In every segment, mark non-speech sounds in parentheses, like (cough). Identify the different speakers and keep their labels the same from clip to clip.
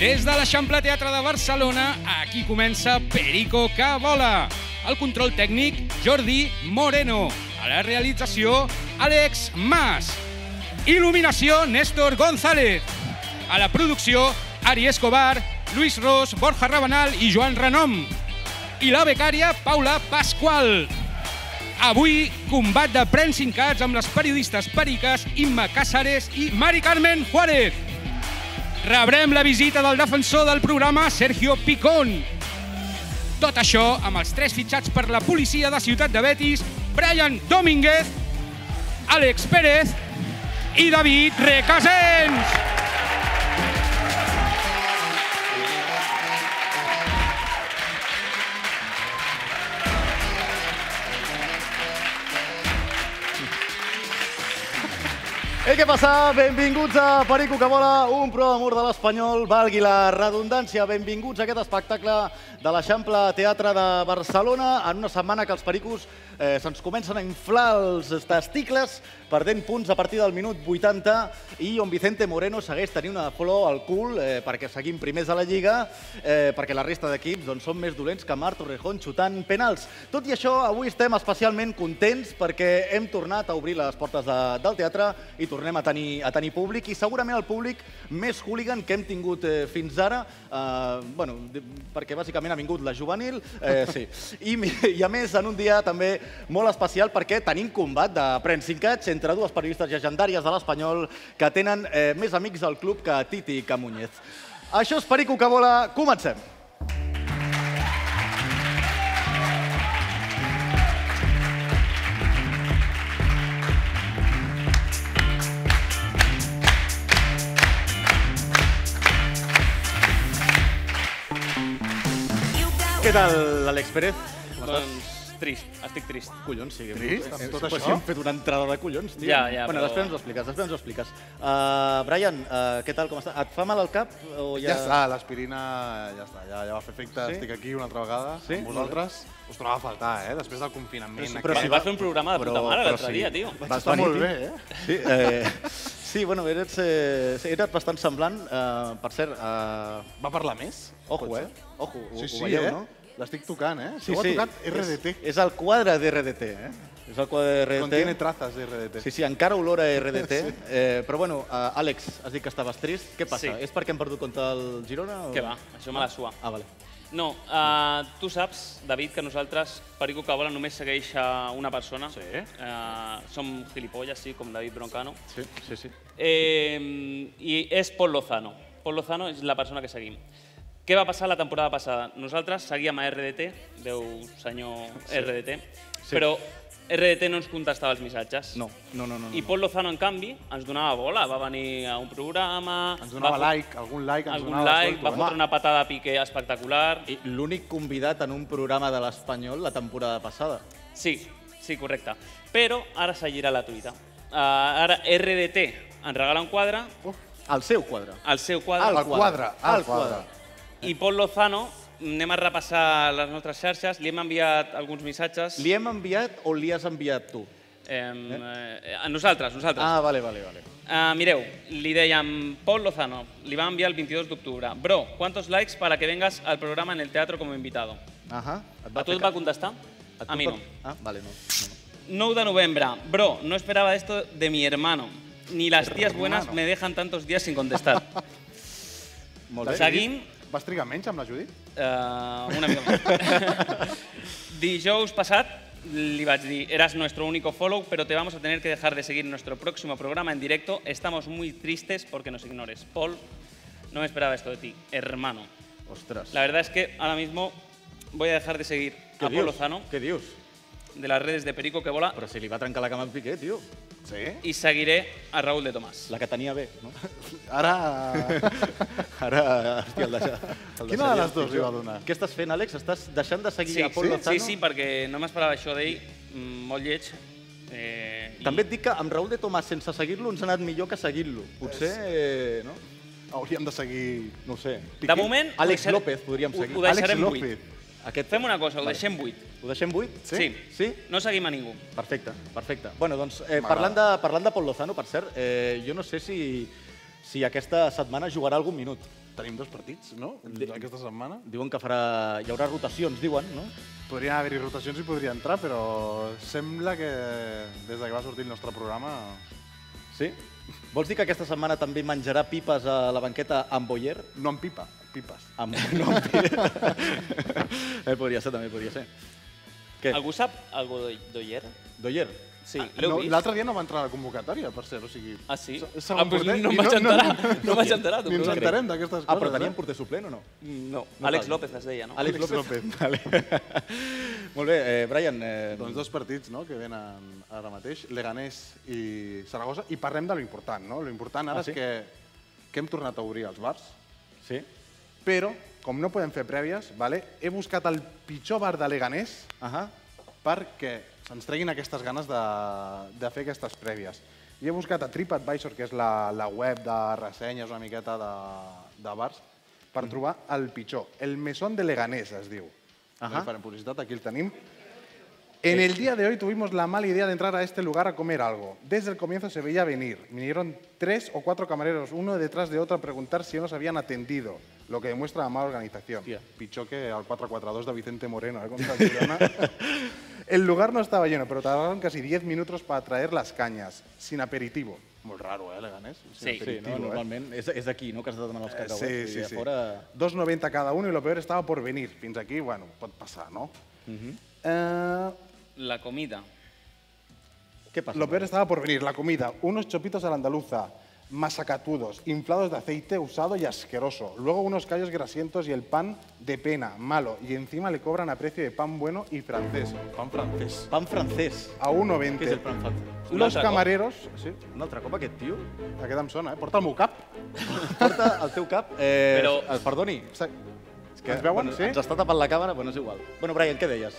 Speaker 1: Des de l'Eixample Teatre de Barcelona, aquí comença Perico que vola. El control tècnic, Jordi Moreno. A la realització, Àlex Mas. Il·luminació, Néstor González. A la producció, Ari Escobar, Luis Ros, Borja Rabanal i Joan Renom. I la becària, Paula Pasqual. Avui, combat de premsincats amb les periodistes periques Imma Cáceres i Mari Carmen Juárez. Rebrem la visita del defensor del programa, Sergio Picón. Tot això amb els tres fitxats per la policia de Ciutat de Betis, Brian Domínguez, Àlex Pérez i David Recasens.
Speaker 2: Ei, què passa? Benvinguts a Perico que vola, un pro d'amor de l'Espanyol, valgui la redundància. Benvinguts a aquest espectacle de l'Eixample Teatre de Barcelona en una setmana que els pericos eh, se'ns comencen a inflar els testicles perdent punts a partir del minut 80 i on Vicente Moreno segueix tenint una flor al cul eh, perquè seguim primers a la Lliga, eh, perquè la resta d'equips doncs, són més dolents que Marc Torrejón xutant penals. Tot i això, avui estem especialment contents perquè hem tornat a obrir les portes de, del teatre i tornem a tenir, a tenir públic i segurament el públic més hooligan que hem tingut eh, fins ara, eh, bueno, di- perquè bàsicament ha vingut la juvenil, eh, sí. I, mi- I a més, en un dia també molt especial perquè tenim combat de premsincats entre dues periodistes llegendàries de l'Espanyol que tenen eh, més amics del club que Titi i que Muñez. Això és Perico que vola, comencem. Què tal, Àlex Pérez?
Speaker 3: Doncs trist, estic trist.
Speaker 2: Collons, sí.
Speaker 4: Trist, amb tot
Speaker 2: Pues
Speaker 4: això?
Speaker 2: sí, hem fet una entrada de collons, tio.
Speaker 3: Ja, ja,
Speaker 2: bueno,
Speaker 3: però-
Speaker 2: després ens ho expliques, després ens ho expliques. Uh, Brian, uh, què tal, com està? Et fa mal al cap? O
Speaker 4: Ja,
Speaker 2: ja...
Speaker 4: està, l'aspirina ja està, ja, ja va fer efecte,
Speaker 2: Sí?
Speaker 4: estic aquí una altra vegada
Speaker 2: Sí?
Speaker 4: amb vosaltres. Us trobava a faltar, eh? Després del
Speaker 2: Però
Speaker 4: confinament.
Speaker 2: sí, però
Speaker 4: aquí.
Speaker 3: Però
Speaker 2: si
Speaker 3: si
Speaker 2: va-
Speaker 3: vas fer un programa de puta
Speaker 4: Però-
Speaker 3: mare
Speaker 4: però
Speaker 3: l'altre
Speaker 4: sí.
Speaker 3: dia, tio.
Speaker 4: Va estar
Speaker 2: venir,
Speaker 4: molt
Speaker 2: tio.
Speaker 4: bé, eh?
Speaker 2: Sí, eh, sí, bueno, eres, eh, sí, eres bastant semblant. Eh, per cert, eh,
Speaker 4: Va parlar més?
Speaker 2: ojo,
Speaker 4: Pot
Speaker 2: eh?
Speaker 4: ser?
Speaker 2: Ojo, ho,
Speaker 4: Sí, sí,
Speaker 2: ho veieu,
Speaker 4: eh?
Speaker 2: no?
Speaker 4: L'estic tocant, eh? Sí, ho ha tocat RDT.
Speaker 2: És, és el quadre de RDT, eh? És el quadre de RDT.
Speaker 4: Contiene trazas de RDT.
Speaker 2: Sí, sí, encara olora a RDT. eh, però bueno, eh, Àlex, has dit que estaves trist. Què passa?
Speaker 3: Sí.
Speaker 2: És perquè hem perdut contra el Girona? O...
Speaker 3: Què va, això me la sua.
Speaker 2: Ah, vale.
Speaker 3: No, uh, tu saps, David, que nosaltres, Perico Cabola, només segueix a una persona. Sí. Uh, som gilipolles, sí, com David Broncano.
Speaker 2: Sí, sí, sí.
Speaker 3: Eh, I és Pol Lozano. Pol Lozano és la persona que seguim. Què va passar la temporada passada? Nosaltres seguíem a RDT, Déu senyor RDT,
Speaker 2: Sí.
Speaker 3: però RDT no ens contestava els missatges.
Speaker 2: No, no, no. no, no.
Speaker 3: I Pol Lozano, en canvi, ens donava bola. Va venir a un programa...
Speaker 4: Ens
Speaker 3: va
Speaker 4: donava
Speaker 3: fot-
Speaker 4: like, algun like ens
Speaker 3: Algun
Speaker 4: donava.
Speaker 3: like, va
Speaker 4: suelto, eh?
Speaker 3: fotre una patada a Piqué espectacular.
Speaker 2: I L'únic convidat en un programa de l'Espanyol la temporada passada.
Speaker 3: Sí, sí, correcte. Però ara seguirà la tuita. Uh, ara RDT ens regala un quadre,
Speaker 2: El seu quadre.
Speaker 3: el seu
Speaker 4: Al
Speaker 3: quadre,
Speaker 4: quadre, al quadre.
Speaker 3: i Pol Lozano, anem a repassar les nostres xarxes, li hem enviat alguns missatges.
Speaker 2: Li hem enviat o li has enviat tu?
Speaker 3: Em, eh, a nosaltres, nosaltres.
Speaker 2: Ah, vale, vale, vale.
Speaker 3: Ah, mireu, li dèiem Paul Lozano, li va enviar el 22 d'octubre. Bro, ¿cuántos likes para que vengas al programa en el teatro como invitado?
Speaker 2: Ahà. Et
Speaker 3: A tu
Speaker 2: fer
Speaker 3: et va
Speaker 2: cas?
Speaker 3: contestar?
Speaker 2: Et
Speaker 3: A mi
Speaker 2: va-
Speaker 3: no.
Speaker 2: Ah, vale, no. no.
Speaker 3: 9 de noviembre. Bro, no esperaba esto de mi hermano. Ni las tías buenas me dejan tantos días sin contestar.
Speaker 2: Molt bé.
Speaker 3: Seguim
Speaker 4: Vas trigar menys amb la Judit?
Speaker 3: eh, una mica més. Dijous passat li vaig dir, eras nuestro único follow, pero te vamos a tener que dejar de seguir en nuestro próximo programa en directo. Estamos muy tristes porque nos ignores. Paul, no me esperaba esto de ti, hermano.
Speaker 2: Ostres.
Speaker 3: La verdad es que ahora mismo voy a dejar de seguir a Paul Lozano
Speaker 2: Què dius?
Speaker 3: de las redes de Perico que vola
Speaker 2: Però si li va trencar la cama en Piqué, tio.
Speaker 4: Sí.
Speaker 3: y seguiré a Raúl de Tomás.
Speaker 2: La que tenia bé, (laughs) no?
Speaker 4: Ara...
Speaker 2: Ara, hòstia, el deixa... El
Speaker 4: Quina de les dues li va donar?
Speaker 2: Què estàs fent, Àlex? Estàs deixant de seguir
Speaker 3: Sí,
Speaker 2: a Pol
Speaker 3: sí,
Speaker 2: Lozano?
Speaker 3: sí, sí, perquè no m'esperava això d'ell, mm, molt lleig. Eh, i-
Speaker 2: També et dic que amb Raúl de Tomàs, sense seguir-lo, ens ha anat millor que seguint-lo. Potser, eh, no?
Speaker 4: Hauríem de seguir...
Speaker 2: No ho sé.
Speaker 3: De moment... ho
Speaker 2: Àlex
Speaker 3: deixarem-
Speaker 2: López, podríem
Speaker 3: ho-
Speaker 2: seguir.
Speaker 3: Ho
Speaker 4: Àlex
Speaker 3: deixarem buit.
Speaker 4: López.
Speaker 2: Aquest...
Speaker 3: Fem una cosa, ho
Speaker 2: Vale.
Speaker 3: deixem buit.
Speaker 2: Ho deixem buit?
Speaker 3: Sí.
Speaker 2: Sí?
Speaker 3: No seguim a ningú.
Speaker 2: Perfecte, perfecte. Bueno, doncs, eh,
Speaker 4: M'agrada.
Speaker 2: parlant, de, parlant de Pol Lozano, per cert, eh, jo no sé si, si aquesta setmana jugarà algun minut.
Speaker 4: Tenim dos partits, no?
Speaker 2: De-
Speaker 4: Aquesta setmana.
Speaker 2: Diuen que farà... hi haurà rotacions, diuen, no?
Speaker 4: Podrien haver-hi rotacions i podria entrar, però sembla que des de que va sortir el nostre programa...
Speaker 2: Sí? Vols dir que aquesta setmana també menjarà pipes a la banqueta amb Boyer?
Speaker 4: No en pipa, pipes.
Speaker 2: Amb... (laughs) No, amb eh, podria ser, també podria ser. Què?
Speaker 3: Algú sap algo d'o- d'Oyer?
Speaker 2: Doyer?
Speaker 3: Sí, l'heu
Speaker 4: No,
Speaker 3: vist?
Speaker 4: L'altre dia no va entrar a la convocatòria, per cert, o sigui...
Speaker 3: Ah, sí?
Speaker 4: se- se
Speaker 3: Ah, doncs
Speaker 4: l'emportem
Speaker 3: no
Speaker 4: i
Speaker 3: em vaig enterar. No,
Speaker 4: no,
Speaker 3: vaig enterar.
Speaker 4: Ni ens
Speaker 3: tu.
Speaker 4: enterem d'aquestes coses.
Speaker 2: Ah, però teníem
Speaker 4: eh?
Speaker 2: porter suplent o no?
Speaker 3: No,
Speaker 2: No
Speaker 3: Àlex
Speaker 2: cal.
Speaker 3: López es deia, no?
Speaker 2: Àlex
Speaker 4: Àlex
Speaker 2: López?
Speaker 4: López.
Speaker 2: (laughs) Vale. Molt bé, eh, Brian, eh,
Speaker 4: Doncs dos partits no, que venen ara mateix, Leganés i Saragossa, i parlem de lo important, no? Lo important ara
Speaker 2: Ah, sí?
Speaker 4: és que, que hem tornat a obrir els bars,
Speaker 2: sí?
Speaker 4: però, com no podem fer prèvies, vale, he buscat el pitjor bar de Leganés
Speaker 2: Ahà.
Speaker 4: perquè se'ns treguin aquestes ganes de, de fer aquestes prèvies. I he buscat a TripAdvisor, que és la, la web de ressenyes una miqueta de, de bars, per trobar el pitjor. El Mesón de Leganés, es diu.
Speaker 2: Ajá.
Speaker 4: No hi farem publicitat, aquí el tenim. En el día de hoy tuvimos la mala idea de entrar a este lugar a comer algo. Desde el comienzo se veía venir. Vinieron tres o cuatro camareros, uno detrás de otro, a preguntar si nos habían atendido, lo que demuestra la mala organización.
Speaker 2: Hostia.
Speaker 4: Pichoque al 442 de Vicente Moreno, ¿eh? Contra el Girona. El lugar no estaba lleno, pero tardaron casi 10 minutos para traer las cañas, sin aperitivo. Muy raro, ¿eh, Leganés?
Speaker 3: Sí.
Speaker 4: Sin
Speaker 2: Sí, no?
Speaker 4: aperitivo, ¿eh?
Speaker 2: normalment és, és d'aquí, no? Que has de donar els
Speaker 4: Eh,
Speaker 2: cacauets.
Speaker 4: Sí,
Speaker 2: i
Speaker 4: sí,
Speaker 2: a
Speaker 4: sí.
Speaker 2: Fora...
Speaker 4: 2,90 cada uno y lo peor estaba por venir. Fins aquí, bueno, puede pasar, ¿no? Eh,
Speaker 5: La comida.
Speaker 2: Què passa?
Speaker 4: Lo peor estaba por venir, la comida. Unos chopitos a la andaluza, masacatudos, inflados de aceite usado y asqueroso. Luego unos callos grasientos y el pan de pena, malo. Y encima le cobran a precio de pan bueno y francés. Pan francés. Ah,
Speaker 2: Pan francès.
Speaker 4: A
Speaker 2: Què és el
Speaker 4: 1,90.
Speaker 2: pan francès?
Speaker 4: Los
Speaker 3: L'altre cop.
Speaker 4: camareros... Sí,
Speaker 2: Un altre cop aquest tio
Speaker 4: aquest em sona, eh? Porta el meu cap.
Speaker 2: porta el teu cap... Eh, Però...
Speaker 3: Però-
Speaker 2: Perdoni.
Speaker 4: Sa-
Speaker 2: És
Speaker 4: Ens veuen,
Speaker 2: bueno,
Speaker 4: sí?
Speaker 2: Ens està tapant la càmera, però no és igual. Bueno, Brian, què deies?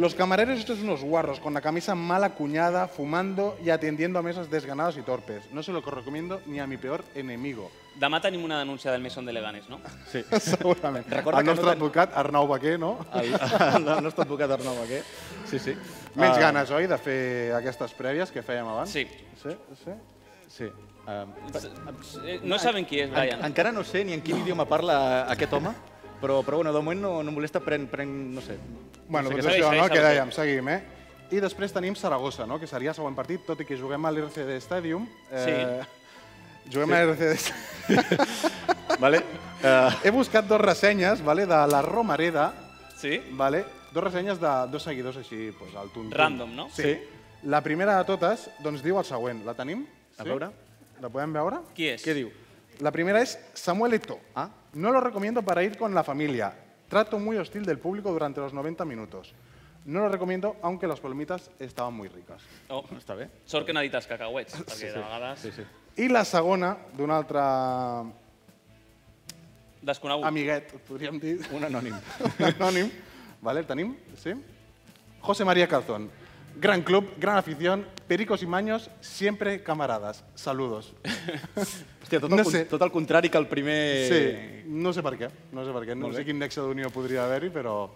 Speaker 4: Los camareros estos unos guarros, con la camisa mal acuñada, fumando y atendiendo a mesas desganadas y torpes. No se lo recomiendo ni a mi peor
Speaker 2: (laughs)
Speaker 4: enemigo.
Speaker 5: Demà tenim una denúncia del Mesón de Leganés, no?
Speaker 2: Sí.
Speaker 4: Segurament.
Speaker 2: Recorda
Speaker 4: el
Speaker 2: que no ten-
Speaker 4: nostre
Speaker 2: Ah.
Speaker 4: advocat, Arnau Baquer, no?
Speaker 2: (laughs) El, el, el nostre advocat Arnau Baquer. Sí, sí.
Speaker 4: Menys
Speaker 2: Ah,
Speaker 4: ganes, oi, de fer aquestes prèvies que fèiem abans?
Speaker 5: Sí.
Speaker 4: Sí, sí.
Speaker 2: Sí. Um,
Speaker 5: Eh, No saben qui és,
Speaker 2: en,
Speaker 5: Brian.
Speaker 2: encara no sé ni en quin idioma parla aquest home, però, però bueno, de moment no, no em molesta, pren, pren, no sé.
Speaker 4: Bueno,
Speaker 2: no sé
Speaker 4: doncs
Speaker 2: què-
Speaker 5: segueix,
Speaker 4: això, no?
Speaker 5: segueix,
Speaker 4: Que
Speaker 5: Sabater.
Speaker 4: dèiem, seguim, eh? I després tenim Saragossa, no? Que seria el següent partit, tot i que juguem a l'RCD Stadium. eh, Juguem a l'RCD Stadium.
Speaker 2: Vale? Uh,
Speaker 4: He buscat dos ressenyes, vale, de la Romareda,
Speaker 5: Sí?
Speaker 4: vale? Dos ressenyes de dos seguidors així, pues, al tuntun.
Speaker 5: Random, no?
Speaker 4: Sí.
Speaker 2: Sí.
Speaker 4: La primera de totes, doncs, diu el següent. La tenim?
Speaker 2: A veure.
Speaker 4: La podem veure?
Speaker 5: Qui és?
Speaker 2: què diu?
Speaker 4: La primera es Samuel Eto.
Speaker 2: Ah.
Speaker 4: No lo recomiendo para ir con la familia. Trato muy hostil del público durante los 90 minutos. No lo recomiendo, aunque las palomitas estaban muy ricas.
Speaker 5: Oh,
Speaker 2: Està bé.
Speaker 5: sort que no ha dit els cacauets, perquè de vegades...
Speaker 2: Sí, sí.
Speaker 4: I la segona, d'un altre
Speaker 5: Desconegut.
Speaker 4: amiguet, podríem dir,
Speaker 2: Oh. Un
Speaker 4: (laughs)
Speaker 2: anònim.
Speaker 4: anònim. Vale, el tenim? Sí? José María Calzón. Gran club, gran afición, pericos y maños, siempre camaradas. Saludos.
Speaker 2: Hòstia, tot el,
Speaker 4: No
Speaker 2: con-
Speaker 4: sé.
Speaker 2: tot el contrari que el primer...
Speaker 4: Sí, no sé per què, no sé per què. No
Speaker 2: Eh. Molt bé.
Speaker 4: sé quin nexe d'unió podria haver-hi, però,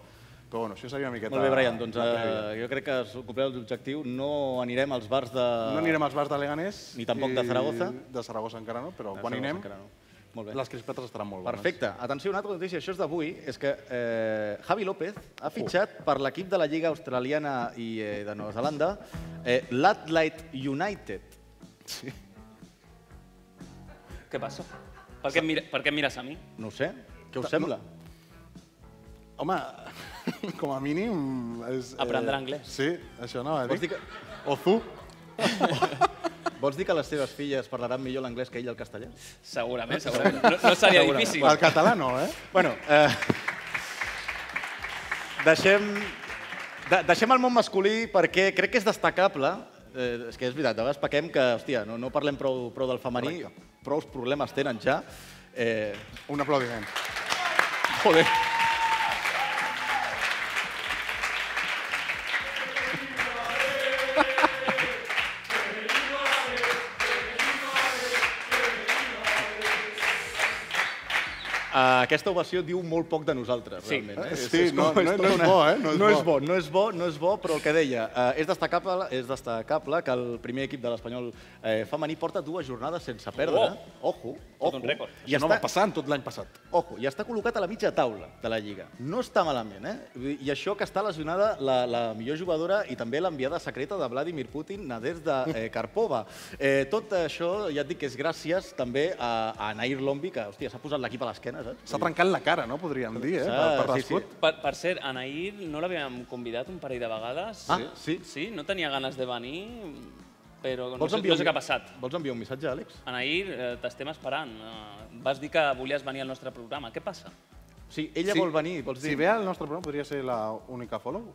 Speaker 4: però bueno, això seria una miqueta...
Speaker 2: Molt bé, Brian, doncs
Speaker 4: la prèvia.
Speaker 2: eh, jo crec que has complert l'objectiu. No anirem als bars de...
Speaker 4: No anirem als bars de Leganés.
Speaker 2: Ni tampoc de
Speaker 4: i
Speaker 2: Zaragoza.
Speaker 4: De Zaragoza encara no, però
Speaker 2: De
Speaker 4: quan hi
Speaker 2: Saragossa
Speaker 4: anem,
Speaker 2: encara no. Molt bé.
Speaker 4: les crispetes estaran molt bones.
Speaker 2: Perfecte. Atenció, una altra notícia, això és d'avui, és que eh, Javi López ha fitxat per l'equip de la Lliga Australiana i eh, de Nova Zelanda eh, l'Adelaide United.
Speaker 5: Què passa? Per què, em mira, per què em mires a mi?
Speaker 2: No ho sé, què us sembla?
Speaker 4: Home, (laughs) com a mínim... És, eh,
Speaker 5: Aprendre anglès.
Speaker 4: Sí, això no, eh, a
Speaker 2: Vols dir,
Speaker 4: dir.
Speaker 2: que,
Speaker 4: O tu.
Speaker 2: vols dir que les teves filles parlaran millor l'anglès que ell el castellà?
Speaker 5: Segurament, segurament. No, no seria
Speaker 2: Segurament.
Speaker 5: difícil.
Speaker 4: El català no, eh?
Speaker 2: Bueno, eh, deixem, de, deixem el món masculí perquè crec que és destacable. Eh, és que és veritat, de vegades pequem que, hòstia, no, no parlem prou, prou del femení, prous problemes tenen ja. Eh,
Speaker 4: Un aplaudiment. (laughs)
Speaker 2: (laughs) Joder. Uh, aquesta ovació diu molt poc de nosaltres,
Speaker 5: Sí.
Speaker 2: realment. Eh?
Speaker 4: Sí, no-
Speaker 2: com-
Speaker 4: no-
Speaker 2: tot
Speaker 4: no és
Speaker 2: una-
Speaker 4: bo, eh? No és
Speaker 2: no és bo,
Speaker 4: bo.
Speaker 2: no és bo, no és bo, però el que deia, eh, és, destacable, és destacable que el primer equip de l'Espanyol eh, femení porta dues jornades sense perdre.
Speaker 4: Oh!
Speaker 2: Ojo, ojo.
Speaker 5: un rècord.
Speaker 2: I
Speaker 4: Això no
Speaker 2: està-
Speaker 4: va passar en tot l'any passat.
Speaker 2: Ojo, i està col·locat a la mitja taula de la Lliga. No està malament, eh? Vull dir, I això que està lesionada la, la millor jugadora i també l'enviada secreta de Vladimir Putin, Nadezhda
Speaker 3: Mm.
Speaker 2: eh, Karpova. Eh, tot això, ja et dic que és gràcies també a, a Nair Lombi, que, hòstia, s'ha posat l'equip a l'esquena, saps?
Speaker 4: S'ha trencat la cara, no? Podríem dir, eh? Per,
Speaker 2: S'ha-
Speaker 4: per
Speaker 2: sí, sí.
Speaker 4: l'escut.
Speaker 3: Per, per cert, a Nair no l'havíem convidat un parell de vegades.
Speaker 2: Ah, sí?
Speaker 3: Sí, no tenia ganes de venir, però no
Speaker 2: Vols
Speaker 3: sé,
Speaker 2: enviar
Speaker 3: no
Speaker 2: un-
Speaker 3: sé què ha passat.
Speaker 2: Vols enviar un missatge, Àlex?
Speaker 3: Anair, eh, t'estem esperant. Eh, Vas dir que volies venir al nostre programa. Què passa?
Speaker 2: Sí, ella
Speaker 4: Sí.
Speaker 2: vol venir, vols dir?
Speaker 4: Si ve al nostre programa, podria ser l'única follow?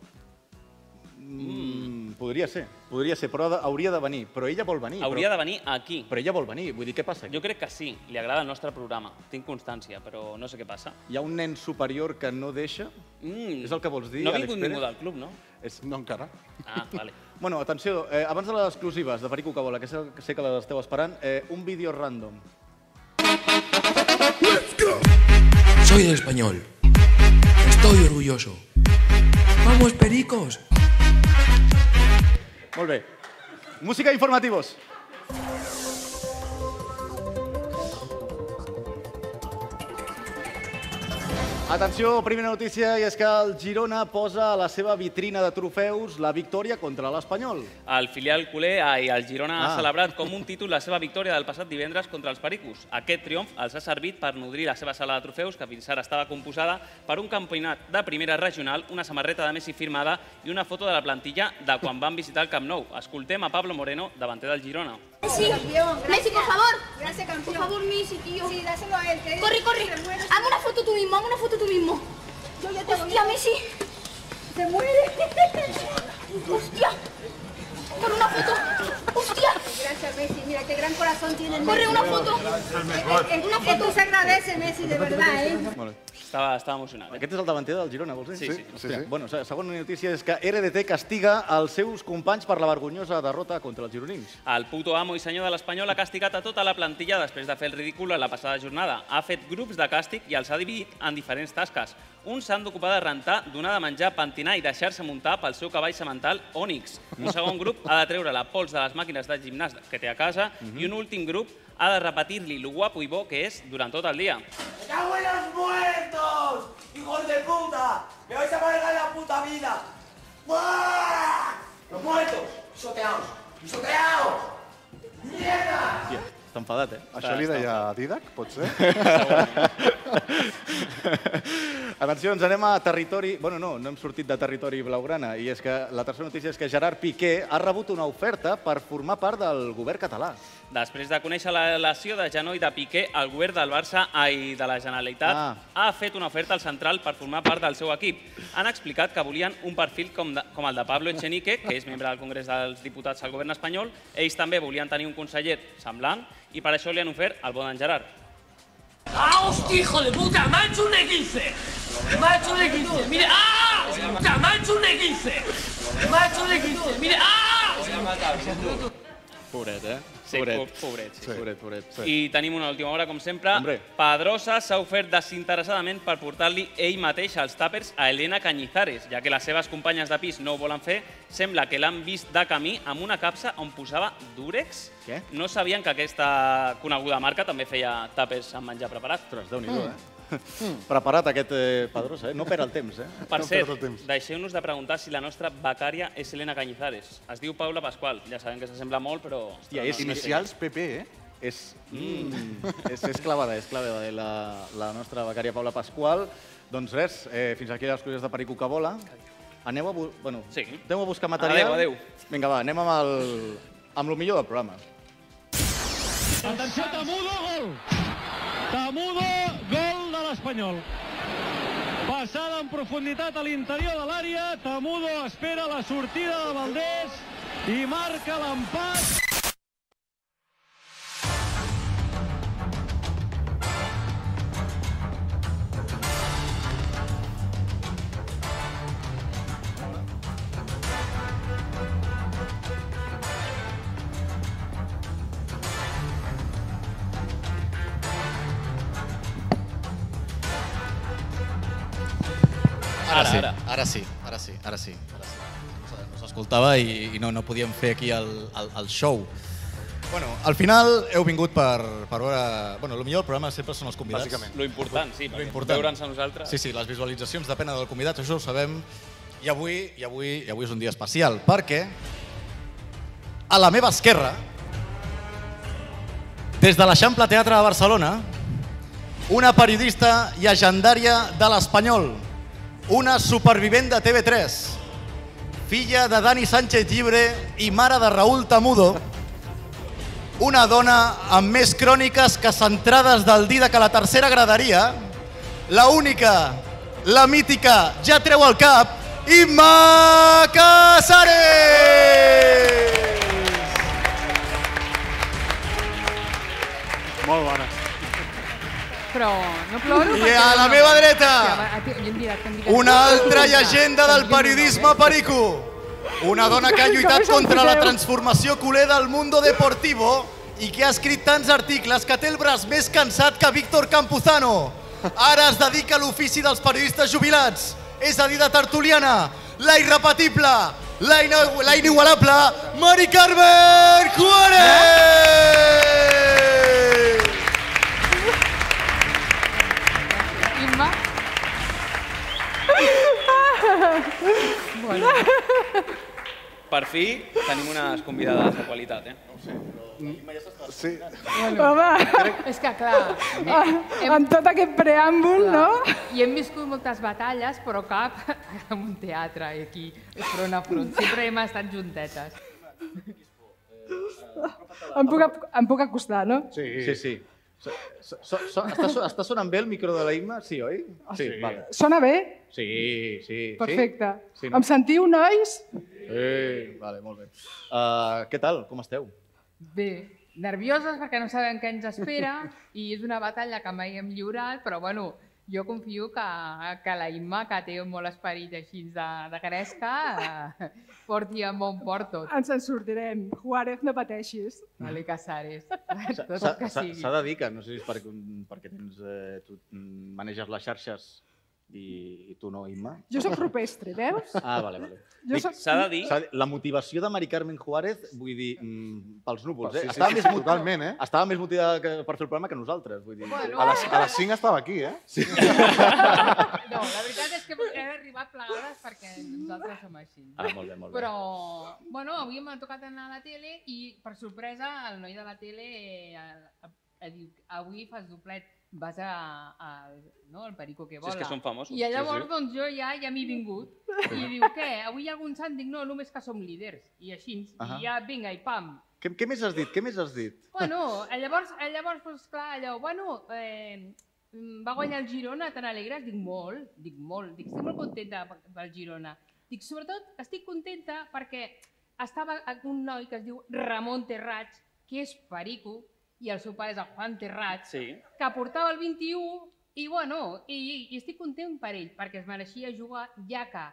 Speaker 2: Mm, podria ser, podria ser, però ha de- hauria de venir. Però ella vol venir.
Speaker 3: Hauria
Speaker 2: però,
Speaker 3: de venir aquí.
Speaker 2: Però ella vol venir, vull dir, què passa? aquí?
Speaker 3: Jo crec que sí, li agrada el nostre programa. Tinc constància, però no sé què passa.
Speaker 2: Hi ha un nen superior que no deixa?
Speaker 3: Mm,
Speaker 2: És el que vols dir,
Speaker 3: No ha
Speaker 2: Àlex
Speaker 3: vingut
Speaker 2: Pérez?
Speaker 3: ningú del club, no?
Speaker 4: És... No encara.
Speaker 3: Ah, vale.
Speaker 2: (laughs) Bueno, atenció, eh, abans de les exclusives de Perico Cabola, que sé, que sé que les esteu esperant, eh, un vídeo random.
Speaker 6: Soy del español. Estoy orgulloso. ¡Vamos, pericos!
Speaker 2: Molt bé. Música informativos. Atenció, primera notícia, i és que el Girona posa a la seva vitrina de trofeus la victòria contra l'Espanyol.
Speaker 3: El filial culer ai, el Girona
Speaker 2: Ah.
Speaker 3: ha celebrat com un títol la seva victòria del passat divendres contra els pericos. Aquest triomf els ha servit per nodrir la seva sala de trofeus, que fins ara estava composada per un campionat de primera regional, una samarreta de Messi firmada i una foto de la plantilla de quan van visitar el Camp Nou. Escoltem a Pablo Moreno, davanter del Girona.
Speaker 7: Sí, Messi, por favor.
Speaker 8: Gracias,
Speaker 7: Por
Speaker 8: campeón.
Speaker 7: favor, Messi, tío.
Speaker 8: Sí, dáselo a él. que él-
Speaker 7: Corre, corre.
Speaker 8: Se muere.
Speaker 7: Hazme una foto tú mismo, hazme una foto tú mismo.
Speaker 8: Yo ya te
Speaker 7: Hostia, Messi.
Speaker 8: Se muere.
Speaker 7: (laughs) Hostia. Corre una foto. Hostia.
Speaker 8: Gracias, Messi. Mira, qué gran corazón tiene el
Speaker 7: Corre
Speaker 8: Messi.
Speaker 7: una foto.
Speaker 8: Eh, eh, Una foto se agradece, Messi, de verdad, ¿eh?
Speaker 2: Molt bé.
Speaker 3: Estava, estava emocionat. Eh?
Speaker 2: Aquest és el davanter del Girona, vols dir?
Speaker 3: Sí, sí.
Speaker 2: Hòstia, Bueno, se- segona notícia és que RDT castiga els seus companys per la vergonyosa derrota contra els gironins.
Speaker 3: El puto amo i senyor de l'Espanyol ha castigat a tota la plantilla després de fer el ridícul a la passada jornada. Ha fet grups de càstig i els ha dividit en diferents tasques. Uns s'han d'ocupar de rentar, donar de menjar, pentinar i deixar-se muntar pel seu cavall semental Onix. Un segon grup ha de treure la pols de les màquines de gimnàs que té a casa i un últim grup ha de repetir-li lo guapo i bo que és durant tot el dia.
Speaker 9: ¡Me cago en los muertos! ¡Hijos de puta! ¡Me vais a amargar la puta vida! ¡Buah! ¡Los muertos! ¡Pisoteados! ¡Pisoteados! ¡Mierda!
Speaker 2: Hòstia, està enfadat, eh?
Speaker 4: Això li deia Didac, pot ser?
Speaker 2: Atenció, ens anem a territori... Bueno, no, no hem sortit de territori blaugrana. I és que la tercera notícia és que Gerard Piqué ha rebut una oferta per formar part del govern català.
Speaker 3: Després de conèixer la lesió de genoll de Piqué, el govern del Barça i de la Generalitat
Speaker 2: Ah.
Speaker 3: ha fet una oferta al central per formar part del seu equip. Han explicat que volien un perfil com, de, com el de Pablo Echenique, que és membre del Congrés dels Diputats al govern espanyol. Ells també volien tenir un conseller semblant i per això li han ofert el bon en Gerard.
Speaker 9: ¡Ah, hostia, hijo de puta! ¡Me ha hecho un E15! ¡Me ha hecho un E15! ¡Mire! ¡Ah! Puta, ¡Me ha hecho un E15! ¡Me ha hecho un E15! ¡Mire! ¡Ah!
Speaker 2: Pobret, eh?
Speaker 3: Sí,
Speaker 2: pobret.
Speaker 3: po- pobret, sí.
Speaker 2: Pobret, pobret. Sí.
Speaker 3: I tenim una última hora, com sempre.
Speaker 2: Hombre.
Speaker 3: Pedrosa s'ha ofert desinteressadament per portar-li ell mateix els tàpers a Elena Cañizares, ja que les seves companyes de pis no ho volen fer. Sembla que l'han vist de camí amb una capsa on posava Durex.
Speaker 2: Què?
Speaker 3: No sabien que aquesta coneguda marca també feia tàpers amb menjar preparat.
Speaker 2: Ostres, déu nhi eh? (laughs) Preparat aquest eh, Pedrosa, eh? No perd el temps, eh?
Speaker 3: Mm. Per
Speaker 4: No
Speaker 3: cert,
Speaker 4: perdo temps.
Speaker 3: deixeu-nos de preguntar si la nostra becària és Elena Cañizares. Es diu Paula Pasqual, ja sabem que s'assembla molt, però...
Speaker 2: Hòstia, és
Speaker 3: no sé.
Speaker 4: Inicials PP, eh?
Speaker 2: És, mm, és, és clavada, és clavada eh, la, la nostra becària Paula Pasqual. Doncs res, eh, fins aquí les coses de Perico que vola. Aneu a, bu bueno,
Speaker 3: Sí.
Speaker 2: aneu a buscar material.
Speaker 3: Adeu, adeu.
Speaker 2: Vinga, va, anem amb el, amb el millor del programa.
Speaker 10: Atenció, Tamudo, gol! Tamudo, gol de l'Espanyol. Passada en profunditat a l'interior de l'àrea, Tamudo espera la sortida de Valdés i marca l'empat.
Speaker 11: ara, sí, ara sí, ara sí, ara sí. Ara sí. No s'escoltava i, i no, no podíem fer aquí el, el, el show. Bueno, al final heu vingut per, per veure... Bueno, el millor del programa sempre són els convidats.
Speaker 4: Bàsicament.
Speaker 3: Lo important, sí, perquè
Speaker 11: important.
Speaker 3: veure'ns a nosaltres.
Speaker 11: Sí, sí, les visualitzacions depenen del convidat, això ho sabem. I avui, i avui, i avui és un dia especial, perquè a la meva esquerra, des de l'Eixample Teatre de Barcelona, una periodista llegendària de l'Espanyol, una supervivent de TV3, filla de Dani Sánchez Llibre i mare de Raül Tamudo, una dona amb més cròniques que centrades del Dida que la tercera graderia, la única, la mítica, ja treu el cap, Imma Casares!
Speaker 2: Molt bona.
Speaker 12: Però no ploro.
Speaker 11: I
Speaker 12: perquè
Speaker 11: a la
Speaker 12: no-
Speaker 11: meva dreta,
Speaker 12: Hòstia, va, a ti- jo em dirà que em dirà-
Speaker 11: Una altra llegenda del periodisme perico. Una dona que ha lluitat contra la transformació culer del mundo deportivo i que ha escrit tants articles que té el braç més cansat que Víctor Campuzano. Ara es dedica a l'ofici dels periodistes jubilats, és a dir, de tertuliana, la irrepetible, la, ina la inigualable, Mari Carmen Juárez!
Speaker 12: Imma. bueno,
Speaker 3: Per fi tenim unes convidades de qualitat, eh?
Speaker 4: Sí.
Speaker 12: bueno. és que clar, eh, hem,
Speaker 13: Tot aquest preàmbul,
Speaker 12: clar,
Speaker 13: no?
Speaker 12: i hem viscut moltes batalles, però cap (laughs) en un teatre i aquí, front a front. Sempre hem estat juntetes.
Speaker 13: Em puc, ap- em puc acostar, no?
Speaker 4: Sí,
Speaker 2: Sí, sí. So, so, so, so, està, so- està sonant bé el micro de la Imma? Sí, oi? Sí, vale.
Speaker 13: Ah, Sona bé?
Speaker 2: Sí, sí.
Speaker 13: Perfecte.
Speaker 2: Sí, no?
Speaker 13: Em sentiu, nois?
Speaker 2: Sí, vale, molt bé. Uh, què tal? Com esteu?
Speaker 12: Bé, nervioses perquè no sabem què ens espera i és una batalla que mai hem lliurat, però bueno, jo confio que, que la Imma, que té molt esperit així de, de gresca, (laughs) eh, porti a bon port tot.
Speaker 13: Ens en sortirem. Juárez, no pateixis.
Speaker 12: Vale, Casares,
Speaker 2: S'ha-
Speaker 12: tot el
Speaker 2: s'ha-
Speaker 12: que
Speaker 2: S'ha
Speaker 12: sigui.
Speaker 2: s'ha de dir que, no sé si és perquè, un- perquè tens, eh, tu mm, maneges les xarxes i, i tu no, Imma.
Speaker 13: Jo sóc rupestre, veus?
Speaker 2: Ah, vale, vale.
Speaker 13: Jo
Speaker 2: Dic,
Speaker 13: sóc...
Speaker 3: S'ha de dir...
Speaker 2: s'ha de- La motivació de Mari Carmen Juárez, vull dir, mm, pels núvols, eh?
Speaker 4: Sí, sí,
Speaker 2: Estava
Speaker 4: sí,
Speaker 2: més
Speaker 4: sí,
Speaker 2: mot-
Speaker 4: totalment, eh?
Speaker 2: Estava més motivada que- per fer el programa que nosaltres, vull dir.
Speaker 12: Bueno.
Speaker 4: A les, a les 5 estava aquí, eh? Sí.
Speaker 12: No, la veritat és que hem arribat plegades perquè nosaltres som així.
Speaker 2: Ah, molt bé, molt bé.
Speaker 12: Però, bueno, avui m'ha tocat anar a la tele i, per sorpresa, el noi de la tele eh, eh, eh, diu avui fas doplet, vas a, a, no, al perico que
Speaker 3: Si
Speaker 12: vola.
Speaker 3: és que són famosos.
Speaker 12: I llavors, doncs, jo ja ja m'hi he vingut. I diu, què, avui hi ha algun sant? Dic, no, només que som líders. I així,
Speaker 2: Ahà.
Speaker 12: i ja, vinga, i pam.
Speaker 2: Què, què més has dit? Què més has dit?
Speaker 12: Bueno, eh, llavors, eh, llavors doncs, clar, allò, bueno, eh, mm, va guanyar el Girona, tan alegres? Dic, molt, dic, molt, dic, estic molt contenta pe- pel Girona. Dic, sobretot, estic contenta perquè estava amb un noi que es diu Ramon Terrats, que és perico, i el seu pare és el Juan Terrats,
Speaker 3: Sí.
Speaker 12: que portava el 21 i, bueno, i, i, i estic content per ell, perquè es mereixia jugar, ja que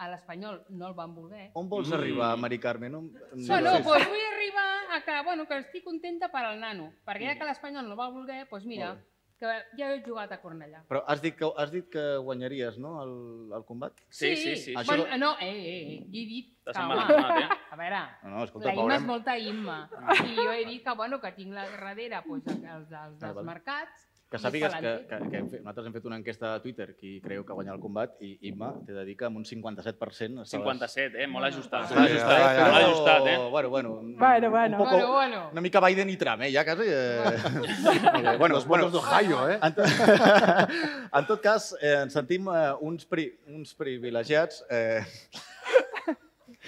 Speaker 12: a l'Espanyol no el van voler.
Speaker 2: On vols arribar,
Speaker 4: Mm.
Speaker 2: Mari Carmen? On...
Speaker 12: Bueno, doncs vull arribar a que, bueno, que estic contenta per al nano, perquè ja que l'Espanyol no va voler, doncs mira, que ja he jugat a Cornellà.
Speaker 2: Però has dit que, has dit que guanyaries, no?, el, el combat?
Speaker 3: Sí, sí, sí.
Speaker 2: Això-
Speaker 12: Bueno, no, eh, eh, eh, he dit que,
Speaker 3: T'has embalanat,
Speaker 12: home, a veure,
Speaker 2: No, no, escolta,
Speaker 12: la Imma és
Speaker 2: veurem.
Speaker 12: molta Imma, i jo he dit que, bueno, que tinc la darrere doncs, els, els
Speaker 2: Ah,
Speaker 12: dels
Speaker 2: val.
Speaker 12: mercats,
Speaker 2: Que
Speaker 12: i
Speaker 2: sàpigues que,
Speaker 12: Escalanti.
Speaker 2: que, que hem fet, nosaltres hem fet una enquesta a Twitter qui creu que guanyarà el combat i Imma t'he de dir que amb un 57% estaves...
Speaker 3: 57, eh? Molt ajustat.
Speaker 4: Sí,
Speaker 2: Estava
Speaker 3: molt
Speaker 4: ja,
Speaker 2: ajustat,
Speaker 3: ajustat,
Speaker 4: ja, ja.
Speaker 3: molt
Speaker 2: però-
Speaker 3: ajustat, eh?
Speaker 2: Bueno, bueno.
Speaker 13: Bueno, bueno.
Speaker 2: Un poco,
Speaker 12: Bueno, bueno.
Speaker 2: Una mica Biden i Trump, eh? Ja quasi... (laughs) Eh... bueno,
Speaker 4: Los votos d'Ohio, eh?
Speaker 2: En, to... (laughs) en tot cas, eh, ens sentim eh, uns, pri... uns privilegiats. Eh... (laughs)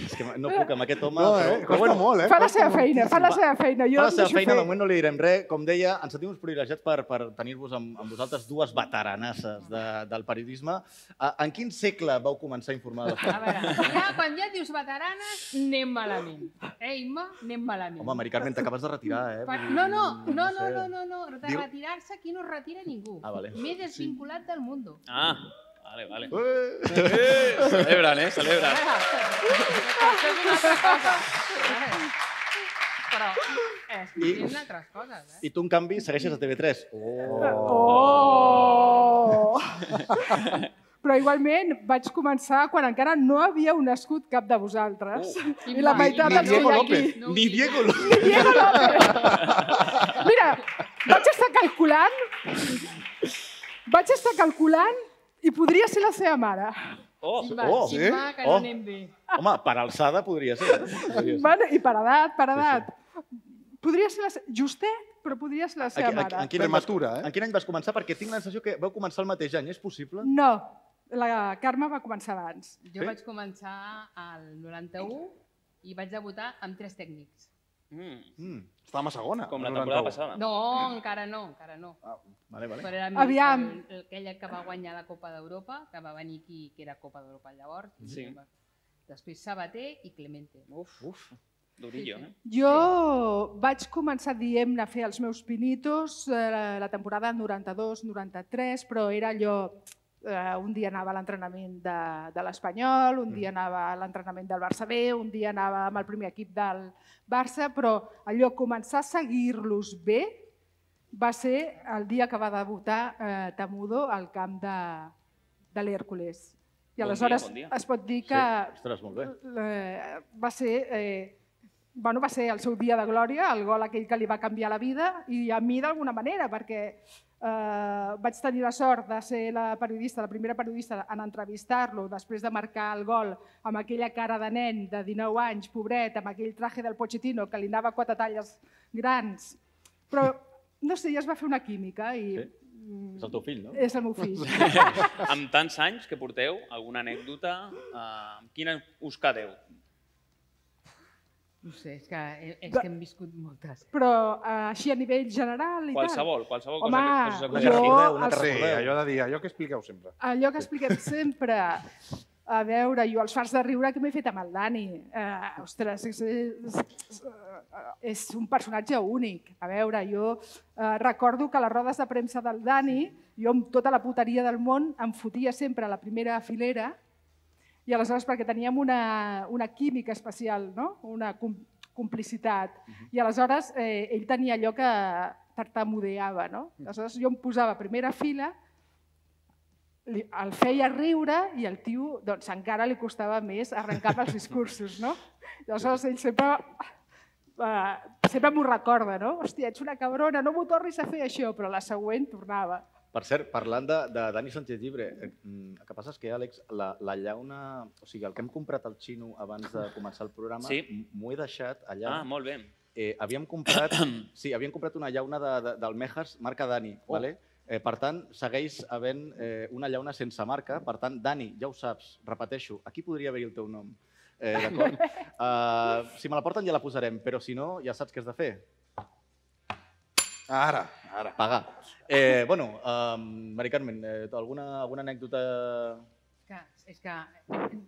Speaker 2: És que no puc amb aquest home,
Speaker 4: No,
Speaker 2: però,
Speaker 4: eh?
Speaker 2: però
Speaker 4: Costa molt, eh?
Speaker 13: Fa la seva feina, fa la seva feina. Jo
Speaker 2: Fa la seva
Speaker 13: deixo
Speaker 2: feina,
Speaker 13: fer.
Speaker 2: de moment no li direm res. Com deia, ens sentim uns privilegiats per, per tenir-vos amb, amb vosaltres dues veteranasses de, del periodisme. Eh, En quin segle vau començar a informar de les
Speaker 12: (laughs) A veure, ja, quan ja dius veteranes, anem malament. Eh, Imma? Anem malament.
Speaker 2: Home, Mari Carmen, t'acabes de retirar, eh?
Speaker 12: Per-
Speaker 2: Vull dir,
Speaker 12: No, no, no, no,
Speaker 2: sé.
Speaker 12: no, no, no. de
Speaker 2: Diu-
Speaker 12: retirar-se aquí no es retira ningú.
Speaker 2: Ah, vale.
Speaker 12: M'he desvinculat del mundo.
Speaker 3: Ah, vale, vale. Eh, celebran, eh? Celebran.
Speaker 12: Això és una altra cosa. Però eh,
Speaker 2: I-
Speaker 12: escrivint altres coses, eh?
Speaker 2: I tu, en canvi, segueixes a TV3. Oh.
Speaker 13: Oh!
Speaker 12: (laughs) Però igualment vaig començar quan encara no havíeu nascut cap de vosaltres. I la meitat dels que hi ha aquí.
Speaker 14: Ni Diego López.
Speaker 12: (laughs) Ni Diego López. Mira, vaig estar calculant, vaig estar calculant i podria ser la seva mare.
Speaker 15: Oh,
Speaker 12: sí,
Speaker 15: oh, sí? que no
Speaker 2: Oh.
Speaker 15: anem bé.
Speaker 2: Home, per alçada podria ser. eh? Podria ser.
Speaker 12: Bueno, I per edat, per edat. Podria ser la se... Justet, però podria ser la
Speaker 2: En,
Speaker 12: seva
Speaker 2: en,
Speaker 12: mare.
Speaker 2: en, quin any vas,
Speaker 4: eh?
Speaker 2: en quin any vas començar? Perquè tinc la sensació que vau començar el mateix any, és possible?
Speaker 12: No, la Carme va començar abans.
Speaker 15: Jo vaig començar al 91 i vaig debutar amb tres tècnics.
Speaker 4: Mm. Estàvem a segona.
Speaker 3: Com la
Speaker 4: el
Speaker 3: temporada
Speaker 4: 91.
Speaker 3: passada.
Speaker 15: No, encara no, encara no.
Speaker 2: Vale, vale.
Speaker 15: Però era mi-
Speaker 12: Aviam.
Speaker 15: el- aquella que va guanyar la Copa d'Europa, que va venir aquí, que era Copa d'Europa llavors. i
Speaker 3: Sí.
Speaker 15: va- Després Sabater i Clemente.
Speaker 3: Uf, uf. Durillo, eh?
Speaker 12: Jo vaig començar diem a fer els meus pinitos eh, la temporada 92-93, però era allò... Eh, un dia anava a l'entrenament de, de l'Espanyol, un dia anava a l'entrenament del Barça B, un dia anava amb el primer equip del Barça, però allò, començar a seguir-los bé va ser el dia que va debutar eh, Tamudo al camp de, de l'Hèrcules.
Speaker 2: Bon
Speaker 12: I
Speaker 2: dia,
Speaker 12: aleshores
Speaker 2: bon dia.
Speaker 12: es pot dir que
Speaker 2: Sí, ostres, molt bé.
Speaker 12: eh, va ser... Eh, bueno, va ser el seu dia de glòria, el gol aquell que li va canviar la vida, i a mi d'alguna manera, perquè eh, vaig tenir la sort de ser la periodista, la primera periodista en entrevistar-lo, després de marcar el gol amb aquella cara de nen de 19 anys, pobret, amb aquell traje del Pochettino que li anava quatre talles grans. Però, no sé, ja es va fer una química i...
Speaker 2: Sí.
Speaker 12: mm,
Speaker 2: És el teu fill, no?
Speaker 12: És el meu fill.
Speaker 3: amb tants anys que porteu, alguna anècdota, eh, quina us quedeu?
Speaker 15: No sé, és que, és que hem viscut moltes.
Speaker 12: Però eh, així a nivell general i
Speaker 3: Qualsevol,
Speaker 12: tal.
Speaker 3: qualsevol
Speaker 12: Home,
Speaker 3: cosa que- que us
Speaker 12: jo,
Speaker 3: acudeixi.
Speaker 12: els-
Speaker 4: Sí, allò de dir, allò que expliqueu sempre.
Speaker 12: Allò que expliquem sempre, a veure, jo els fars de riure que m'he fet amb el Dani. Uh, ostres, és, és, és un personatge únic. A veure, jo eh, recordo que a les rodes de premsa del Dani, jo amb tota la puteria del món em fotia sempre a la primera filera i aleshores perquè teníem una, una química especial, no? una com complicitat. I aleshores eh, ell tenia allò que tartamudeava. No? Aleshores jo em posava a primera fila li, el feia riure i el tio doncs, encara li costava més arrencar pels discursos. No? I Aleshores, ell sempre, eh, sempre m'ho recorda, no? Hòstia, ets una cabrona, no m'ho tornis a fer això, però la següent tornava.
Speaker 2: Per cert, parlant de, de Dani Sánchez Llibre, eh, mm, el que passa és que, Àlex, la, la llauna... O sigui, el que hem comprat al xino abans de començar el programa,
Speaker 3: Sí.
Speaker 2: m- m'ho he deixat allà.
Speaker 3: Ah, molt bé.
Speaker 2: Eh, havíem comprat... sí, havíem comprat una llauna de, de, del Mejas, marca Dani,
Speaker 3: Oh.
Speaker 2: vale? Eh, per tant, segueix havent eh, una llauna sense marca. Per tant, Dani, ja ho saps, repeteixo, aquí podria haver-hi el teu nom. Eh, D'acord? Uh, si me la porten ja la posarem, però si no, ja saps què has de fer.
Speaker 4: Ara, ara.
Speaker 2: Pagar. Eh, bueno, um, Mari Carmen, eh, alguna, alguna anècdota...
Speaker 15: Que, és que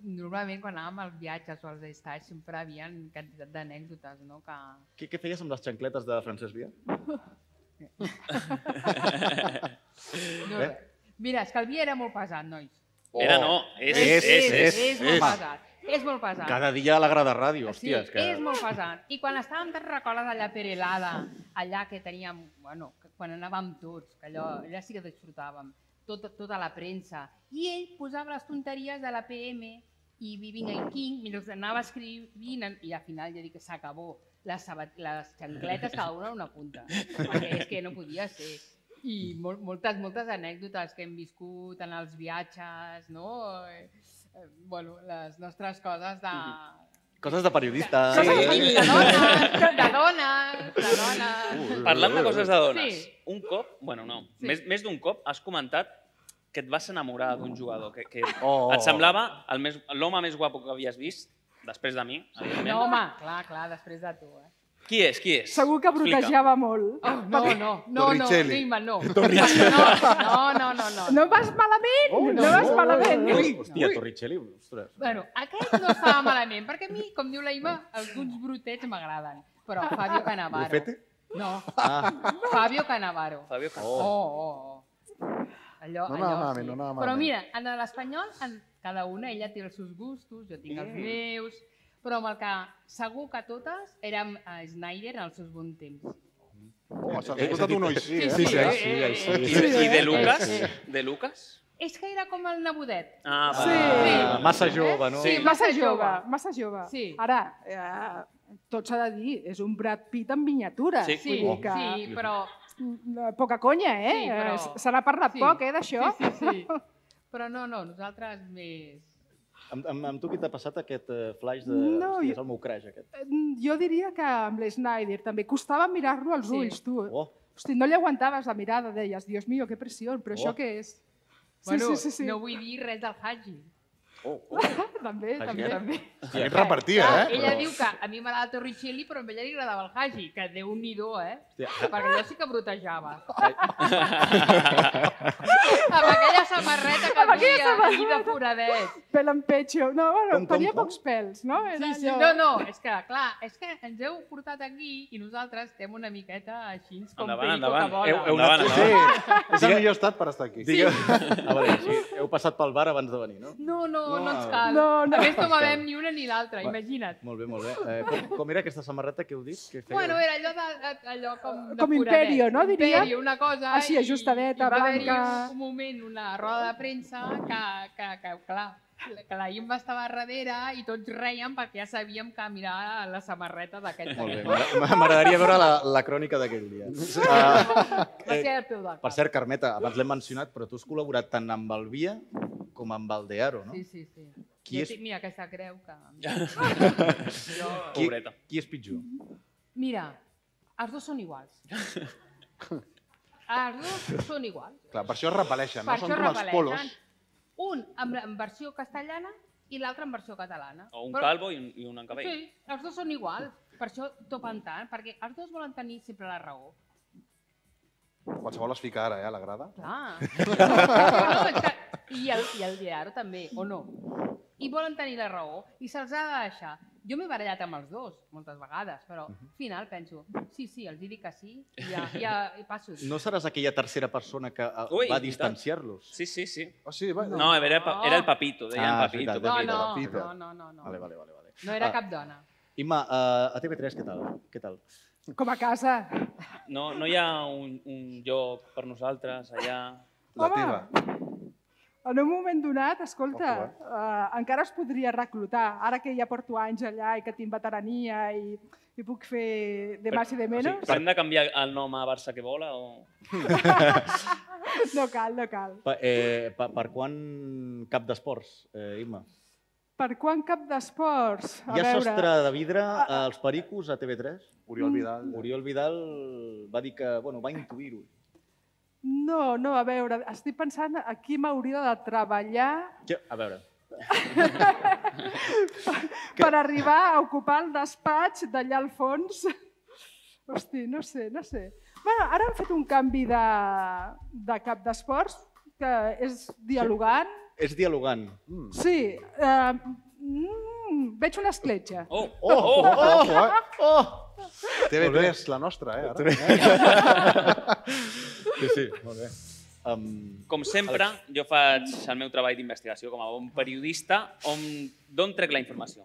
Speaker 15: normalment quan anàvem als viatges o als estats sempre hi havia quantitat d'anècdotes, no? Que...
Speaker 2: Què, què feies amb les xancletes de Francesc Via?
Speaker 15: No,
Speaker 2: Eh?
Speaker 15: Mira, és que el vi era molt pesat, nois.
Speaker 3: Era no, és,
Speaker 2: És,
Speaker 3: és, és.
Speaker 15: és, és molt
Speaker 2: Eh, és.
Speaker 15: pesat. És molt pesat.
Speaker 2: Cada dia a la grada ràdio,
Speaker 15: Ah, Sí,
Speaker 2: hòstia. és que...
Speaker 15: és molt pesat. I quan estàvem, te'n recordes allà a Perelada, allà que teníem, bueno, que quan anàvem tots, que allò, allà sí que disfrutàvem, tota, tota la premsa. I ell posava les tonteries de la PM i Viving in King, i els anava escrivint, en- i al final ja dic que s'acabó. Les, sabat- les xancletes cada una a una punta, perquè és que no podia ser. I mol, moltes, moltes anècdotes que hem viscut en els viatges, no? Eh, eh, bueno, les nostres coses de,
Speaker 2: Mm-hmm. Coses de periodista.
Speaker 15: Coses de periodista, dones, de dones, de dones.
Speaker 3: Parlant de coses de dones,
Speaker 15: Sí.
Speaker 3: un cop, bueno, no,
Speaker 15: Sí.
Speaker 3: més, més d'un cop has comentat que et vas enamorar d'un jugador, que, que
Speaker 2: Oh.
Speaker 3: et semblava el més- l'home més, guapo que havies vist, després de mi, evidentment.
Speaker 15: No, home, clar, clar, després de tu, eh?
Speaker 3: Qui és, qui és?
Speaker 12: Segur que
Speaker 3: Explica.
Speaker 12: brotejava molt.
Speaker 15: Oh, no, no, no, no,
Speaker 3: Torricelli.
Speaker 15: Neymar, no. No, no, no, no.
Speaker 12: No vas malament, oh, no, no vas malament.
Speaker 2: Hòstia, Torricelli, ostres.
Speaker 15: Bueno, aquest no estava malament, perquè a mi, com diu la Ima, alguns brutets m'agraden. Però Fabio Cannavaro.
Speaker 2: Bufete?
Speaker 15: No,
Speaker 2: Ah.
Speaker 15: Fabio Cannavaro.
Speaker 3: Fabio Cannavaro.
Speaker 15: Oh, oh, oh. Allò,
Speaker 4: No
Speaker 15: allò,
Speaker 4: anava malament,
Speaker 15: sí.
Speaker 4: no anava
Speaker 15: Però
Speaker 4: malament.
Speaker 15: mira, en l'espanyol, en cada una, ella té els seus gustos, jo tinc els
Speaker 3: Mm.
Speaker 15: meus, però amb el que segur que totes érem a Snyder en els seus bons temps.
Speaker 4: Oh, s'ha
Speaker 2: Eh,
Speaker 4: escoltat
Speaker 2: eh,
Speaker 4: un oix, sí.
Speaker 2: sí,
Speaker 4: eh?
Speaker 2: sí, Sí, sí, eh?
Speaker 3: I, I de Lucas? De Lucas?
Speaker 16: És que era com el nebodet.
Speaker 3: Ah,
Speaker 12: va. Sí.
Speaker 2: Massa jove, no?
Speaker 12: Sí, massa jove, massa jove.
Speaker 16: Sí.
Speaker 12: Ara, eh, tot s'ha de dir, és un Brad Pitt en miniatura.
Speaker 16: Sí, sí,
Speaker 12: Vull dir que...
Speaker 16: sí però...
Speaker 12: Mm, Poca conya, eh?
Speaker 16: Sí, però-
Speaker 12: Eh, Se n'ha parlat
Speaker 16: sí.
Speaker 12: poc, eh, d'això.
Speaker 16: Sí, sí,
Speaker 12: (laughs)
Speaker 16: sí. Però no, no, nosaltres més...
Speaker 2: Amb, amb, amb tu què t'ha passat aquest eh, flash de...
Speaker 12: No,
Speaker 2: Hòstia,
Speaker 12: jo-
Speaker 2: és el meu crash, aquest.
Speaker 12: Mm, Jo diria que amb l'Snyder també. Costava mirar-lo als
Speaker 16: Sí.
Speaker 12: ulls, tu.
Speaker 2: Oh.
Speaker 12: Hosti, no li aguantaves la mirada, deies, Dios mío, que pressió, però
Speaker 2: Oh.
Speaker 12: això què és? Sí,
Speaker 16: bueno,
Speaker 12: sí, sí, sí.
Speaker 16: no vull dir res del Haji.
Speaker 2: Oh,
Speaker 12: (laughs) també,
Speaker 4: Haji
Speaker 12: també,
Speaker 4: Gat.
Speaker 12: també.
Speaker 4: Aquest repartia,
Speaker 12: Ah,
Speaker 16: Clar,
Speaker 4: eh?
Speaker 16: Ella diu que a mi m'agrada Torricelli, però a ella li agradava el Haji, que déu nhi eh?
Speaker 2: Hòstia.
Speaker 16: Perquè jo sí que brotejava.
Speaker 2: (laughs)
Speaker 16: amb aquella samarreta que
Speaker 12: Amb aquella
Speaker 16: duia i de
Speaker 12: samarreta.
Speaker 16: foradet.
Speaker 12: Pèl en pecho. No, bueno,
Speaker 2: Com, com,
Speaker 12: tenia
Speaker 2: com?
Speaker 12: pocs pèls, no? Era
Speaker 16: Sí, sí, no,
Speaker 12: allò-
Speaker 16: no, és que, clar, és que ens heu portat aquí i nosaltres estem una miqueta així com perico
Speaker 3: Endavant, endavant.
Speaker 16: que
Speaker 12: eh,
Speaker 16: vola.
Speaker 3: Heu- heu anat-
Speaker 2: Sí.
Speaker 3: endavant.
Speaker 4: És el millor estat per estar aquí.
Speaker 2: Digueu... A veure, Ah, sí, heu passat pel bar abans de venir, no?
Speaker 16: No, no, no,
Speaker 4: No,
Speaker 16: ens cal.
Speaker 12: no, no.
Speaker 16: a més, no bevem ni una ni l'altra,
Speaker 2: Va.
Speaker 16: imagina't.
Speaker 2: Molt bé, molt bé. Eh, com, com era aquesta samarreta que heu dit? Que fèieu?
Speaker 12: eh-
Speaker 16: Bueno, era allò, de, allò com... De
Speaker 12: Com
Speaker 16: foradet.
Speaker 12: imperio, no, diria?
Speaker 16: Imperio, una cosa...
Speaker 12: Així,
Speaker 16: i-
Speaker 12: ajustadeta,
Speaker 16: i va haver-hi
Speaker 12: blanca.
Speaker 16: un- un moment, una roda de premsa, que, que, que clar, que la Imba estava darrere i tots reien perquè ja sabíem que mirar la samarreta d'aquest.
Speaker 2: Molt bé, m'agra- m'agradaria veure la, la crònica d'aquell dia. Uh,
Speaker 16: Va ser el teu del
Speaker 2: per cert, Carmeta, abans l'hem mencionat, però tu has col·laborat tant amb el Via com amb el Dearo, no?
Speaker 16: Sí, sí, sí.
Speaker 2: Qui
Speaker 16: jo
Speaker 2: és-
Speaker 16: tinc, mira, aquesta creu que...
Speaker 2: Qui,
Speaker 3: Pobreta.
Speaker 2: qui és pitjor?
Speaker 16: Mira, els dos són iguals. els dos són iguals.
Speaker 4: Clar, per això es repeleixen, no?
Speaker 16: per
Speaker 4: Són
Speaker 16: això
Speaker 4: com els polos.
Speaker 16: repel·leixen. Un amb, en versió castellana i l'altre en versió catalana.
Speaker 3: O un
Speaker 16: Però-
Speaker 3: calvo i un, i un encabell.
Speaker 16: Sí, els dos són iguals. Per això topen tant, perquè els dos volen tenir sempre la raó.
Speaker 4: Qualsevol es fica ara, eh, a la grada.
Speaker 16: Clar. no, és que- I el, i el Diaro també, o no? I volen tenir la raó i se'ls ha de deixar. Jo m'he barallat amb els dos moltes vegades, però
Speaker 2: Mhm.
Speaker 16: al final penso, sí, sí, els hi dic que sí, i
Speaker 2: (laughs)
Speaker 16: ja, ja i passo.
Speaker 2: No seràs aquella tercera persona que eh,
Speaker 3: Ui,
Speaker 2: va
Speaker 3: i tant.
Speaker 2: distanciar-los?
Speaker 3: Sí, sí, sí.
Speaker 4: O sigui, va...
Speaker 3: No, era, pa- era el papito, deien
Speaker 2: Ah, és
Speaker 3: papito.
Speaker 2: veritat,
Speaker 16: no,
Speaker 2: és
Speaker 16: no,
Speaker 2: veritat, és
Speaker 16: no,
Speaker 2: veritat.
Speaker 16: no, no, no.
Speaker 2: Vale, vale, vale. vale.
Speaker 16: No era
Speaker 2: Ah.
Speaker 16: cap dona.
Speaker 2: Imma, eh, a TV3 què tal? Què tal?
Speaker 12: Com a casa.
Speaker 3: No, no hi ha un, un lloc per nosaltres allà.
Speaker 4: La
Speaker 12: Home.
Speaker 4: teva.
Speaker 12: En un moment donat, escolta, eh, encara es podria reclutar. Ara que ja porto anys allà i que tinc veterania i, i puc fer de més i de
Speaker 3: O
Speaker 12: menys,
Speaker 3: sigui, hem de canviar el nom a Barça que vola o...
Speaker 12: (laughs) no cal, no cal.
Speaker 2: Pa, eh, pa, per quan cap d'esports, eh, Imma?
Speaker 12: Per quan cap d'esports? A
Speaker 2: Hi ha
Speaker 12: veure,
Speaker 2: sostre de vidre als pericos a TV3?
Speaker 4: Oriol Vidal.
Speaker 2: Oriol Vidal va dir que, bueno, va intuir-ho.
Speaker 12: No, no, a veure, estic pensant a qui m'hauria de treballar
Speaker 2: Que- A veure,
Speaker 12: per arribar a ocupar el despatx d'allà al fons. (laughs) Hosti, no sé, no sé. Bueno, ara han fet un canvi de, de cap d'esports que és dialogant.
Speaker 2: és dialogant.
Speaker 12: Sí, eh, mm, veig una escletxa.
Speaker 3: Oh,
Speaker 2: Oh, oh, oh,
Speaker 4: Ojo, eh?
Speaker 2: oh!
Speaker 4: TV3, la nostra, eh, ara.
Speaker 2: Sí, sí, molt bé. Um,
Speaker 3: Com sempre, jo faig el meu treball d'investigació com a bon periodista on d'on trec la informació.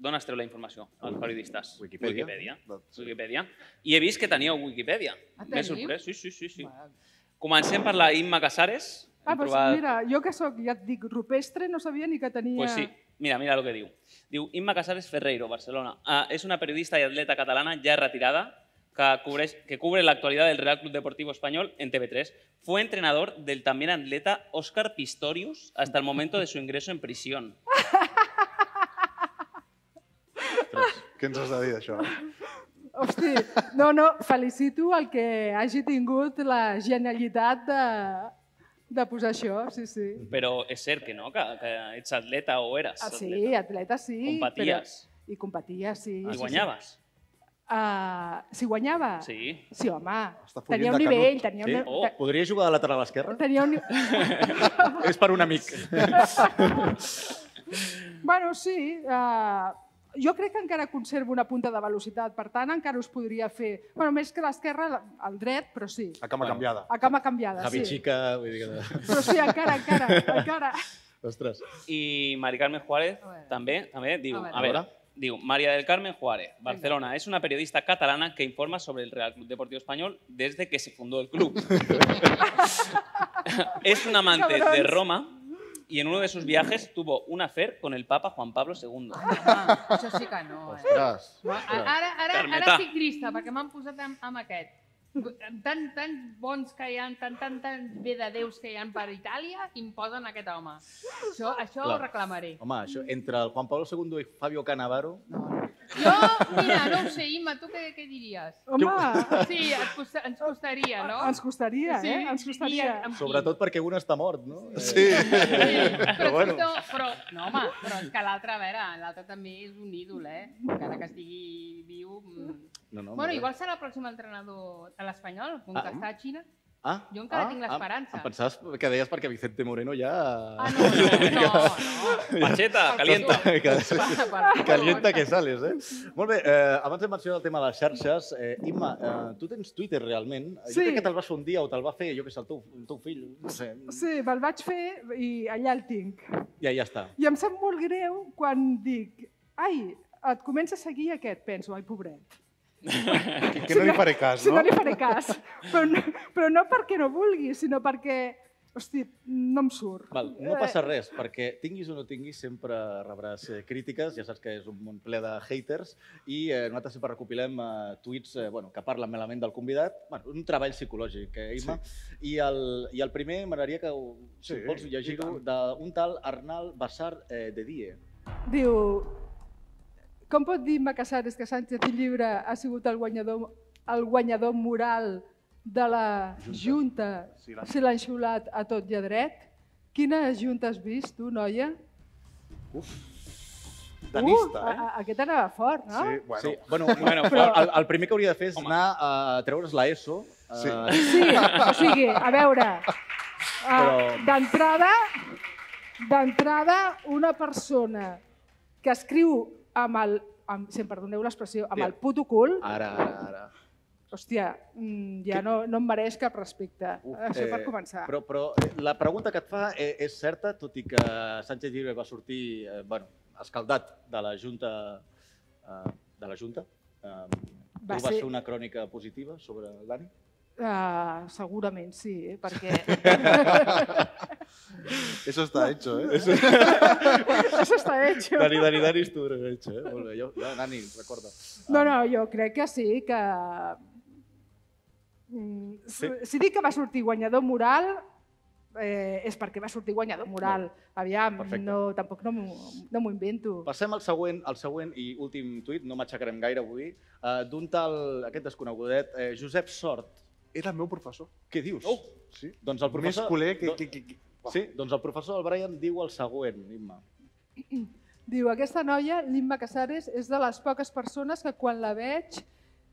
Speaker 3: D'on es treu la informació, els periodistes?
Speaker 2: Wikipedia.
Speaker 3: Wikipedia. Wikipedia. I he vist que teníeu Wikipedia.
Speaker 16: Ah,
Speaker 3: M'he
Speaker 16: teniu?
Speaker 3: sorprès, sí, sí, sí. sí.
Speaker 16: Vale.
Speaker 3: Comencem per la Imma Casares.
Speaker 12: Ah,
Speaker 3: Hem
Speaker 12: doncs mira, jo que sóc, ja et dic, rupestre, no sabia ni que tenia...
Speaker 3: Pues sí, mira, mira lo que diu. Diu, Imma Casares Ferreiro, Barcelona. Ah, és una periodista i atleta catalana ja retirada que, cobreix, que cubre l'actualidad del Real Club Deportivo Español en TV3. Fue entrenador del también atleta Óscar Pistorius hasta el momento de su ingreso en
Speaker 12: (laughs)
Speaker 3: prisión.
Speaker 4: Què ens has de dir d'això?
Speaker 12: Hosti, no, no, felicito el que hagi tingut la genialitat de, de posar això, sí, sí.
Speaker 3: Però és cert que no, que, que ets atleta o eres
Speaker 12: Ah, sí,
Speaker 3: atleta.
Speaker 12: atleta sí.
Speaker 3: Competies.
Speaker 12: Però, I competia, Ah, sí.
Speaker 3: I guanyaves.
Speaker 12: Ah, si guanyava?
Speaker 3: Sí.
Speaker 12: Sí, home.
Speaker 4: Està follint
Speaker 12: Tenia
Speaker 4: de
Speaker 12: un nivell,
Speaker 4: canut.
Speaker 12: tenia
Speaker 2: sí?
Speaker 12: un... te-
Speaker 2: Oh, podria jugar de lateral esquerra?
Speaker 12: Tenia un...
Speaker 3: (laughs)
Speaker 2: És per un amic.
Speaker 12: bueno, sí, eh, jo crec que encara conservo una punta de velocitat, per tant, encara us podria fer... bueno, més que l'esquerra, la- el dret, però sí.
Speaker 4: A cama canviada.
Speaker 12: A cama canviada,
Speaker 2: Javi
Speaker 12: sí.
Speaker 2: Chica, vull dir que...
Speaker 12: Però sí, encara, encara, encara.
Speaker 2: Ostres.
Speaker 3: I Mari Carmen Juárez
Speaker 16: A veure.
Speaker 3: també, també diu,
Speaker 16: A veure.
Speaker 3: a veure, Digo, María del Carmen Juárez, Barcelona. Es una periodista catalana que informa sobre el Real Club Deportivo Español desde que se fundó
Speaker 16: (laughs)
Speaker 3: el club. es un amante de
Speaker 17: Cabrons.
Speaker 3: Roma y en uno de sus viajes tuvo un afer con el Papa Juan Pablo II.
Speaker 15: Ah, això sí que no, eh?
Speaker 3: Ostres,
Speaker 15: Ara,
Speaker 3: ostres.
Speaker 15: ara, ara, ara
Speaker 3: Carmeta.
Speaker 15: estic trista, perquè m'han posat amb, amb aquest. Amb Tan, tan bons que hi ha, tan, tan, tan bé de déus que hi ha per Itàlia, imposen aquest home. Això, això ho
Speaker 2: Clar.
Speaker 15: reclamaré.
Speaker 2: Home, això, entre el Juan Pablo II i Fabio Canavaro...
Speaker 15: Mira, no ho sé, Imma, tu què, què diries?
Speaker 12: Home!
Speaker 15: Sí, et costa, ens costaria, no?
Speaker 12: Ens costaria,
Speaker 15: Sí,
Speaker 12: eh? Ens costaria.
Speaker 15: i amb qui?
Speaker 2: Sobretot perquè un està mort, no? Eh, Sí.
Speaker 15: Però, bueno. però, no, home, però és que l'altre, a veure, l'altre també és un ídol, eh? Encara que estigui viu... mm.
Speaker 2: No, no, molt
Speaker 15: bueno,
Speaker 2: bé.
Speaker 15: igual serà el pròxim entrenador de l'Espanyol, com
Speaker 2: Ah.
Speaker 15: que està a Xina.
Speaker 2: Ah,
Speaker 15: Jo encara
Speaker 2: ah,
Speaker 15: tinc
Speaker 2: ah,
Speaker 15: l'esperança.
Speaker 2: Em pensaves que deies perquè Vicente Moreno ja... Ah, (laughs)
Speaker 15: no,
Speaker 2: no,
Speaker 3: no. Pacheta, Ah, (laughs) calienta.
Speaker 2: (laughs) calienta
Speaker 15: (laughs)
Speaker 2: que sales, eh? Molt bé, eh, abans hem mencionat el tema de les xarxes. Eh, Imma, eh, tu tens Twitter realment?
Speaker 12: Sí.
Speaker 2: Jo crec que te'l vas fer un dia o te'l va fer, jo que sé, el teu, el teu fill, no sé.
Speaker 12: Sí, me'l vaig fer i allà el tinc.
Speaker 2: Ja, ja està.
Speaker 12: I em sap molt greu quan dic, ai, et comença a seguir aquest, penso, ai, pobret.
Speaker 4: (laughs) Que, que no li faré cas,
Speaker 12: Si
Speaker 4: no?
Speaker 12: no li faré cas. Però no, però no perquè no vulgui, sinó perquè, hosti, no em surt. Eh,
Speaker 2: Val, no
Speaker 4: Eh.
Speaker 2: passa res, perquè tinguis o no tinguis, sempre rebràs eh, crítiques, ja saps que és un món ple de haters, i eh, nosaltres sempre recopilem eh, tuits eh, bueno, que parlen malament del convidat, bueno, un treball psicològic, eh, Imma, sí. i, el, i el primer m'agradaria que, ho, si
Speaker 4: Sí,
Speaker 2: vols
Speaker 4: i
Speaker 2: llegir-ho, d'un tal Arnal Bassar eh, de Die.
Speaker 12: Diu, com pot dir Macasares que Sánchez i Llibre ha sigut el guanyador, el guanyador moral de la Junta,
Speaker 4: Si l'han-
Speaker 12: si l'han xulat a tot i a dret? Quina Junta has vist, tu, noia?
Speaker 4: Uf.
Speaker 12: uh,
Speaker 4: Danista,
Speaker 12: a,
Speaker 4: eh?
Speaker 12: a, aquest anava fort, no?
Speaker 4: Sí, bueno.
Speaker 2: Sí, bueno, bueno
Speaker 4: però-
Speaker 2: el, el primer que hauria de fer és Home. anar a treure's eh, la ESO.
Speaker 4: Sí.
Speaker 12: Sí, o sigui, a veure,
Speaker 2: Però-
Speaker 12: uh, d'entrada, d'entrada una persona que escriu amb el, amb, si em perdoneu l'expressió, amb el puto cul,
Speaker 4: Ah,
Speaker 2: Ara, ara, ara.
Speaker 12: hòstia, mm, ja no, no em mereix cap respecte. Uh, Això per començar.
Speaker 2: eh, Però, però eh, la pregunta que et fa eh, és certa, tot i que Sánchez Llibre va sortir eh, bueno, escaldat de la Junta. Eh, de la Junta. Eh,
Speaker 12: Va
Speaker 2: tu vas
Speaker 12: ser-
Speaker 2: fer una crònica positiva sobre Dani?
Speaker 12: Uh, segurament sí, eh,
Speaker 2: (laughs)
Speaker 12: perquè...
Speaker 4: Eso está hecho, ¿eh?
Speaker 2: Eso-
Speaker 12: Això està hecho.
Speaker 2: (laughs) Dani, Dani, Dani, estuvo hecho, eh? Molt bé, jo, jo, Dani, recorda.
Speaker 12: No, no, jo crec que sí, que... Mm,
Speaker 2: Sí.
Speaker 12: Si, si dic que va sortir guanyador moral, eh, és perquè va sortir guanyador moral. Aviam,
Speaker 2: perfecte.
Speaker 12: no, tampoc no m'ho no m'ho invento.
Speaker 2: Passem al següent, al següent i últim tuit, no m'aixecarem gaire avui, eh, d'un tal, aquest desconegudet, eh, Josep Sort.
Speaker 4: Era el meu professor.
Speaker 2: Què dius?
Speaker 4: Oh, sí.
Speaker 2: Doncs el professor...
Speaker 4: Més culer que...
Speaker 2: do-
Speaker 4: que, que, que...
Speaker 2: Sí, doncs el professor del Brian diu el següent, Imma.
Speaker 12: Diu, aquesta noia, l'Imma Casares, és de les poques persones que quan la veig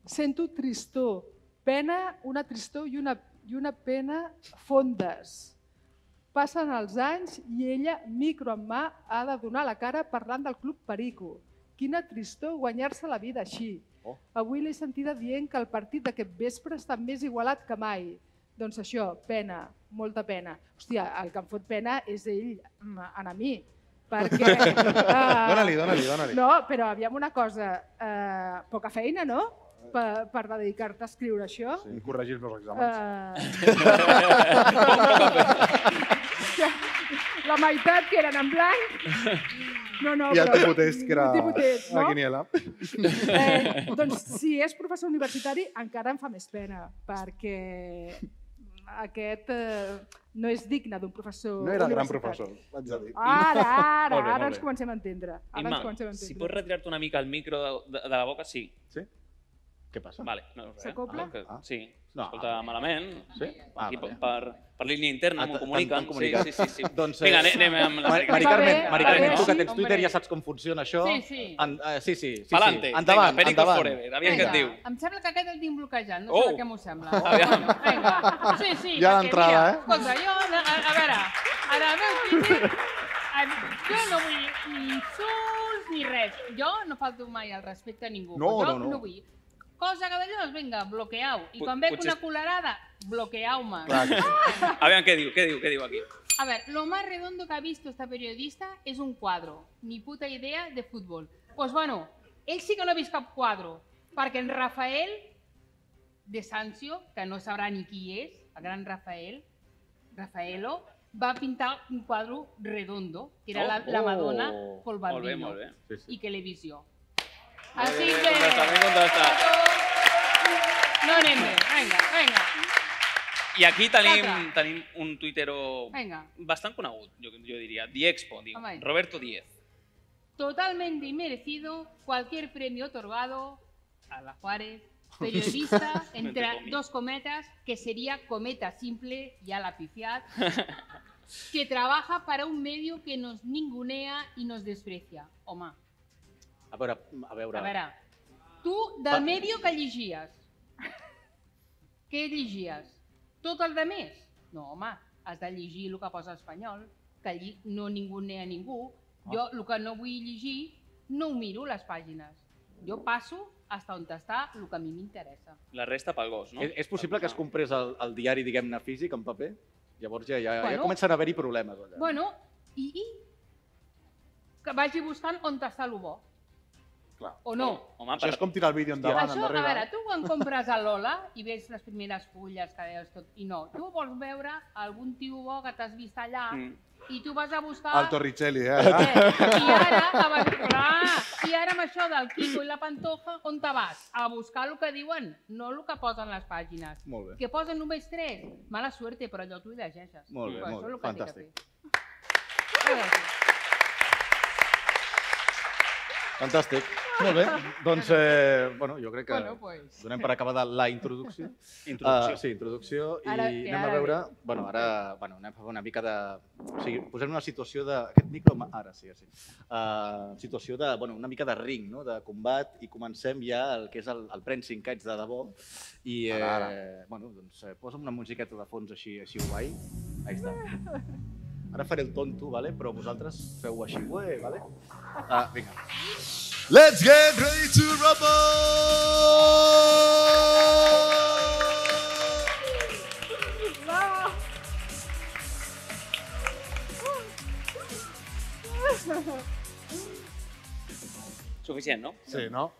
Speaker 12: sento tristor, pena, una tristor i una, i una pena fondes. Passen els anys i ella, micro en mà, ha de donar la cara parlant del Club Perico. Quina tristor guanyar-se la vida així.
Speaker 2: Oh.
Speaker 12: Avui l'he sentida dient que el partit d'aquest vespre està més igualat que mai. Doncs això, pena, molta pena. Hòstia, el que em fot pena és ell mm, en a mi.
Speaker 4: (laughs)
Speaker 12: Perquè, eh,
Speaker 4: Dóna-li, dóna-li, dóna-li.
Speaker 12: No, però aviam una cosa, eh, poca feina, no? Per, per dedicar-te a escriure això.
Speaker 4: Sí, corregir els meus exàmens.
Speaker 3: (laughs)
Speaker 12: Eh, la meitat que eren en blanc. No, no,
Speaker 4: I Ah, el
Speaker 12: però-
Speaker 4: tipus que era
Speaker 12: El tipotet,
Speaker 4: la
Speaker 12: no?
Speaker 4: quiniela.
Speaker 12: Eh, doncs si és professor universitari encara em fa més pena, perquè aquest eh, no és digne d'un professor
Speaker 4: No era gran
Speaker 12: universitari.
Speaker 4: professor, vaig a dir.
Speaker 12: Ara, ara,
Speaker 4: Molt bé,
Speaker 12: ara
Speaker 4: molt
Speaker 12: ens
Speaker 4: bé.
Speaker 12: comencem a entendre. Ara
Speaker 3: Imma,
Speaker 12: ens comencem a entendre.
Speaker 3: si pots retirar-te una mica el micro de, de, de la boca, sí.
Speaker 2: Sí? Què passa?
Speaker 3: Vale. No, res.
Speaker 12: S'acopla?
Speaker 3: Ah, que,
Speaker 2: Ah.
Speaker 3: sí,
Speaker 2: No,
Speaker 3: s'escolta
Speaker 2: ah.
Speaker 3: malament.
Speaker 2: Sí? Ah,
Speaker 3: Aquí
Speaker 2: vale.
Speaker 3: per, per línia interna
Speaker 2: Ah,
Speaker 3: m'ho
Speaker 2: t'han-
Speaker 3: comuniquen.
Speaker 2: t'han comunicat.
Speaker 3: Sí, sí, sí. sí.
Speaker 2: (laughs) Doncs,
Speaker 3: Vinga,
Speaker 2: eh,
Speaker 3: anem amb la
Speaker 2: Mari, Mari
Speaker 3: Mari
Speaker 2: Carmen,
Speaker 3: Carmen.
Speaker 2: Mari
Speaker 3: Va bé,
Speaker 2: Carmen, tu que
Speaker 3: sí,
Speaker 2: tens Twitter
Speaker 3: hombre.
Speaker 2: ja saps com funciona això.
Speaker 15: Sí, sí.
Speaker 2: En, eh, sí, sí. sí,
Speaker 3: Pa'lante.
Speaker 2: sí. Endavant,
Speaker 3: Vinga, Pericos
Speaker 2: endavant. Eh,
Speaker 3: Forever, aviam què et diu.
Speaker 15: Em sembla que aquest el tinc bloquejat, no
Speaker 3: Oh.
Speaker 15: sé per què m'ho sembla.
Speaker 3: Oh. (laughs) Aviam.
Speaker 15: Bueno, vinga. Sí, sí,
Speaker 3: Ja
Speaker 15: perquè,
Speaker 3: d'entrada,
Speaker 15: mira,
Speaker 3: eh?
Speaker 15: Escolta, jo, a, a- a veure, en el meu Twitter, en- jo no vull ni insults ni res. Jo no falto mai al respecte a ningú.
Speaker 4: No,
Speaker 15: jo
Speaker 4: no, no.
Speaker 15: no vull. Cosa que d'allò, vinga, bloqueau. I
Speaker 3: Pot-
Speaker 15: quan veig
Speaker 3: potser-
Speaker 15: una colerada, bloqueau-me.
Speaker 3: Clar. Aviam què diu, què diu, què diu aquí.
Speaker 12: A ver, lo más redondo que ha visto esta periodista es un cuadro. Ni puta idea de fútbol. Pues bueno, ell sí que no ha vist cap quadro, perquè en Rafael de Sancio, que no sabrà ni qui és, el gran Rafael, Rafaelo, va pintar un quadro redondo, que era la, la Madonna
Speaker 3: Oh,
Speaker 12: col
Speaker 3: molt bé,
Speaker 12: bambino
Speaker 3: molt bé. Sí, sí.
Speaker 12: i que le visió.
Speaker 3: Molt
Speaker 12: Així
Speaker 3: bé,
Speaker 12: que...
Speaker 3: contrastat, ben contrastat.
Speaker 12: No anem bé, vinga, vinga.
Speaker 3: I aquí tenim,
Speaker 12: L'altre.
Speaker 3: tenim un tuitero
Speaker 12: Vinga.
Speaker 3: bastant conegut, jo, jo diria, Diexpo, diu,
Speaker 12: Home.
Speaker 3: Roberto Diez.
Speaker 12: Totalmente inmerecido cualquier premio otorgado a la Juárez, periodista, entre
Speaker 3: Entre comillas.
Speaker 12: dos cometas, que sería cometa simple y a la pifiad, que trabaja para un medio que nos ningunea y nos desprecia. Oma,
Speaker 18: A veure, a veure...
Speaker 12: a veure, tu del medio que llegies, (laughs) què llegies? Tot el de més? No, home, has de llegir el que posa a espanyol, que allí no ningunea ningú. Jo el que no vull llegir no ho miro les pàgines. Jo passo fins on està el que a mi m'interessa.
Speaker 3: La resta pel gos, no?
Speaker 18: És, és possible que es comprés el, el diari, diguem-ne, físic, en paper? Llavors ja, ja,
Speaker 12: Bueno.
Speaker 18: ja comencen a haver-hi problemes. Allà.
Speaker 12: Bueno, i, i que vagi buscant on està el bo.
Speaker 4: Clar.
Speaker 12: O no?
Speaker 3: Home,
Speaker 4: Això és com tirar el vídeo endavant,
Speaker 12: Això, a
Speaker 4: endarrere. eh?
Speaker 12: veure, tu quan compres a Lola i veus les primeres fulles que veus tot, i no, tu vols veure algun tio bo que t'has vist allà
Speaker 4: Mm.
Speaker 12: i tu vas a buscar...
Speaker 4: El Torricelli, eh?
Speaker 2: (laughs)
Speaker 12: I ara, a Barcelona, i ara amb això del Kiko i la Pantoja, on te vas? A buscar el que diuen, no el que posen les pàgines.
Speaker 19: Molt bé.
Speaker 12: Que posen només tres? Mala suerte, però allò tu hi llegeixes.
Speaker 19: Molt bé,
Speaker 12: Però
Speaker 19: molt
Speaker 12: això
Speaker 19: bé,
Speaker 12: és el que té que
Speaker 19: fantàstic.
Speaker 12: fer. A veure.
Speaker 4: (laughs)
Speaker 2: Fantàstic.
Speaker 19: Molt bé,
Speaker 2: doncs eh, bueno, jo crec que
Speaker 19: Bueno, pues.
Speaker 2: donem per acabada la introducció.
Speaker 18: Introducció.
Speaker 2: Ah, sí, introducció. I
Speaker 18: Ara
Speaker 12: què,
Speaker 2: anem a
Speaker 12: ara
Speaker 2: veure...
Speaker 12: què?
Speaker 2: Bueno, ara bueno, anem a fer una mica de... O sigui, posem una situació de... Aquest micro... ma- Ara sí, ara sí. Uh, situació de, bueno, una mica de ring, no? de combat, i comencem ja el que és el, el pren cinc anys de debò. I, eh,
Speaker 4: Ara,
Speaker 2: bueno, doncs eh, posa'm una musiqueta de fons així, així guai. Ahí està. Ara faré el tonto, vale? però vosaltres feu així, ué, vale? Ah, vinga.
Speaker 20: Let's get ready to rumble!
Speaker 3: Suficient, no?
Speaker 4: Sí, no?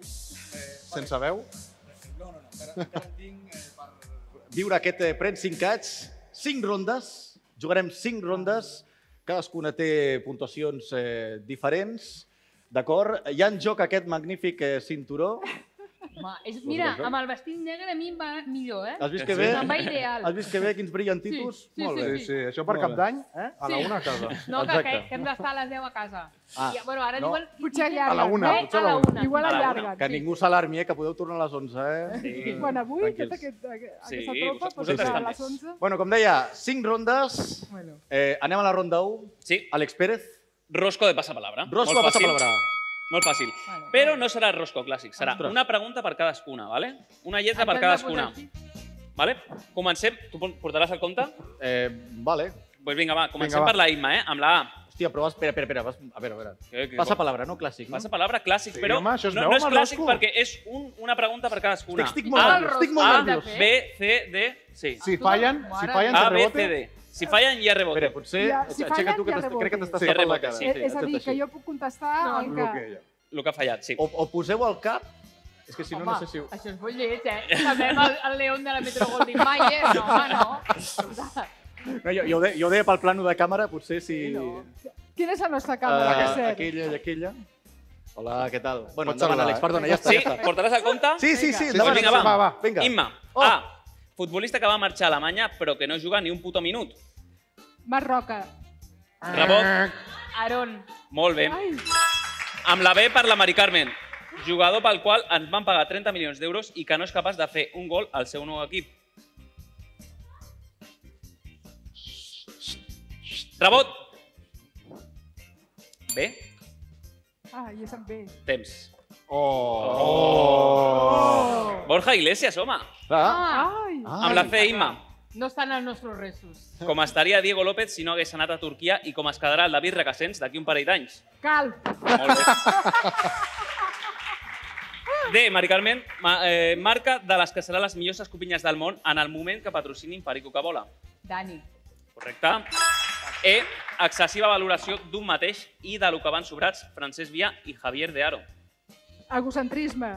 Speaker 4: Sense veu?
Speaker 2: No, no, no. Encara, encara tinc eh, per... Viure aquest eh, Pren 5 Cats, 5 rondes, jugarem 5 rondes, cadascuna té puntuacions eh, diferents, d'acord? Hi ha en joc aquest magnífic eh, cinturó.
Speaker 12: Ma, és, mira, amb el vestit negre a mi em va millor, eh?
Speaker 2: Has vist que bé?
Speaker 12: Em va ideal.
Speaker 2: Has vist que bé quins brillantitos?
Speaker 12: Sí, sí, sí,
Speaker 4: sí. Sí, sí, això per Cap d'Any, eh? A la
Speaker 12: Sí.
Speaker 4: una a casa.
Speaker 12: No, que, que, que hem d'estar a les 10 a casa.
Speaker 2: Ah.
Speaker 12: I, bueno, ara
Speaker 2: No.
Speaker 12: diuen...
Speaker 21: Potser
Speaker 2: A la una,
Speaker 12: Eh,
Speaker 2: potser
Speaker 12: a la una.
Speaker 21: Igual
Speaker 2: A la una.
Speaker 21: allarguen,
Speaker 2: Que ningú s'alarmi, eh, que podeu tornar a les 11, eh?
Speaker 21: Sí. Bueno, avui aquest, aquest, aquest,
Speaker 2: Sí,
Speaker 21: aquesta tropa
Speaker 2: vosaltres
Speaker 21: pot estar a
Speaker 2: també.
Speaker 21: les 11.
Speaker 2: Bueno, com deia, 5 rondes.
Speaker 21: Bueno.
Speaker 2: Eh, anem a la ronda 1.
Speaker 3: Sí.
Speaker 2: Àlex Pérez.
Speaker 3: Rosco de passapalabra.
Speaker 2: Rosco
Speaker 3: Molt
Speaker 2: de
Speaker 3: fàcil.
Speaker 2: passapalabra.
Speaker 3: Molt fàcil. Però no serà rosco clàssic, serà una pregunta per cadascuna, vale? Una lletra per
Speaker 2: Ens hem de
Speaker 3: cadascuna. Vale? Comencem, tu pon- portaràs el compte? Doncs
Speaker 2: Eh, vale.
Speaker 3: Pues vinga, va, comencem
Speaker 2: Vinga, va.
Speaker 3: per la Imma, eh? Amb la A.
Speaker 2: Hòstia, però espera, espera, espera. Vas, a veure, a veure.
Speaker 3: Que- que-
Speaker 2: Passa palabra, no? Clàssic, no?
Speaker 3: Passa palabra clàssic,
Speaker 2: Sí,
Speaker 3: però
Speaker 2: home, això es
Speaker 3: no,
Speaker 2: veu,
Speaker 3: no és
Speaker 2: home,
Speaker 3: clàssic
Speaker 2: Rosco.
Speaker 3: perquè és un, una pregunta per cadascuna.
Speaker 21: Ah,
Speaker 2: Estic- estic molt nerviós, estic molt
Speaker 3: A,
Speaker 2: nerviós.
Speaker 3: B, C, D, sí.
Speaker 4: Si fallen- si fallen,
Speaker 3: A,
Speaker 4: te
Speaker 3: B,
Speaker 4: rebote.
Speaker 3: C, D. Si fallen, hi ha rebote. Espera,
Speaker 2: Ah, potser...
Speaker 21: Ja, si fallen, ja rebote.
Speaker 2: Sí, rebote,
Speaker 21: Sí, Eh, és a dir, que jo puc contestar no, el que...
Speaker 3: El que ha fallat, sí.
Speaker 2: O, o poseu al cap... És que si no,
Speaker 12: Home,
Speaker 2: no sé si... ho-
Speaker 12: això és bollet, eh? També amb el, el León de la Metro Goldwyn Mayer, no, home, no.
Speaker 2: No, jo, jo, ho de, jo ho deia pel plano de càmera, potser si... Sí, no.
Speaker 21: Quina és la nostra càmera,
Speaker 2: Ah,
Speaker 21: que ser?
Speaker 2: aquella i aquella. Hola, què tal? Bueno,
Speaker 3: Pots
Speaker 2: endavant,
Speaker 3: saludar,
Speaker 2: Àlex,
Speaker 3: eh?
Speaker 2: perdona, ja està.
Speaker 3: Sí,
Speaker 2: ja està.
Speaker 3: portaràs el compte?
Speaker 2: Sí, sí, sí,
Speaker 3: Doncs
Speaker 2: endavant.
Speaker 3: vinga, va.
Speaker 2: va,
Speaker 3: va,
Speaker 2: va. Vinga. Oh.
Speaker 3: Imma, A, futbolista que va marxar a Alemanya però que no juga ni un puto minut.
Speaker 21: Marroca.
Speaker 3: Rebot,
Speaker 12: Aaron.
Speaker 3: molt bé.
Speaker 21: Ai,
Speaker 3: Amb la B per la Mari Carmen, jugador pel qual ens van pagar 30 milions d'euros i que no és capaç de fer un gol al seu nou equip. Rebot. Bé,
Speaker 21: ah, ja se'n ve.
Speaker 3: temps.
Speaker 2: Oh.
Speaker 3: Borja Iglesias, home.
Speaker 12: Ai.
Speaker 2: Ah.
Speaker 3: Amb la C, Imma.
Speaker 12: Ah. No estan els nostres restos.
Speaker 3: Com estaria Diego López si no hagués anat a Turquia i com es quedarà el David Recassens d'aquí un parell d'anys.
Speaker 12: Cal.
Speaker 3: Molt bé. D, Mari Carmen, ma, eh, marca de les que seran les millors escopinyes del món en el moment que patrocinin Perico Cabola.
Speaker 12: Dani.
Speaker 3: Correcte. E, excessiva valoració d'un mateix i de lo que van sobrats Francesc Via i Javier de Aro.
Speaker 12: Egocentrisme.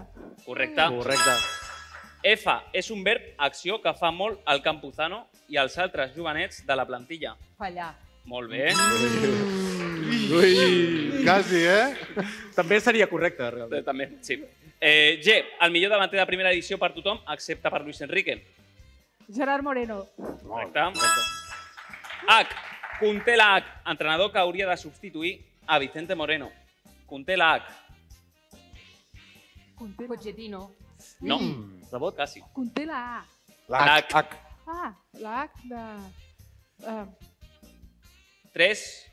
Speaker 3: Correcte.
Speaker 2: Correcte.
Speaker 3: F és un verb acció que fa molt al Campuzano i als altres jovenets de la plantilla.
Speaker 15: Fallar.
Speaker 3: Molt bé.
Speaker 4: Ui, quasi, eh?
Speaker 17: També seria correcte, realment.
Speaker 3: També, sí. Eh, G, el millor davanter de primera edició per tothom, excepte per Luis Enrique.
Speaker 12: Gerard Moreno.
Speaker 3: Correcte. H, conté la H, entrenador que hauria de substituir a Vicente Moreno. Conté la H.
Speaker 15: Pochettino.
Speaker 3: No,
Speaker 17: Mm. Rebot?
Speaker 3: quasi.
Speaker 12: Conté la A.
Speaker 3: La H.
Speaker 17: H.
Speaker 12: Ah, la H de... Uh,
Speaker 3: 3,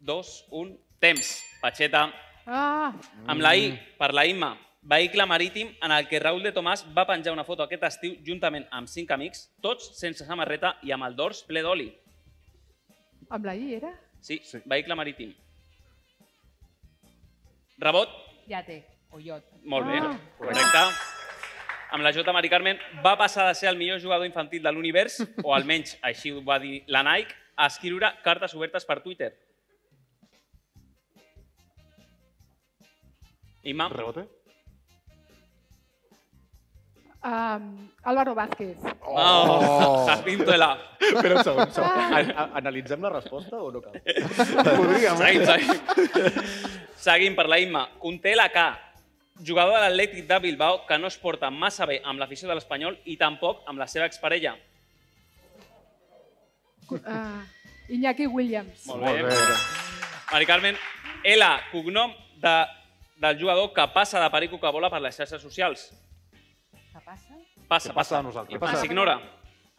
Speaker 3: 2, 1, temps. Patxeta.
Speaker 12: ah,
Speaker 3: Amb la I, per la Imma, vehicle marítim en el que Raül de Tomàs va penjar una foto aquest estiu juntament amb cinc amics, tots sense samarreta i amb el dors ple d'oli.
Speaker 12: amb la I era?
Speaker 3: Sí, sí, vehicle marítim. Rebot,
Speaker 15: Yate. O iot.
Speaker 3: molt bé,
Speaker 15: Ah.
Speaker 3: correcte. Amb la J. Mari Carmen va passar de ser el millor jugador infantil de l'univers, o almenys així ho va dir la Nike, a escriure cartes obertes per Twitter. Imma,
Speaker 4: Rebote?
Speaker 12: Um, Álvaro Vázquez.
Speaker 3: Oh, (laughs) oh. Sarpintola.
Speaker 17: Espera un segon, un segon.
Speaker 3: Ah.
Speaker 17: An a- analitzem la resposta o no cal?
Speaker 4: Podríem, eh?
Speaker 3: Seguim, seguim. Seguim per la Imma. Conté la K, jugador de l'Atlètic de Bilbao que no es porta massa bé amb l'afició de l'Espanyol i tampoc amb la seva exparella. (laughs)
Speaker 12: Uh, Iñaki Williams.
Speaker 3: Molt bé. Mari Carmen, L, cognom de, del jugador que passa de perico que vola per les xarxes socials.
Speaker 15: Què
Speaker 3: Passa,
Speaker 15: passa?
Speaker 4: Que passa
Speaker 3: passa.
Speaker 4: a nosaltres.
Speaker 3: I
Speaker 4: Passa.
Speaker 3: passa. S'ignora.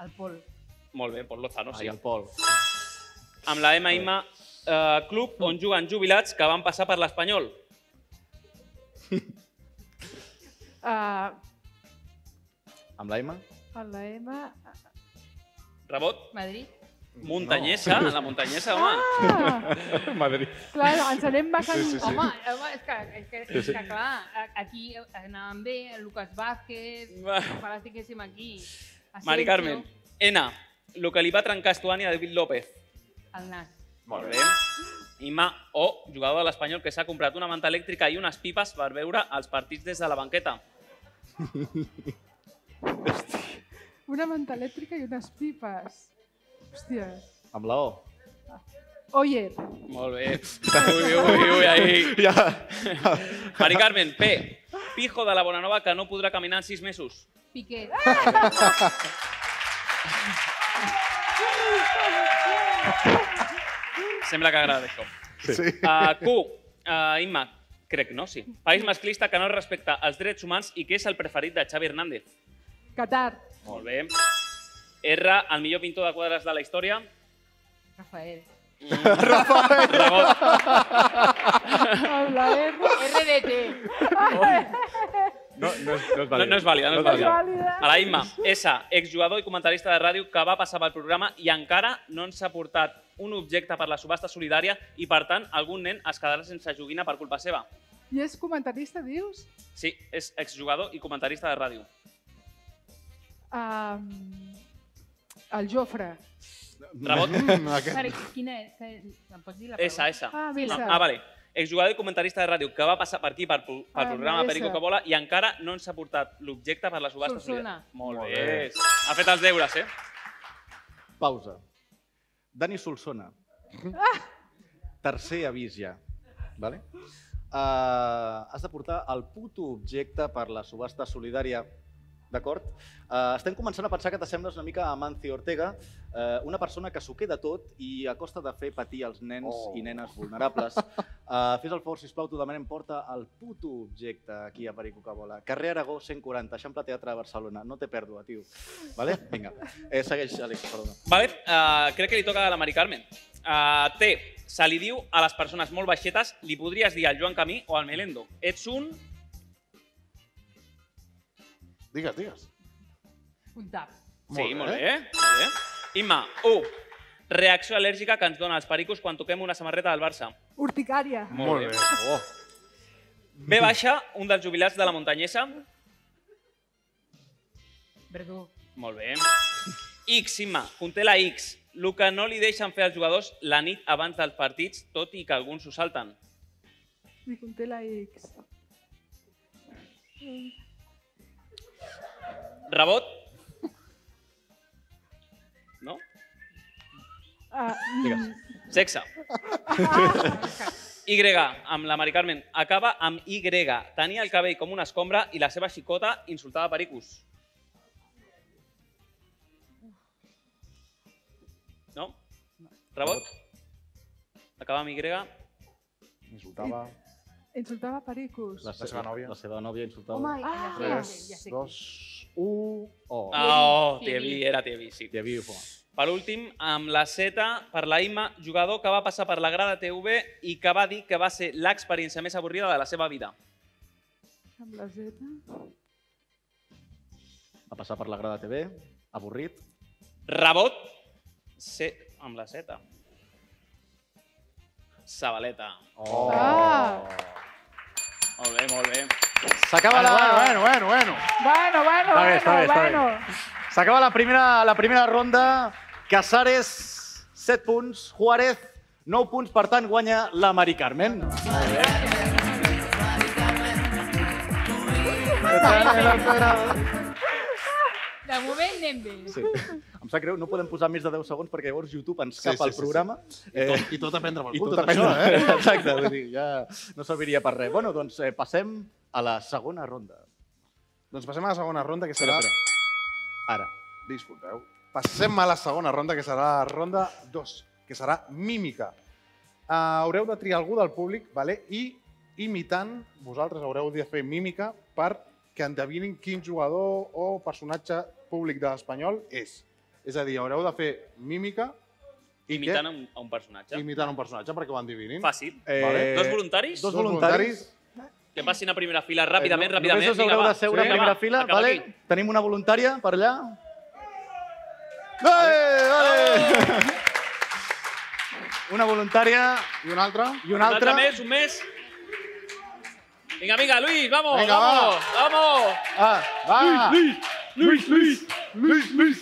Speaker 15: El Pol.
Speaker 3: Molt bé, Pol Lozano, sí.
Speaker 17: Ai, el Pol.
Speaker 3: Amb la M, Imma, eh, club on juguen jubilats que van passar per l'Espanyol.
Speaker 12: Uh,
Speaker 17: Amb l'Aima?
Speaker 12: amb la M... ah,
Speaker 3: Rebot,
Speaker 15: Madrid.
Speaker 3: muntanyesa, la muntanyesa, home.
Speaker 12: Ah,
Speaker 17: Madrid.
Speaker 12: clar, ens anem basant...
Speaker 4: Sí, sí, sí.
Speaker 15: Home, home, és que, és que, és que clar, a- aquí anàvem bé, el Lucas Vázquez,
Speaker 3: Va.
Speaker 15: quan les tinguéssim aquí. Asensio,
Speaker 3: Mari Carmen, N, el que li va trencar Estuani a David López.
Speaker 15: El nas.
Speaker 3: Molt bé. Ima O, jugador de l'Espanyol que s'ha comprat una manta elèctrica i unes pipes per veure els partits des de la banqueta.
Speaker 12: Una manta elèctrica i unes pipes. Hòstia.
Speaker 17: Amb la O?
Speaker 12: Oyer.
Speaker 3: Molt bé. Ui, ui, ui, ahí.
Speaker 17: Ja.
Speaker 3: Mari Carmen, P, pijo de la Bonanova que no podrà caminar en sis mesos.
Speaker 15: Piqué.
Speaker 3: Sembla que agrada això.
Speaker 4: Sí.
Speaker 3: Uh, Q, uh, Imma, crec, no? Sí. País masclista que no respecta els drets humans i que és el preferit de Xavi Hernández.
Speaker 12: (laughs) Qatar.
Speaker 3: Molt bé. R, el millor pintor de quadres de la història.
Speaker 15: Rafael.
Speaker 3: Rebot.
Speaker 12: Amb la R.
Speaker 15: RDT.
Speaker 17: No, no, és, no és
Speaker 3: No,
Speaker 17: vàlid.
Speaker 3: no és vàlida, no és
Speaker 12: No és
Speaker 3: vàlida.
Speaker 12: vàlida.
Speaker 3: A la Imma, S, exjugador i comentarista de ràdio que va passar pel programa i encara no ens ha portat un objecte per la subhasta solidària i, per tant, algun nen es quedarà sense joguina per culpa seva.
Speaker 12: I és comentarista, dius?
Speaker 3: Sí, és exjugador i comentarista de ràdio.
Speaker 12: Um, el Jofre.
Speaker 3: Rebot?
Speaker 15: Però quina és? Que- Em pots dir la
Speaker 3: S, S.
Speaker 12: Ah, bé,
Speaker 3: No,
Speaker 12: S.
Speaker 3: ah, vale. Exjugador i comentarista de ràdio que va passar per aquí, per, pel pel
Speaker 12: Ah,
Speaker 3: programa
Speaker 12: S.
Speaker 3: Perico Cobola, i encara no ens ha portat l'objecte per la subhasta
Speaker 15: Solsona.
Speaker 3: solidària. Molt bé. Ha fet els deures, eh?
Speaker 17: Pausa. Dani Solsona. Tercer avís ja. Vale? Uh, has de portar el puto objecte per la subhasta solidària. D'acord? Uh, estem començant a pensar que t'assembles una mica a Mancio Ortega, uh, una persona que s'ho queda tot i a costa de fer patir els nens oh.
Speaker 4: Oh.
Speaker 17: i nenes vulnerables. Uh, fes el favor, sisplau, t'ho demanem, porta el puto objecte aquí a Perico Cabola. Carrer Aragó 140, Eixample Teatre de Barcelona. No té pèrdua, tio. Vale? Vinga. Eh, segueix, Àlex, perdona.
Speaker 3: Vale, uh, crec que li toca a la Mari Carmen. Uh, T, se li diu a les persones molt baixetes, li podries dir al Joan Camí o al Melendo. Ets un...
Speaker 4: Digues, digues.
Speaker 15: Un tap.
Speaker 3: sí,
Speaker 4: Molt bé.
Speaker 3: molt bé. Molt bé. Imma, U, reacció al·lèrgica que ens dona els pericos quan toquem una samarreta del Barça.
Speaker 12: Urticària.
Speaker 3: Molt bé.
Speaker 4: Oh.
Speaker 3: B baixa, un dels jubilats de la muntanyesa.
Speaker 15: Verdú.
Speaker 3: Molt bé. X, Imma, conté la X, El que no li deixen fer als jugadors la nit abans dels partits, tot i que alguns s'ho salten.
Speaker 12: Me conté la X.
Speaker 3: Rebot? No?
Speaker 12: Ah,
Speaker 3: Digues. Sexe. Y, amb la Mari Carmen. Acaba amb Y. Tenia el cabell com una escombra i la seva xicota insultava pericos. No? Rebot? Acaba amb Y.
Speaker 4: Insultava
Speaker 12: Insultava pericos.
Speaker 17: La, seva nòvia. La seva nòvia insultava.
Speaker 12: Home, ah, ja sé, ja
Speaker 4: 3,
Speaker 12: sé.
Speaker 4: 2, 1... Oh.
Speaker 2: Ah.
Speaker 3: Oh, Tievi, era Tievi, sí.
Speaker 17: Tievi, home.
Speaker 3: Per últim, amb la Z, per la Imma, jugador que va passar per la grada TV i que va dir que va ser l'experiència més avorrida de la seva vida.
Speaker 12: Amb la Z.
Speaker 17: Va passar per la grada TV, avorrit.
Speaker 3: Rebot, C, amb la Z. Sabaleta.
Speaker 17: Oh.
Speaker 12: Ah.
Speaker 3: Molt bé, molt bé.
Speaker 2: S'acaba la...
Speaker 4: Bueno, bueno, bueno.
Speaker 12: Bueno, bueno,
Speaker 2: Està bé,
Speaker 12: bueno,
Speaker 2: està bé, està bé.
Speaker 12: bueno.
Speaker 2: S'acaba la primera, la primera ronda. Casares, 7 punts. Juárez, 9 punts. Per tant, guanya la Mari Carmen.
Speaker 15: De moment anem bé.
Speaker 2: Sí. Em sap greu, no podem posar més de 10 segons perquè llavors YouTube ens cap
Speaker 17: sí,
Speaker 2: al
Speaker 17: sí, sí.
Speaker 2: programa. Eh,
Speaker 17: I tot- i tot aprendre pel
Speaker 2: I
Speaker 17: cul, tot
Speaker 2: tot aprendre,
Speaker 17: això, (laughs) eh?
Speaker 2: Exacte, vull dir, ja no serviria per res. Bueno, doncs eh, passem a la segona ronda.
Speaker 4: Doncs passem a la segona ronda, que serà...
Speaker 2: Espera, Ara.
Speaker 4: Disculpeu. Passem a la segona ronda, que serà la ronda 2, que serà mímica. Uh, haureu de triar algú del públic, vale? i imitant, vosaltres haureu de fer mímica per que endevinin quin jugador o personatge públic de l'Espanyol és. És a dir, haureu de fer mímica i
Speaker 3: Imitant a
Speaker 4: que-
Speaker 3: un, a un personatge.
Speaker 4: imitant un personatge perquè ho endevinin.
Speaker 3: Fàcil.
Speaker 4: Eh,
Speaker 3: Vale. Dos voluntaris?
Speaker 4: Dos voluntaris.
Speaker 3: Que passin a primera fila ràpidament,
Speaker 2: Eh, no-
Speaker 3: ràpidament.
Speaker 2: Només us haureu
Speaker 3: va.
Speaker 2: de seure a
Speaker 3: Vinga,
Speaker 2: primera
Speaker 3: va,
Speaker 2: fila,
Speaker 3: acaba
Speaker 2: vale?
Speaker 3: aquí.
Speaker 2: Tenim una voluntària per allà. Eh,
Speaker 3: Ah.
Speaker 2: vale. (laughs) Una voluntària
Speaker 4: I un altre.
Speaker 2: i una altra.
Speaker 3: Un altre més, un més. Vinga, vinga, Luis, vamos,
Speaker 4: Vinga,
Speaker 3: vamos, vamos.
Speaker 4: Ah, va!
Speaker 2: Luis, Luis, Luis, Luis.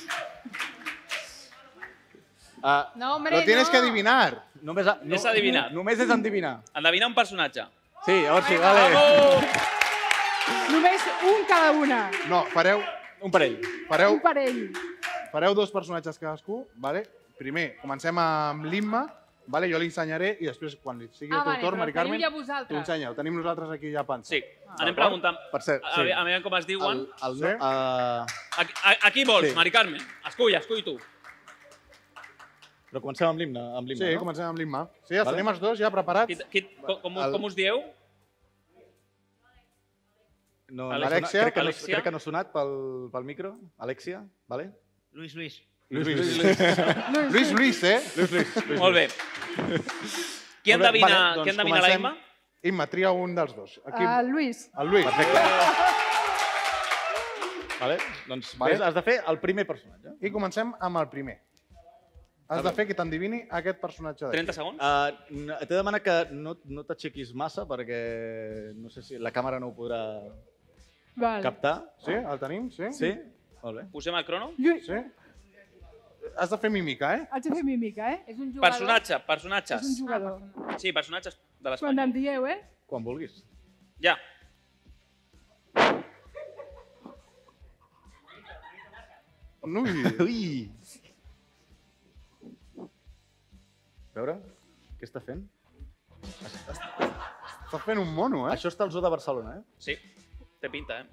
Speaker 4: Ah,
Speaker 15: No, hombre,
Speaker 4: lo tienes
Speaker 15: no.
Speaker 4: que adivinar.
Speaker 2: Només, a,
Speaker 3: És adivinar.
Speaker 2: Només és endevinar.
Speaker 3: Endevinar un personatge.
Speaker 2: Sí, llavors sí, vale.
Speaker 3: Vamos.
Speaker 12: Només un cada una.
Speaker 4: No, fareu,
Speaker 2: Un parell.
Speaker 4: fareu
Speaker 12: Un parell.
Speaker 4: Fareu dos personatges cadascú, vale? Primer, comencem amb l'Imma, vale? jo li ensenyaré i després, quan li sigui
Speaker 15: Ah,
Speaker 4: el teu
Speaker 15: vale,
Speaker 4: torn,
Speaker 15: però
Speaker 4: Mari
Speaker 15: teniu
Speaker 4: Carmen,
Speaker 15: ja vosaltres.
Speaker 4: t'ho ensenya. Ho tenim nosaltres aquí ja pensat.
Speaker 3: Sí,
Speaker 2: Ah,
Speaker 3: anem preguntant.
Speaker 4: Per cert,
Speaker 3: A,
Speaker 4: sí.
Speaker 3: a, ve- a veure com es diuen.
Speaker 17: El, el,
Speaker 4: Sí.
Speaker 17: no,
Speaker 2: Ah,
Speaker 17: eh,
Speaker 3: Aquí, a- aquí vols,
Speaker 17: Sí.
Speaker 3: Mari Carmen. Escull, escull tu.
Speaker 17: però comencem amb l'himne, amb l'himne,
Speaker 4: Sí,
Speaker 17: no?
Speaker 4: comencem amb l'Imma. Sí, els
Speaker 17: Vale.
Speaker 4: tenim els dos ja preparats.
Speaker 3: Qui, qui, com, com,
Speaker 4: El-
Speaker 3: com us dieu?
Speaker 17: No,
Speaker 4: Alexia.
Speaker 17: Alexia, crec, que no,
Speaker 3: Alexia.
Speaker 17: crec que no ha sonat pel, pel micro. Alexia, vale?
Speaker 9: Luis, Luis.
Speaker 4: Lluís, Lluís, Lluís. Lluís, Lluís, eh? Lluís, Lluís.
Speaker 3: Molt bé. Qui endevina,
Speaker 2: doncs
Speaker 3: qui endevina la Imma?
Speaker 4: Imma, tria un dels dos. Aquí,
Speaker 15: Ah,
Speaker 12: Uh, Lluís.
Speaker 4: el Lluís. Perfecte.
Speaker 17: Vale? Doncs
Speaker 4: Vale.
Speaker 17: vale. has de fer el primer personatge.
Speaker 4: I comencem amb el primer. Has de fer que t'endevini aquest personatge d'aquí.
Speaker 3: 30 segons?
Speaker 17: Uh, T'he de demanar que no, no t'aixequis massa perquè no sé si la càmera no ho podrà
Speaker 12: Val.
Speaker 17: captar.
Speaker 4: Sí, el tenim? Sí?
Speaker 17: Sí? Molt bé.
Speaker 3: Posem el crono?
Speaker 12: Lluís.
Speaker 4: Sí? Has de fer mímica, eh?
Speaker 12: Haig de fer mímica, eh?
Speaker 15: És un jugador... Ah,
Speaker 3: Personatge,
Speaker 12: És un
Speaker 3: personatges.
Speaker 12: jugador.
Speaker 3: Sí, personatges de
Speaker 12: Quan
Speaker 3: l'Espanya.
Speaker 12: em dieu, eh?
Speaker 17: Quan vulguis.
Speaker 3: Ja.
Speaker 4: (laughs) Ui.
Speaker 17: Ui! A veure, què està fent?
Speaker 4: Estàs fent un mono, eh?
Speaker 17: Això està al zoo de Barcelona, eh?
Speaker 3: Sí, té pinta, eh?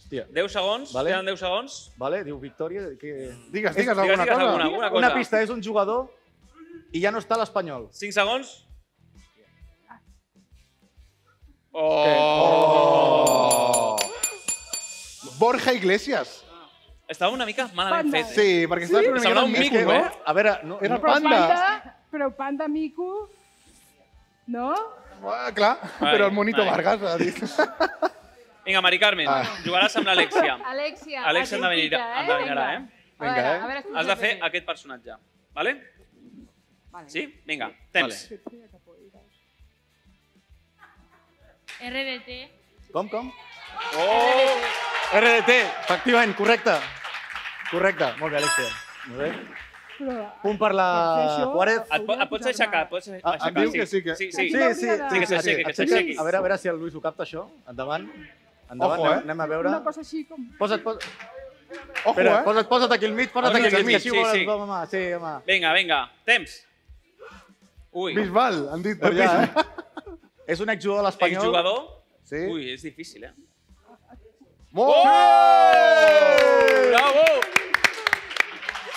Speaker 17: Hòstia.
Speaker 3: 10 segons,
Speaker 17: Vale.
Speaker 3: queden 10 segons.
Speaker 17: Vale, diu Victòria que...
Speaker 4: Digues, digues,
Speaker 3: Digues,
Speaker 4: alguna
Speaker 3: digues
Speaker 4: cosa.
Speaker 3: alguna, alguna cosa.
Speaker 17: Una pista, és un jugador i ja no està a l'Espanyol.
Speaker 3: 5 segons. Oh,
Speaker 4: Borja Iglesias.
Speaker 3: Estava una mica malament
Speaker 12: Panda.
Speaker 3: fet. eh?
Speaker 4: Sí, perquè estàs una
Speaker 3: Sembla
Speaker 4: mica
Speaker 3: un
Speaker 4: més
Speaker 3: mico,
Speaker 4: que-
Speaker 3: eh?
Speaker 17: A veure, no,
Speaker 4: Era
Speaker 17: no,
Speaker 4: el
Speaker 12: Però
Speaker 4: panda.
Speaker 12: panda, però panda mico... No?
Speaker 4: Ah, clar,
Speaker 3: Ai,
Speaker 4: però el monito
Speaker 3: ai.
Speaker 4: Vargas ha dit. (laughs)
Speaker 3: Vinga, Mari Carmen,
Speaker 2: Ah.
Speaker 3: jugaràs amb l'Alexia.
Speaker 15: Alexia,
Speaker 3: Alexia endevinirà,
Speaker 15: atenta,
Speaker 3: endevinarà, eh?
Speaker 15: A
Speaker 4: Vinga, eh?
Speaker 15: veure, a veure,
Speaker 3: Has de fer aquest personatge, vale?
Speaker 15: Vale.
Speaker 3: Sí? Vinga, temps.
Speaker 15: RDT.
Speaker 17: com, com?
Speaker 3: Oh!
Speaker 2: RDT, efectivament, correcte.
Speaker 17: Correcte, molt bé, Alexia. Molt bé.
Speaker 12: Però,
Speaker 2: Punt per la
Speaker 4: Ah,
Speaker 12: Doncs
Speaker 2: Juárez.
Speaker 3: Et, po- et pots aixecar, pots
Speaker 2: Ah,
Speaker 3: aixecar.
Speaker 2: em diu que sí que...
Speaker 3: Sí, sí.
Speaker 2: sí, sí,
Speaker 3: sí que s'aixequi, que s'aixequi.
Speaker 2: A veure, a veure si el Lluís ho capta, això. Endavant. Endavant,
Speaker 22: Ojo,
Speaker 2: anem-
Speaker 22: eh?
Speaker 2: anem a veure.
Speaker 12: Una cosa així com...
Speaker 2: Posa't, posa't.
Speaker 22: Ojo,
Speaker 2: Espera,
Speaker 22: eh?
Speaker 2: posa't, posa't aquí al mig, posa't
Speaker 3: Al
Speaker 2: aquí al
Speaker 3: mig, al
Speaker 2: mig.
Speaker 3: mig,
Speaker 2: Així
Speaker 3: sí,
Speaker 2: voles,
Speaker 3: sí.
Speaker 2: home, sí, home.
Speaker 3: Vinga, vinga, temps. Ui,
Speaker 4: Bisbal, han dit per allà, eh?
Speaker 2: És un exjugador de l'Espanyol.
Speaker 3: exjugador.
Speaker 4: Sí.
Speaker 3: Ui, és difícil, eh?
Speaker 4: Molt
Speaker 2: Oh!
Speaker 3: Bravo!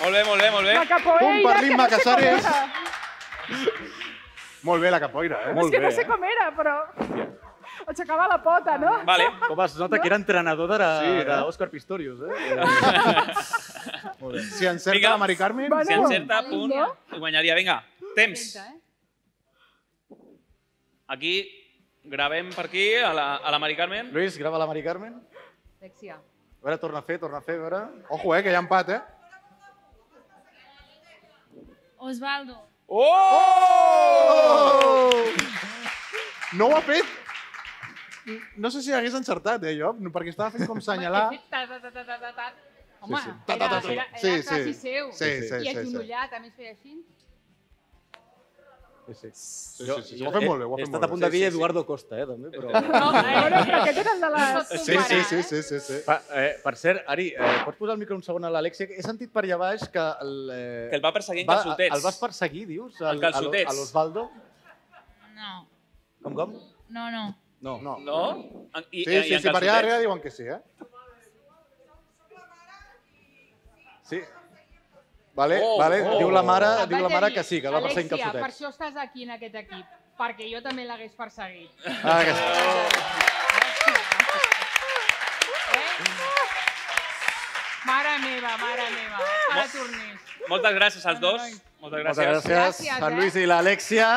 Speaker 3: Molt bé, molt bé, molt bé.
Speaker 12: La capoeira,
Speaker 4: Punt per
Speaker 12: que
Speaker 4: l'Imma
Speaker 12: no sé com
Speaker 4: Casares.
Speaker 12: era.
Speaker 4: Molt bé la capoira, eh?
Speaker 12: És que no sé com era, però... Aixecava la pota, no?
Speaker 3: Vale.
Speaker 2: Com es nota que era entrenador
Speaker 4: Sí, eh?
Speaker 2: d'Òscar Pistorius, (laughs) eh?
Speaker 4: Molt bé. Si encerta
Speaker 3: Vinga.
Speaker 4: la Mari Carmen...
Speaker 12: Bueno.
Speaker 3: Si encerta,
Speaker 13: Vale,
Speaker 3: punt,
Speaker 13: no?
Speaker 3: guanyaria. Vinga, temps.
Speaker 13: Intenta, eh?
Speaker 3: Aquí, gravem per aquí, a la, a la Mari Carmen.
Speaker 2: Lluís, grava la Mari Carmen.
Speaker 13: Alexia.
Speaker 2: A veure, torna a fer, torna a fer, a veure.
Speaker 4: Ojo, eh, que hi ha empat, eh?
Speaker 23: Osvaldo.
Speaker 4: Oh! No ho ha fet... No sé si hagués encertat, eh, jo, perquè estava fent com senyalar...
Speaker 13: He fet ta, ta, ta, ta, ta, ta, ta. Home,
Speaker 4: sí. Ta, ta,
Speaker 13: era,
Speaker 4: ta, ta.
Speaker 13: era,
Speaker 4: Sí,
Speaker 13: era
Speaker 4: sí.
Speaker 13: quasi seu.
Speaker 4: Sí, sí, sí,
Speaker 13: I
Speaker 4: sí.
Speaker 13: agenollat, a més feia així.
Speaker 2: Sí, sí.
Speaker 4: Sí, sí, sí, ho ha fet molt bé, ho ha
Speaker 22: He
Speaker 4: fet
Speaker 22: estat
Speaker 4: molt
Speaker 22: a punt
Speaker 4: bé.
Speaker 22: de dir Eduardo Costa, eh, també, però...
Speaker 12: No, bueno, però aquest era el de les...
Speaker 4: Sí, sí, sí,
Speaker 13: eh?
Speaker 4: sí, sí, sí.
Speaker 2: (laughs) Pa, eh, per cert, Ari, eh, pots posar el micro un segon a l'Alexia? He sentit per allà baix que el... Eh,
Speaker 3: Que el va perseguir en
Speaker 2: va-
Speaker 3: calçotets.
Speaker 2: El vas perseguir, dius?
Speaker 3: En calçotets.
Speaker 2: A l'Osvaldo?
Speaker 23: No,
Speaker 2: Com, com?
Speaker 23: no, no.
Speaker 2: No. no.
Speaker 3: No? I,
Speaker 4: Sí, sí, sí, per allà darrere diuen que sí, eh?
Speaker 2: Sí. Vale,
Speaker 3: Oh,
Speaker 2: vale.
Speaker 3: oh.
Speaker 2: Diu la mare, Ah,
Speaker 13: Et
Speaker 2: diu la
Speaker 13: vaig a
Speaker 2: mare
Speaker 13: dir,
Speaker 2: que sí, que el va perseguir en
Speaker 13: Alexia, per
Speaker 2: calçotets.
Speaker 13: això estàs aquí en aquest equip, perquè jo també l'hagués perseguit. eh?
Speaker 2: Ah, que sí.
Speaker 13: Mare meva, mare meva, ara tornis.
Speaker 3: Moltes gràcies
Speaker 13: Ah,
Speaker 3: als dos. Moltes
Speaker 2: Moltes
Speaker 3: gràcies.
Speaker 2: gràcies,
Speaker 13: Gràcies,
Speaker 2: Sant
Speaker 13: eh?
Speaker 2: Lluís i l'Alexia.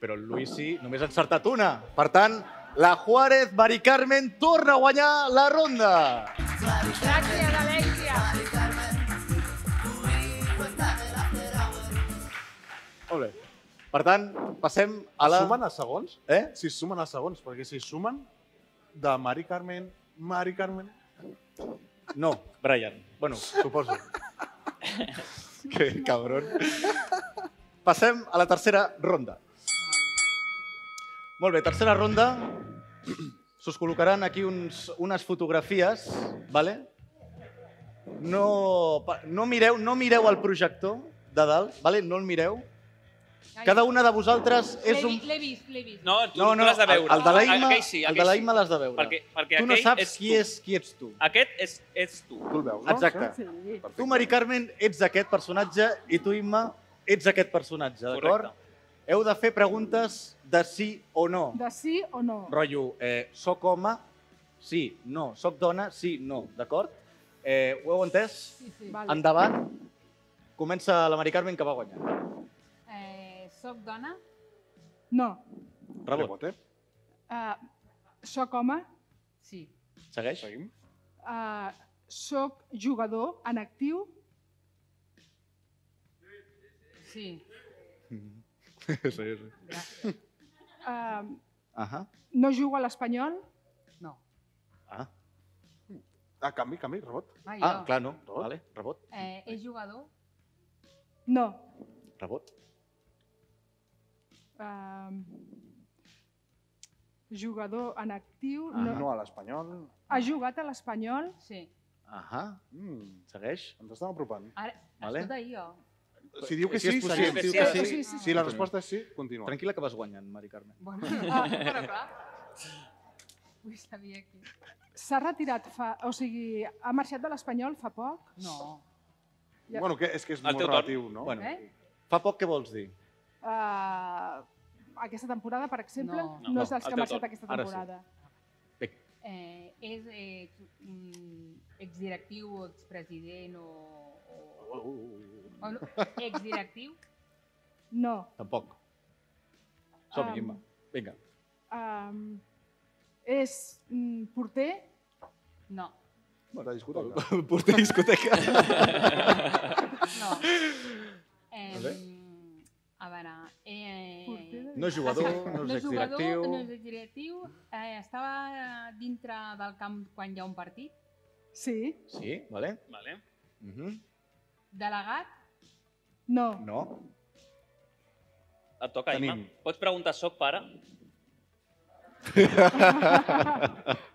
Speaker 2: Però el Luisi només ha encertat una. Per tant, la Juárez Mari Carmen torna a guanyar la ronda.
Speaker 13: Gràcies, Alexia.
Speaker 2: Molt bé. Per tant, passem a la...
Speaker 4: Sumen els segons?
Speaker 2: Eh?
Speaker 4: Si sumen els segons, perquè si sumen de Mari Carmen, Mari Carmen...
Speaker 2: No, Brian. Bueno,
Speaker 3: (laughs)
Speaker 2: suposo. que cabron. Passem a la tercera ronda. Molt bé, tercera ronda. S'us col·locaran aquí uns, unes fotografies, vale? No, pa- no, mireu, no mireu el projector de dalt, vale? no el mireu. Cada una de vosaltres és
Speaker 13: L'he
Speaker 2: un...
Speaker 13: vi- L'he vist, l'he vist.
Speaker 3: No, tu,
Speaker 2: No,
Speaker 3: tu
Speaker 2: no,
Speaker 3: l'has de
Speaker 2: el,
Speaker 3: veure.
Speaker 2: el de l'Aima
Speaker 3: Aquell sí,
Speaker 2: el de
Speaker 3: aquell sí.
Speaker 2: l'Aima l'has de veure.
Speaker 3: Perquè, perquè
Speaker 2: tu no
Speaker 3: aquell
Speaker 2: saps
Speaker 3: ets
Speaker 2: qui,
Speaker 3: tu.
Speaker 2: és, qui ets tu.
Speaker 3: Aquest és, ets tu.
Speaker 4: Tu el veus, no?
Speaker 2: Exacte.
Speaker 12: Sí.
Speaker 2: Tu, Mari Carmen, ets aquest personatge i tu, Imma, ets aquest personatge, d'acord? Heu de fer preguntes de sí o no.
Speaker 12: De sí o no?
Speaker 2: Rotllo, eh, soc home? Sí, no. Soc dona? Sí, no. D'acord? Eh, ho heu entès?
Speaker 13: Sí, sí.
Speaker 12: Vale.
Speaker 2: Endavant. Comença la Mari Carmen que va guanyar.
Speaker 13: Eh, soc dona?
Speaker 12: No.
Speaker 2: Rebot.
Speaker 4: eh?
Speaker 12: Uh, soc home,
Speaker 13: Sí.
Speaker 2: Segueix?
Speaker 4: Seguim.
Speaker 12: uh, soc jugador en actiu,
Speaker 13: Sí.
Speaker 4: sí, sí.
Speaker 12: uh,
Speaker 2: Ahà.
Speaker 12: no jugo a l'Espanyol,
Speaker 13: No.
Speaker 2: Ah,
Speaker 4: Ah, canvi, canvi, rebot.
Speaker 13: Mai
Speaker 2: ah
Speaker 13: jo.
Speaker 2: clar, no. Vale, rebot,
Speaker 13: Eh, és jugador?
Speaker 12: no.
Speaker 2: rebot.
Speaker 12: Uh, jugador en actiu,
Speaker 4: No,
Speaker 12: no.
Speaker 4: a l'espanyol.
Speaker 12: Ha jugat a l'Espanyol,
Speaker 13: Sí.
Speaker 2: Ahà.
Speaker 4: Mm,
Speaker 2: Segueix?
Speaker 4: ens estem apropant.
Speaker 13: Ara,
Speaker 2: Vale.
Speaker 13: escolta, jo.
Speaker 4: Si diu que
Speaker 2: Si
Speaker 4: sí,
Speaker 2: és
Speaker 4: seguim.
Speaker 2: possible,
Speaker 4: Si,
Speaker 2: si
Speaker 4: diu
Speaker 2: és
Speaker 4: que sí,
Speaker 12: possible.
Speaker 4: sí, si la resposta és sí, continua.
Speaker 2: Tranquil·la que vas guanyant, Mari Carmen.
Speaker 13: Bueno, ah, però clar. Vull saber aquí.
Speaker 12: s'ha retirat fa... O sigui, ha marxat de l'Espanyol fa poc?
Speaker 13: No.
Speaker 12: Ja.
Speaker 4: Bueno, que és que és
Speaker 3: El
Speaker 4: molt
Speaker 3: teu torn.
Speaker 4: relatiu, no?
Speaker 2: Bueno,
Speaker 13: Eh?
Speaker 2: fa poc què vols dir?
Speaker 12: Uh, aquesta temporada, per exemple,
Speaker 13: No.
Speaker 12: no, no és dels
Speaker 3: No,
Speaker 12: que
Speaker 3: el
Speaker 12: ha
Speaker 3: teu
Speaker 12: marxat
Speaker 3: torn.
Speaker 12: aquesta
Speaker 2: Ara sí.
Speaker 12: temporada.
Speaker 13: Eh, és eh, mm, exdirectiu o expresident o...
Speaker 3: Uh,
Speaker 13: o... o no, exdirectiu?
Speaker 12: No.
Speaker 2: Tampoc. (laughs) Som-hi,
Speaker 12: Am.
Speaker 2: Imma. Vinga.
Speaker 12: Um, és mm, porter?
Speaker 13: No.
Speaker 4: Bueno, discutim.
Speaker 2: Porter discoteca.
Speaker 13: No. Eh, a veure... Eh,
Speaker 12: Porter de
Speaker 2: No és jugador, no és
Speaker 15: no és
Speaker 2: exdirectiu.
Speaker 15: eh, jugador, no és directiu. Eh, estava dintre del camp quan hi ha un partit.
Speaker 12: Sí.
Speaker 2: Sí, vale.
Speaker 3: Vale.
Speaker 2: Uh -huh.
Speaker 15: Delegat.
Speaker 12: No.
Speaker 2: No.
Speaker 3: Et toca, Imma.
Speaker 2: Tenim.
Speaker 3: Pots preguntar, soc pare?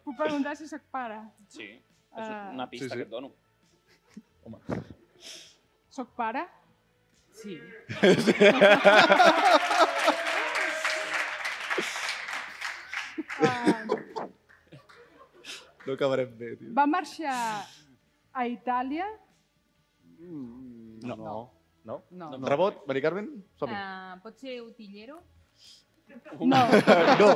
Speaker 12: Puc preguntar si soc pare.
Speaker 3: Sí. És
Speaker 12: Ah.
Speaker 3: una pista
Speaker 12: Sí, sí.
Speaker 3: que et dono.
Speaker 12: Soc pare?
Speaker 15: Sí.
Speaker 2: No acabarem bé, tio.
Speaker 12: Va marxar a Itàlia.
Speaker 2: No. No? No.
Speaker 15: No.
Speaker 3: Doncs
Speaker 2: no. Rebot, Mari Carmen, som
Speaker 12: Ah.
Speaker 2: -hi.
Speaker 15: Eh, pot ser utillero?
Speaker 12: No.
Speaker 2: Eh, no,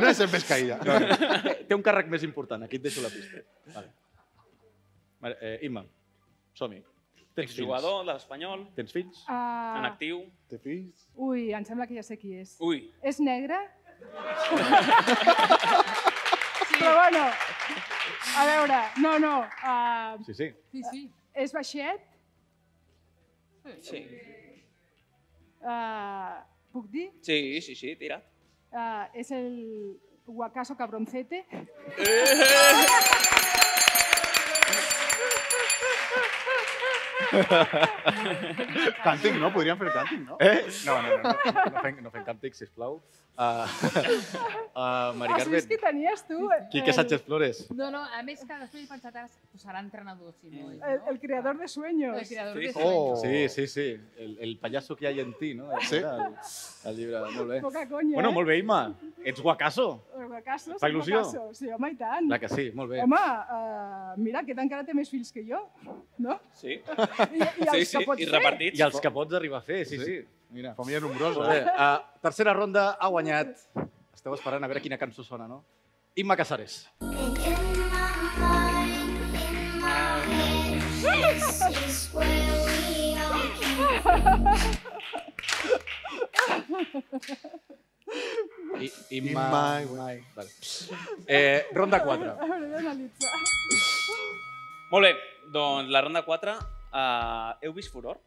Speaker 2: no és el pescaïda. No, no. Té un càrrec més important, aquí et deixo la pista. Vale. Vale, eh, Imma, som-hi. Tens
Speaker 3: Exjugador de l'Espanyol,
Speaker 2: Tens fills?
Speaker 12: Ah.
Speaker 3: en actiu.
Speaker 2: Té fills?
Speaker 12: Ui, em sembla que ja sé qui és.
Speaker 3: Ui.
Speaker 12: És
Speaker 3: (laughs)
Speaker 12: negre? Però bueno, a veure, no, no. Uh,
Speaker 2: Sí, sí.
Speaker 15: Sí, sí.
Speaker 12: És baixet?
Speaker 3: Sí.
Speaker 12: Uh, puc dir?
Speaker 3: Sí, sí, sí, tira.
Speaker 12: Uh, és el Guacaso Cabroncete?
Speaker 4: Càntic, no? Podríem fer càntic, no?
Speaker 2: Eh? No, no, no, no, no, fem, no fem càntics, (laughs) sisplau. Uh, uh, Mari
Speaker 12: Ah, sí, és
Speaker 2: Carmen,
Speaker 12: qui tenies tu?
Speaker 2: Quique Sánchez Flores.
Speaker 15: No, no, a més que després he pensat, ara posarà entrenador, si no és,
Speaker 12: El,
Speaker 15: no?
Speaker 12: el creador de sueños.
Speaker 15: El creador
Speaker 2: Sí,
Speaker 15: de
Speaker 2: oh.
Speaker 15: sueños.
Speaker 2: sí, sí, sí. El, el pallasso que hi ha en ti, no? Sí. El, el llibre, molt bé.
Speaker 12: Poca conya,
Speaker 2: bueno,
Speaker 12: eh?
Speaker 2: molt bé, Imma. Ets guacasso.
Speaker 12: El Guacaso,
Speaker 2: Fa
Speaker 12: sí,
Speaker 2: il·lusió?
Speaker 12: Guacaso. Sí, home, i tant.
Speaker 2: La que sí, molt bé.
Speaker 12: Home, uh, mira, aquest encara té més fills que jo, no?
Speaker 3: Sí.
Speaker 12: (laughs) I, i els que pots fer.
Speaker 2: I els que pots arribar a fer, sí, sí. Mira.
Speaker 4: Família nombrosa.
Speaker 2: Molt bé. Uh, tercera ronda ha guanyat. Esteu esperant a veure quina cançó sona, no? Imma Casares. I, Imma...
Speaker 4: Imma.
Speaker 2: Vale. Eh, ronda 4.
Speaker 12: (laughs) Hauré d'analitzar.
Speaker 3: Molt bé, doncs la ronda 4, uh, heu vist furor?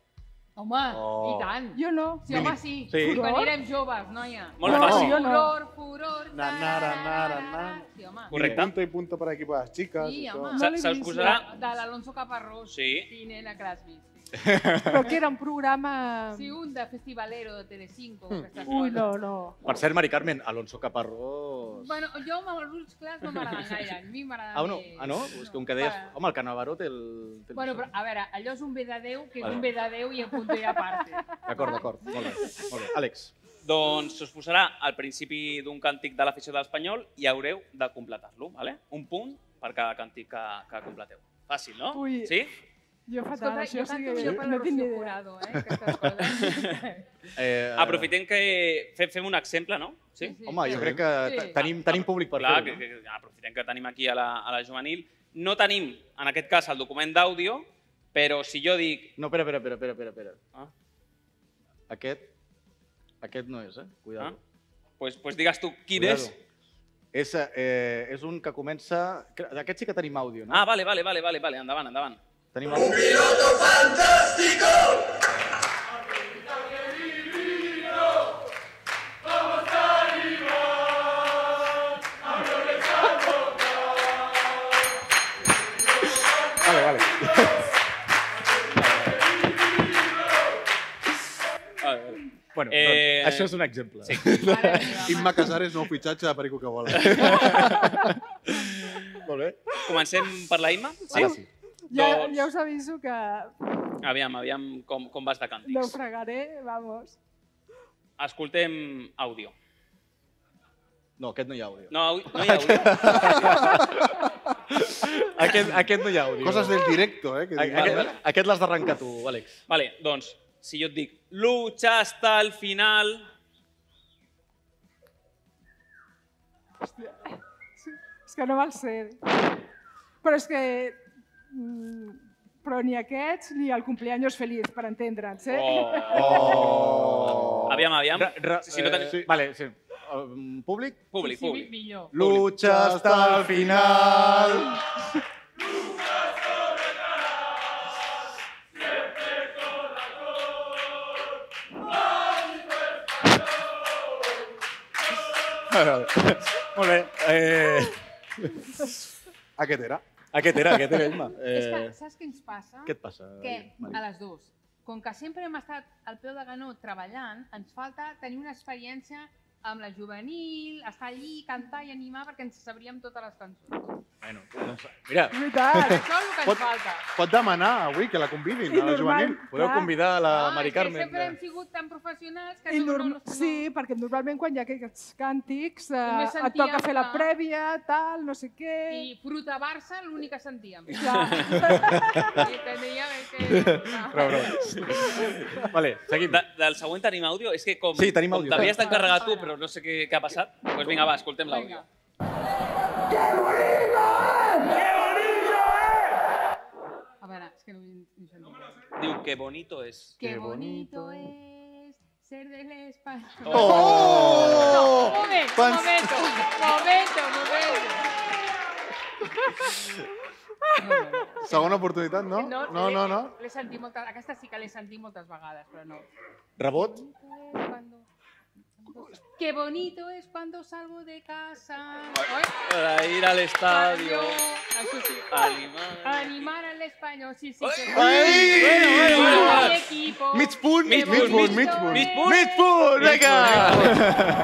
Speaker 15: Home,
Speaker 3: Oh.
Speaker 15: i tant.
Speaker 12: Jo no.
Speaker 15: Sí, home, sí.
Speaker 3: Sí?
Speaker 15: sí. Quan érem joves, noia.
Speaker 3: Molt No, fàcil.
Speaker 12: jo no.
Speaker 15: Furor, furor,
Speaker 4: Na, na, na, na, na, na.
Speaker 15: Sí, home.
Speaker 3: Correcte.
Speaker 4: Punto y punto para equipo de las chicas.
Speaker 15: Sí,
Speaker 4: y todo.
Speaker 15: home.
Speaker 3: Se- se us posarà...
Speaker 15: De l'Alonso Caparrós.
Speaker 3: Sí.
Speaker 15: Sí, nena, que l'has vist.
Speaker 12: Però que era un programa...
Speaker 15: Sí, un de festivalero de Telecinco. Que estàs fora.
Speaker 12: Ui, no, no.
Speaker 2: Per cert, Mari Carmen, Alonso Caparrós...
Speaker 15: Bueno, jo amb els ulls clars no m'agraden gaire. A mi m'agraden
Speaker 2: Ah, no?
Speaker 15: més.
Speaker 2: Ah, no? És que un que deies...
Speaker 15: Bueno.
Speaker 2: Home, el Canavaro té el... Té el
Speaker 15: Bueno, però, a veure, allò és un bé de Déu, que és
Speaker 2: Vale.
Speaker 15: un bé de Déu i en punt i a
Speaker 12: (laughs)
Speaker 15: part.
Speaker 2: D'acord, d'acord. Molt bé. Molt bé. Àlex.
Speaker 3: Doncs us posarà al principi d'un càntic de l'afició de l'Espanyol i haureu de completar-lo, vale? un punt per cada càntic que, que completeu. Fàcil, no?
Speaker 12: Ui.
Speaker 3: Sí?
Speaker 12: Jo fatal,
Speaker 15: Escolta,
Speaker 12: això
Speaker 15: jo
Speaker 12: sí
Speaker 15: canto
Speaker 12: que
Speaker 15: millor per
Speaker 12: no
Speaker 15: la
Speaker 12: tinc ni
Speaker 15: Rocío
Speaker 12: idea.
Speaker 15: Jurado, eh, aquestes
Speaker 12: (laughs)
Speaker 15: coses.
Speaker 2: Eh,
Speaker 3: Aprofitem que fe- fem un exemple, no? Sí?
Speaker 2: Home, jo crec que
Speaker 15: Sí.
Speaker 2: te- tenim, tenim públic per
Speaker 3: Ah, Clar,
Speaker 2: fer-ho.
Speaker 3: que, que, que aprofitem que tenim aquí a la, a la juvenil. No tenim, en aquest cas, el document d'àudio, però si jo dic...
Speaker 2: No, espera, espera, espera, espera, espera, espera.
Speaker 3: Ah.
Speaker 2: Aquest, aquest no és, eh? Cuidado.
Speaker 3: Ah, Pues, pues digues tu quin
Speaker 2: Cuidado.
Speaker 3: és.
Speaker 2: És, eh, és un que comença... cre- D'aquest sí que tenim àudio, no?
Speaker 3: Ah, vale, vale, vale, vale, vale, endavant, endavant.
Speaker 2: Tenim àudio. Vale, vale.
Speaker 3: Vale, vale.
Speaker 2: Bueno,
Speaker 3: Eh,
Speaker 2: doncs, això és un exemple.
Speaker 3: sí.
Speaker 2: (laughs)
Speaker 4: Imma Casares, nou fitxatge de Perico que vola.
Speaker 2: Molt bé.
Speaker 3: Comencem per la Imma? Sí?
Speaker 2: Ara sí.
Speaker 12: Ja,
Speaker 3: Doncs-
Speaker 12: ja us aviso que
Speaker 3: Aviam, aviam com, com vas de càntics.
Speaker 12: naufragaré, vamos.
Speaker 3: Escoltem àudio.
Speaker 2: No, aquest no hi ha àudio.
Speaker 3: No, au- no hi
Speaker 2: (laughs)
Speaker 3: ha àudio.
Speaker 2: Aquest, aquest no hi ha àudio.
Speaker 4: Coses del directo, eh? Que
Speaker 2: A-
Speaker 4: diuen.
Speaker 2: Aquest, aquest l'has d'arrencar tu, Àlex.
Speaker 3: Vale, doncs, si jo et dic lucha hasta el final...
Speaker 12: Sí, És que no me'l sé. Però és que... mm, Però ni aquests ni el cumpleaños feliç, per entendre'ns, eh?
Speaker 2: Oh!
Speaker 3: Aviam, aviam.
Speaker 2: Ra- ra-
Speaker 3: Si no tenim...
Speaker 2: eh, Vale, sí. Um, públic?
Speaker 3: Públic,
Speaker 15: Sí,
Speaker 3: públic.
Speaker 15: millor.
Speaker 2: Lucha hasta el final. Molt bé. Eh...
Speaker 4: Aquest era.
Speaker 2: Aquest era, aquest era,
Speaker 15: (laughs)
Speaker 2: Isma.
Speaker 15: És que, saps què ens passa?
Speaker 2: Eh, Què et passa?
Speaker 15: Que
Speaker 2: Mari?
Speaker 15: a les dues, com que sempre hem estat al peu de ganó treballant, ens falta tenir una experiència amb la juvenil, estar allí, cantar i animar perquè ens sabríem totes les cançons.
Speaker 2: Bueno, doncs, mira.
Speaker 15: Veritat. Això és el que ens
Speaker 2: Pot,
Speaker 15: falta.
Speaker 4: pot demanar avui que la convidin,
Speaker 12: I
Speaker 4: a la
Speaker 12: normal,
Speaker 4: juvenil.
Speaker 2: Podeu
Speaker 12: clar.
Speaker 2: convidar la Ah, Mari
Speaker 15: Que
Speaker 2: Carmen.
Speaker 15: sempre hem sigut tan professionals que
Speaker 12: I
Speaker 15: no,
Speaker 12: norm...
Speaker 15: no,
Speaker 12: Sí, perquè normalment quan hi ha aquests càntics eh,
Speaker 15: Només
Speaker 12: et toca
Speaker 15: sentíem
Speaker 12: fer la
Speaker 15: que-
Speaker 12: prèvia, tal, no sé què...
Speaker 15: I fruta Barça, l'únic que sentíem. (laughs)
Speaker 12: Clar.
Speaker 15: I teníem que...
Speaker 2: Bravo, bravo. Vale, seguim.
Speaker 3: De, del següent tenim àudio? És que com,
Speaker 2: Sí, tenim
Speaker 3: com
Speaker 2: àudio.
Speaker 3: t'havies d'encarregar tu, però no sé què, què ha passat, doncs pues vinga, va, escoltem l'àudio.
Speaker 15: A veure, és que no, no sentia.
Speaker 3: Diu, que bonito és.
Speaker 15: Qué bonito es ser del espacio.
Speaker 3: Oh!
Speaker 15: No, un moment, un
Speaker 3: Quan-
Speaker 15: momento, momento, momento.
Speaker 4: Segona oportunitat, no? no, no. no.
Speaker 15: L'he sentit moltes, aquesta sí que l'he sentit moltes vegades, però no.
Speaker 2: Rebot?
Speaker 15: Qué bonito es cuando salgo de casa. Oi?
Speaker 3: Para ir al estadio.
Speaker 15: Això sí.
Speaker 3: Animar.
Speaker 15: Animar al español, sí, sí. Que...
Speaker 3: Ai! Bueno, bueno, bueno.
Speaker 15: Mi equipo.
Speaker 4: Mig punt, mig punt, mig punt, mig punt.
Speaker 15: Mig
Speaker 4: punt, mig punt, vinga!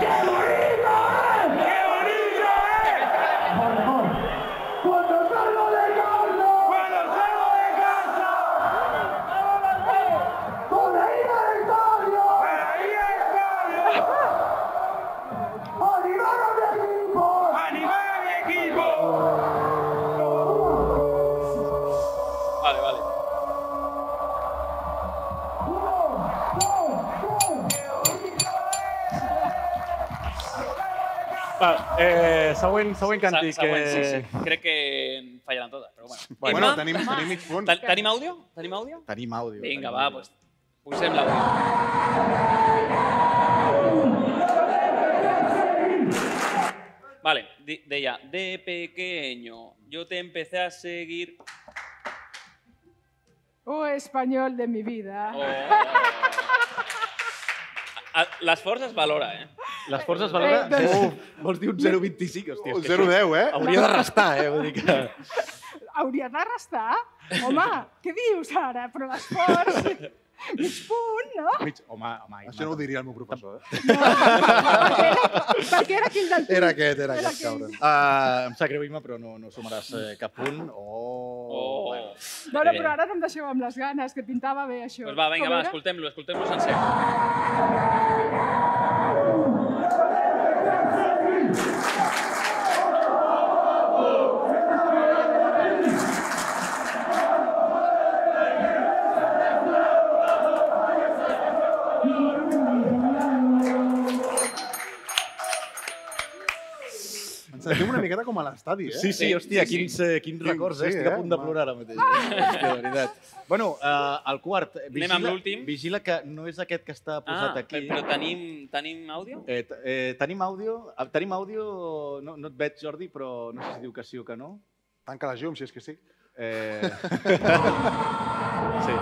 Speaker 3: Vale, vale.
Speaker 2: Va, eh, següent, següent càntic.
Speaker 3: Següent, sí,
Speaker 2: eh,
Speaker 3: sí. Crec que en fallaran totes, però bueno.
Speaker 2: Bueno,
Speaker 3: Imma,
Speaker 2: tenim- tenim mig punt.
Speaker 3: Ten- Tenim àudio? Tenim àudio?
Speaker 2: Tenim àudio.
Speaker 3: Vinga,
Speaker 2: tenim
Speaker 3: va,
Speaker 2: àudio.
Speaker 3: doncs posem l'àudio. Vale, di- deia, de pequeño yo te empecé a seguir.
Speaker 12: Oh, espanyol de mi vida.
Speaker 3: Oh, A- L'esforç es valora, eh?
Speaker 2: L'esforç es valora...
Speaker 12: Eh, doncs-
Speaker 2: Uf, vols dir Oh, un 0,25? Hòstia, és que
Speaker 4: Un 0,10, eh?
Speaker 2: Hauria de restar, eh? Vull dir que... (laughs)
Speaker 12: Hauria de restar? Home, què dius ara? Però l'esforç... Mig punt, no?
Speaker 4: Mig, home, home, Això no ho diria el meu professor, eh?
Speaker 12: Perquè era aquell del...
Speaker 2: Era aquest, era
Speaker 12: Era
Speaker 2: aquest, cabrón. Uh, em sap greu, Imma, però no, no sumaràs eh, cap punt. Oh, oh. Bueno.
Speaker 12: No, no, però ara no em deixeu amb les ganes, que pintava bé això.
Speaker 3: Doncs Pues va, vinga,
Speaker 12: Com
Speaker 3: va,
Speaker 12: era?
Speaker 3: escoltem-lo, escoltem-lo sencer.
Speaker 2: Pues
Speaker 4: Ens sentim una miqueta com a l'estadi, eh?
Speaker 2: Sí, sí, hòstia, quins, eh, quins records, eh? Estic a punt de plorar ara mateix. (laughs) Hòstia, de veritat. Bueno, eh, el quart. eh, Vigila,
Speaker 3: amb l'últim?
Speaker 2: Vigila que no és aquest que està posat
Speaker 3: Ah,
Speaker 2: aquí.
Speaker 3: però tenim, tenim àudio?
Speaker 2: Eh, t- eh, tenim àudio? Eh, Tenim àudio? No, no et veig, Jordi, però no sé si diu que sí o que no.
Speaker 4: Tanca la llum, si és que sí.
Speaker 2: Eh... (laughs) sí.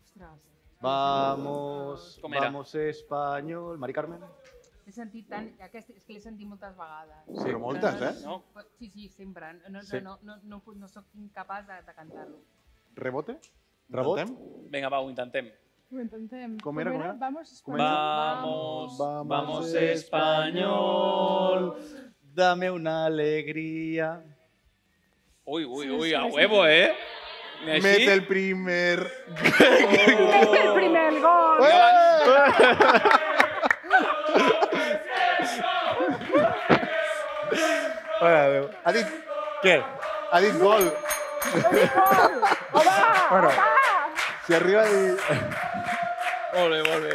Speaker 15: Ostres,
Speaker 2: Vamos,
Speaker 15: Com era?
Speaker 2: vamos español. Mari Carmen?
Speaker 15: L'he sentit tant, aquest, és que l'he sentit moltes vegades.
Speaker 2: Sí, però moltes, eh?
Speaker 15: No, no, sí, sí, sempre. No, no,
Speaker 2: Sí.
Speaker 15: no, no, no, puc- no sóc incapaç de, de cantar-lo.
Speaker 4: Rebote?
Speaker 2: Rebot?
Speaker 3: Vinga, va, ho intentem.
Speaker 12: Ho intentem.
Speaker 4: Com era, com era?
Speaker 12: Vamos,
Speaker 4: Comença.
Speaker 3: Vamos,
Speaker 4: Vamos,
Speaker 3: vamos español.
Speaker 2: Dame una alegría.
Speaker 3: Ui, ui,
Speaker 2: Sí,
Speaker 3: ui,
Speaker 2: sí,
Speaker 3: a
Speaker 2: sí.
Speaker 3: huevo, eh? Ni així?
Speaker 4: Mete el primer...
Speaker 12: Mete el primer gol.
Speaker 4: Mare de Déu. Ha dit...
Speaker 2: Què?
Speaker 4: Ha dit gol.
Speaker 12: Home!
Speaker 4: Bueno, si arriba a dir...
Speaker 3: Molt bé, molt bé.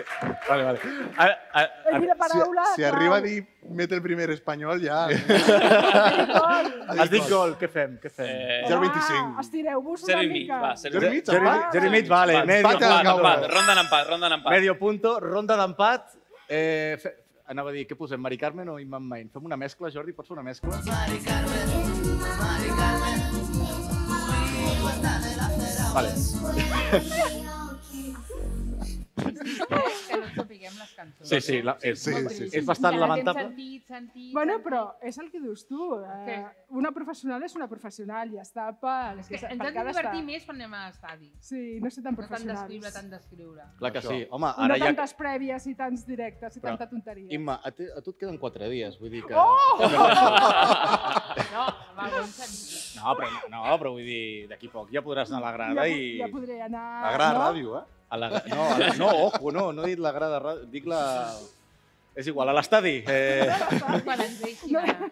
Speaker 2: Vale, vale. Ara, ara,
Speaker 12: Ell la paraula,
Speaker 4: si, si
Speaker 12: clar.
Speaker 4: arriba a dir mete el primer espanyol, ja...
Speaker 2: Ah,
Speaker 4: eh,
Speaker 2: Has dit gol, què fem? Què fem?
Speaker 3: Eh,
Speaker 4: Ja el 25.
Speaker 12: Ah, Estireu-vos una
Speaker 3: Zero i mig,
Speaker 12: mica.
Speaker 3: va, zero
Speaker 2: Jerry
Speaker 3: i mig.
Speaker 2: Mitch, Jerry-
Speaker 3: empat.
Speaker 2: Jerry Mitch, vale,
Speaker 3: Empat,
Speaker 2: medio.
Speaker 3: Empat,
Speaker 2: Cabrón.
Speaker 3: empat, ronda d'empat, ronda d'empat.
Speaker 2: Medio punto, ronda d'empat. Eh, fe... Anava a dir, què posem, Mari Carmen o Imam Main? Fem una mescla, Jordi, pots fer una mescla? Vale.
Speaker 24: Sí, sí, la, és,
Speaker 15: Sí,
Speaker 24: sí,
Speaker 15: sí,
Speaker 24: sí,
Speaker 15: sí.
Speaker 24: és bastant
Speaker 15: Ja la tens
Speaker 24: lamentable.
Speaker 15: Sentit, sentit,
Speaker 12: Bueno,
Speaker 15: sentit.
Speaker 12: però és el que dius tu. Eh, una professional és una professional, ja està. Per,
Speaker 15: És que ens hem de divertir més quan anem a l'estadi.
Speaker 12: Sí, no ser tan
Speaker 15: No
Speaker 12: professionals.
Speaker 15: tant descriure, tant descriure.
Speaker 2: Clar que
Speaker 24: Això.
Speaker 2: sí. Home,
Speaker 12: no
Speaker 2: ara ja...
Speaker 12: tantes prèvies i tants directes i
Speaker 2: Però-
Speaker 12: tanta tonteria.
Speaker 2: Imma, a, te, a tu et queden quatre dies, vull dir que...
Speaker 12: Oh!
Speaker 15: No, va, bon sentit.
Speaker 2: No, però, no, però vull dir, d'aquí poc ja podràs anar a la grada
Speaker 12: ja,
Speaker 2: i...
Speaker 12: pu- ja podré anar...
Speaker 2: La grada
Speaker 12: no?
Speaker 2: ràdio, (laughs) eh? A la, no, a la, no, ojo, no, no he dit la grada ràdio, dic la... És igual, a l'estadi. Eh,
Speaker 15: Quan ens deixin
Speaker 12: (laughs) No,
Speaker 15: anar.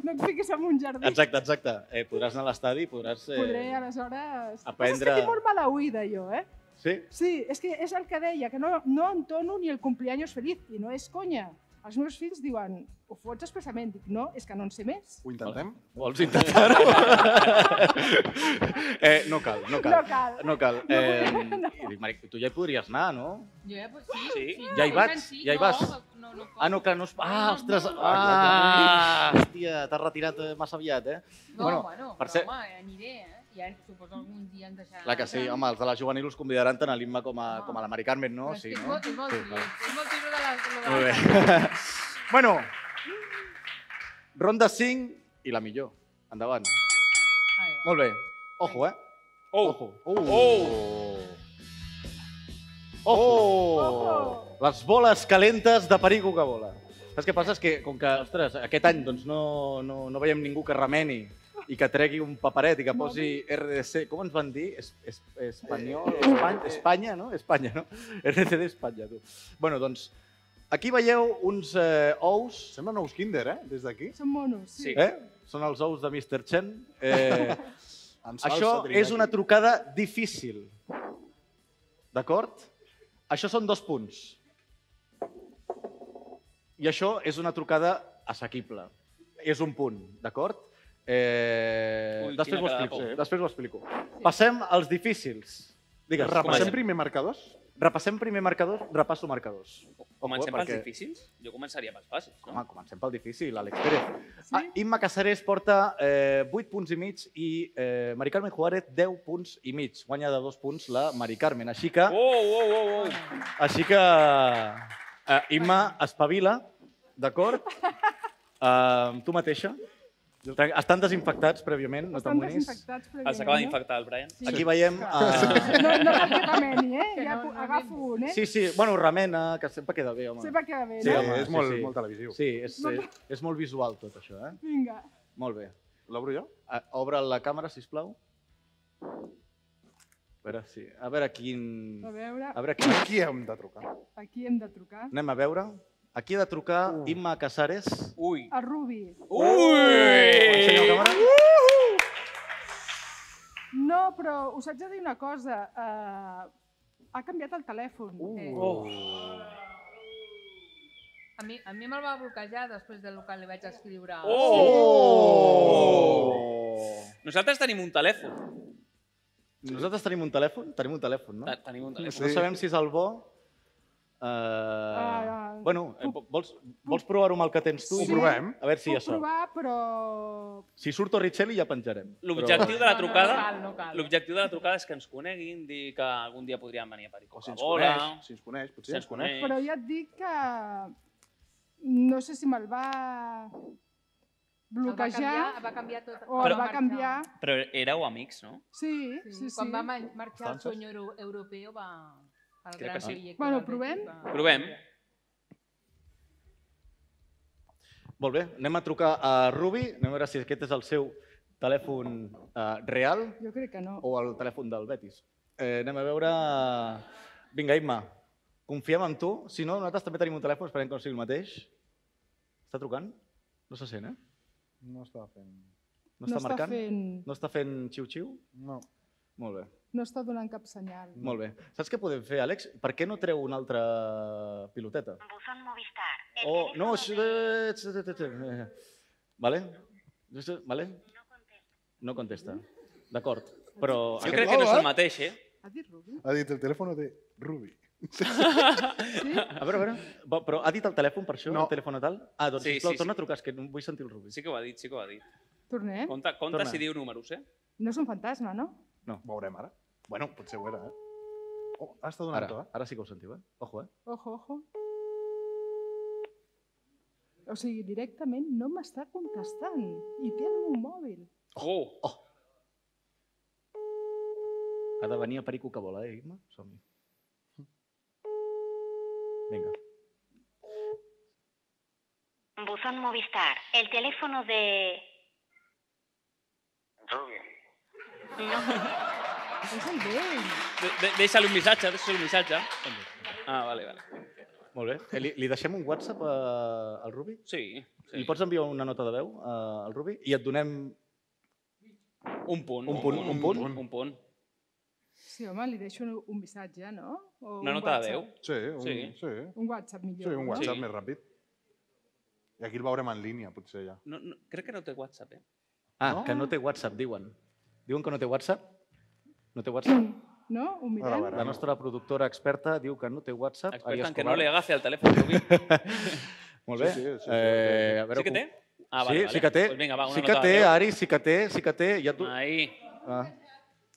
Speaker 12: no et fiquis en un jardí.
Speaker 2: exacte, exacte. Eh, podràs anar a l'estadi, podràs... Eh,
Speaker 12: Podré, aleshores...
Speaker 2: aprendre-
Speaker 12: Però és que tinc molt mala oïda, jo, eh?
Speaker 2: Sí?
Speaker 12: Sí, és que és el que deia, que no, no entono ni el cumpleaños feliz, i no és conya. Els meus fills diuen, ho fots expressament? Dic, no, és que no en sé més.
Speaker 4: Ho intentem?
Speaker 2: Vols intentar-ho? (laughs) eh, no cal, no cal.
Speaker 12: No cal.
Speaker 2: No cal. Eh, i dic, Mari, tu ja hi podries anar, no?
Speaker 15: Jo ja, pues, sí, sí.
Speaker 2: Ja hi
Speaker 15: és
Speaker 2: vaig,
Speaker 15: senzill,
Speaker 2: ja hi vas.
Speaker 15: No, no, no,
Speaker 2: Ah, no, clar, no es... Ah, ostres!
Speaker 15: no, no.
Speaker 2: Ah, hòstia, t'has retirat eh, massa aviat, eh?
Speaker 15: no, bueno, bueno però,
Speaker 2: per ser...
Speaker 15: home, aniré, eh? Ja, suposo algun dia ens deixaran.
Speaker 2: Clar que sí, home, els de la juvenil us convidaran tant a l'Imma com a, com a la Mari Carmen, no?
Speaker 15: Però és
Speaker 2: Sí,
Speaker 15: que és
Speaker 2: no?
Speaker 15: molt- és molt trist,
Speaker 2: clar.
Speaker 15: és molt trist lo de les- lo de
Speaker 2: Molt
Speaker 15: les-
Speaker 2: bé. (laughs) bueno, ronda 5 i la millor. Endavant. Molt bé. Ojo, eh? Ojo. Oh.
Speaker 24: Oh!
Speaker 2: Les boles calentes de Perico que vola. Saps què passa? És que, com que, ostres, aquest any doncs, no, no, no veiem ningú que remeni i que tregui un paperet i que posi RDC... Com ens van dir? Es, es, espanyol? Espanya, Espanya, no? Espanya, no? RDC d'Espanya, tu. Bueno, doncs, aquí veieu uns eh, ous... Semblen ous kinder, eh? Des d'aquí.
Speaker 12: Són monos, sí.
Speaker 2: Eh? Són els ous de Mr. Chen. (laughs) Eh,
Speaker 4: Amb salsa
Speaker 2: això
Speaker 4: trinaki.
Speaker 2: és una trucada difícil. D'acord? Això són dos punts. I això és una trucada assequible. És un punt, d'acord? Eh,
Speaker 4: Ui,
Speaker 2: després,
Speaker 4: quina
Speaker 2: ho
Speaker 4: cara de
Speaker 2: explico,
Speaker 4: por.
Speaker 2: després ho explico. Passem als difícils. Digues,
Speaker 4: Repassem
Speaker 2: comencem.
Speaker 4: primer marcadors?
Speaker 2: Repassem primer marcadors, repasso marcadors.
Speaker 3: Comencem
Speaker 2: Ojo, eh,
Speaker 3: pels difícils? Jo començaria pels fàcils, no?
Speaker 2: Home, comencem pel difícil, Àlex Pérez. Sí? Ah, Imma Caceres porta eh, 8 punts i mig i eh, Mari Carmen Juárez 10 punts i mig. Guanya de dos punts la Mari Carmen. Així que,
Speaker 3: Oh, oh, oh, oh.
Speaker 2: així que eh, Imma, espavila, d'acord? Eh, tu mateixa. Tran- Estan desinfectats prèviament, no
Speaker 12: Estan
Speaker 2: t'amoïnis. Ah,
Speaker 12: desinfectats, però...
Speaker 3: Es Ah, acaba d'infectar el Brian.
Speaker 12: Sí.
Speaker 2: Aquí veiem... Eh,
Speaker 12: No, no cal que remeni, eh? Ja no, agafo un, eh?
Speaker 2: Sí, sí, bueno, remena, que sempre queda bé, home.
Speaker 12: Sempre queda bé,
Speaker 2: Sí,
Speaker 12: no?
Speaker 2: home,
Speaker 4: és molt- molt televisiu.
Speaker 2: Sí, és,
Speaker 12: No-
Speaker 2: eh, és molt visual tot això, eh?
Speaker 12: Vinga.
Speaker 2: Molt bé. L'obro jo? Obre la càmera, si plau. A veure, si... a veure quin...
Speaker 12: A
Speaker 2: Mm.
Speaker 12: veure.
Speaker 2: A veure quin...
Speaker 4: Qui hem de trucar?
Speaker 12: Aquí hem de trucar.
Speaker 2: Anem a veure. Aquí ha de trucar uh. Imma Casares.
Speaker 3: Ui!
Speaker 12: A Rubi.
Speaker 2: Ui!
Speaker 12: No, però us haig de dir una cosa. Uh, ha canviat el telèfon.
Speaker 2: Uh.
Speaker 15: Eh.
Speaker 2: Oh.
Speaker 15: A mi, a mi me'l va bloquejar després del que li vaig escriure.
Speaker 2: Oh!
Speaker 3: Oh! Nosaltres tenim un telèfon.
Speaker 2: Nosaltres tenim un telèfon? Tenim un telèfon, no?
Speaker 3: Te- tenim un telèfon.
Speaker 2: No
Speaker 3: Eh, Sí.
Speaker 2: sabem si és el bo. Uh...
Speaker 12: Ah,
Speaker 2: bueno, eh, vo- vols, vols provar-ho amb el que tens tu?
Speaker 12: Sí.
Speaker 2: i-
Speaker 12: Ho provem.
Speaker 2: A veure si
Speaker 12: Puc
Speaker 2: ja sort.
Speaker 12: provar, però...
Speaker 2: Si surt Torricelli ja penjarem.
Speaker 3: L'objectiu de la trucada...
Speaker 15: No, no cal, no cal.
Speaker 3: L'objectiu de la trucada és que ens coneguin, dir que algun dia podríem venir a Perico.
Speaker 4: O si ens
Speaker 3: Hola.
Speaker 4: coneix, si ens coneix, potser
Speaker 3: Si
Speaker 4: ens coneix.
Speaker 12: Però ja et dic que... No sé si me'l va bloquejar
Speaker 15: El va canviar, va canviar tot.
Speaker 12: o el va canviar.
Speaker 3: Però éreu amics, no?
Speaker 12: Sí, sí, sí.
Speaker 15: Quan va man- marxar el
Speaker 3: Frances?
Speaker 15: sueño euro- europeu va... El
Speaker 3: Crec
Speaker 15: gran
Speaker 3: que sí.
Speaker 15: rei que
Speaker 12: Bueno,
Speaker 15: va-
Speaker 12: provem?
Speaker 15: va-
Speaker 3: Provem.
Speaker 2: Molt bé, anem a trucar a Rubi, anem a veure si aquest és el seu telèfon eh, real
Speaker 12: Jo crec que no.
Speaker 2: o el telèfon del Betis. Eh, anem a veure... Vinga, Imma, confiem en tu. Si no, nosaltres també tenim un telèfon, esperem que no sigui el mateix. Està trucant? No se sent, eh?
Speaker 4: No està fent...
Speaker 2: No, està, marcant?
Speaker 12: Fent,
Speaker 2: No està fent xiu-xiu?
Speaker 4: No.
Speaker 2: Molt bé,
Speaker 12: no està donant cap senyal.
Speaker 2: molt bé. Saps què podem fer, Àlex? Per què no treu una altra piloteta?
Speaker 13: Buzón Movistar. El
Speaker 2: Oh,
Speaker 13: teléfono
Speaker 2: no,
Speaker 13: de-
Speaker 2: això... eh, eh, eh, eh, eh, eh. Vale? Això- Vale? No contesta. D'acord, però...
Speaker 3: Jo crec que no és el mateix, eh?
Speaker 4: Ha dit el telèfon de Rubi.
Speaker 2: A veure, a veure, bo- però ha dit el telèfon per això, no. el telèfon tal? Ah, doncs,
Speaker 3: Sí,
Speaker 2: sí, sisplau,
Speaker 3: sí, sí.
Speaker 2: sí, torna a trucar, és que no vull sentir el Rubi.
Speaker 3: Sí que ho ha dit, sí que ho ha dit.
Speaker 12: Eh? Tornem?
Speaker 3: Compte, compte
Speaker 2: Torna.
Speaker 3: si diu números, eh?
Speaker 12: No és un fantasma, no?
Speaker 2: No.
Speaker 4: Veurem ara. Bueno, potser ho era, eh? Oh, ha estat donant
Speaker 2: Ara,
Speaker 4: to, eh?
Speaker 2: ara sí que ho sentiu, eh? Ojo, eh?
Speaker 12: Ojo, ojo. O sigui, directament no m'està contestant i té el meu mòbil.
Speaker 3: Oh!
Speaker 2: oh. Ha de venir a Perico que vola, eh, Imma? Som-hi. Vinga.
Speaker 13: Buzón Movistar. El teléfono de...
Speaker 25: Rubio.
Speaker 12: És el vell.
Speaker 3: De, de, deixa-li un missatge, deixa-li un missatge. Ah, vale, vale.
Speaker 2: Molt bé. Eh, Li, li deixem un WhatsApp eh, al Rubi?
Speaker 3: Sí,
Speaker 2: sí. Li pots enviar una nota de veu eh, al Rubi i et donem...
Speaker 3: Un punt.
Speaker 2: Un punt, un punt.
Speaker 3: Un punt.
Speaker 12: Sí, home, li deixo un, un missatge, no? O
Speaker 3: Una
Speaker 12: un
Speaker 3: nota de veu?
Speaker 12: WhatsApp.
Speaker 4: eh? Sí, un, sí.
Speaker 3: Sí.
Speaker 4: sí.
Speaker 12: Un WhatsApp millor.
Speaker 4: Sí, un
Speaker 12: no?
Speaker 4: WhatsApp sí. més ràpid. I aquí el veurem en línia, potser ja.
Speaker 3: No, no, crec que no té WhatsApp, eh?
Speaker 2: Ah,
Speaker 4: No.
Speaker 2: no. que no té WhatsApp, diuen. Diuen que no té WhatsApp? No té WhatsApp?
Speaker 12: No? Ho mirem?
Speaker 2: La nostra productora experta diu que no té WhatsApp. Ària
Speaker 3: Experta en que no
Speaker 2: Escobar.
Speaker 3: le agafe al telèfon, Rubí.
Speaker 2: Molt bé.
Speaker 3: Sí, sí, sí, sí.
Speaker 2: eh, a veure,
Speaker 3: Sí que té? Ah,
Speaker 2: Ah,
Speaker 3: vale,
Speaker 2: vale, sí,
Speaker 3: vale.
Speaker 2: sí que té.
Speaker 3: Pues vinga, va, una
Speaker 2: sí que
Speaker 3: nota de
Speaker 2: té,
Speaker 3: veu.
Speaker 2: Ari, sí que té, sí que té. Ja tu...
Speaker 3: Ahí.
Speaker 2: Ah,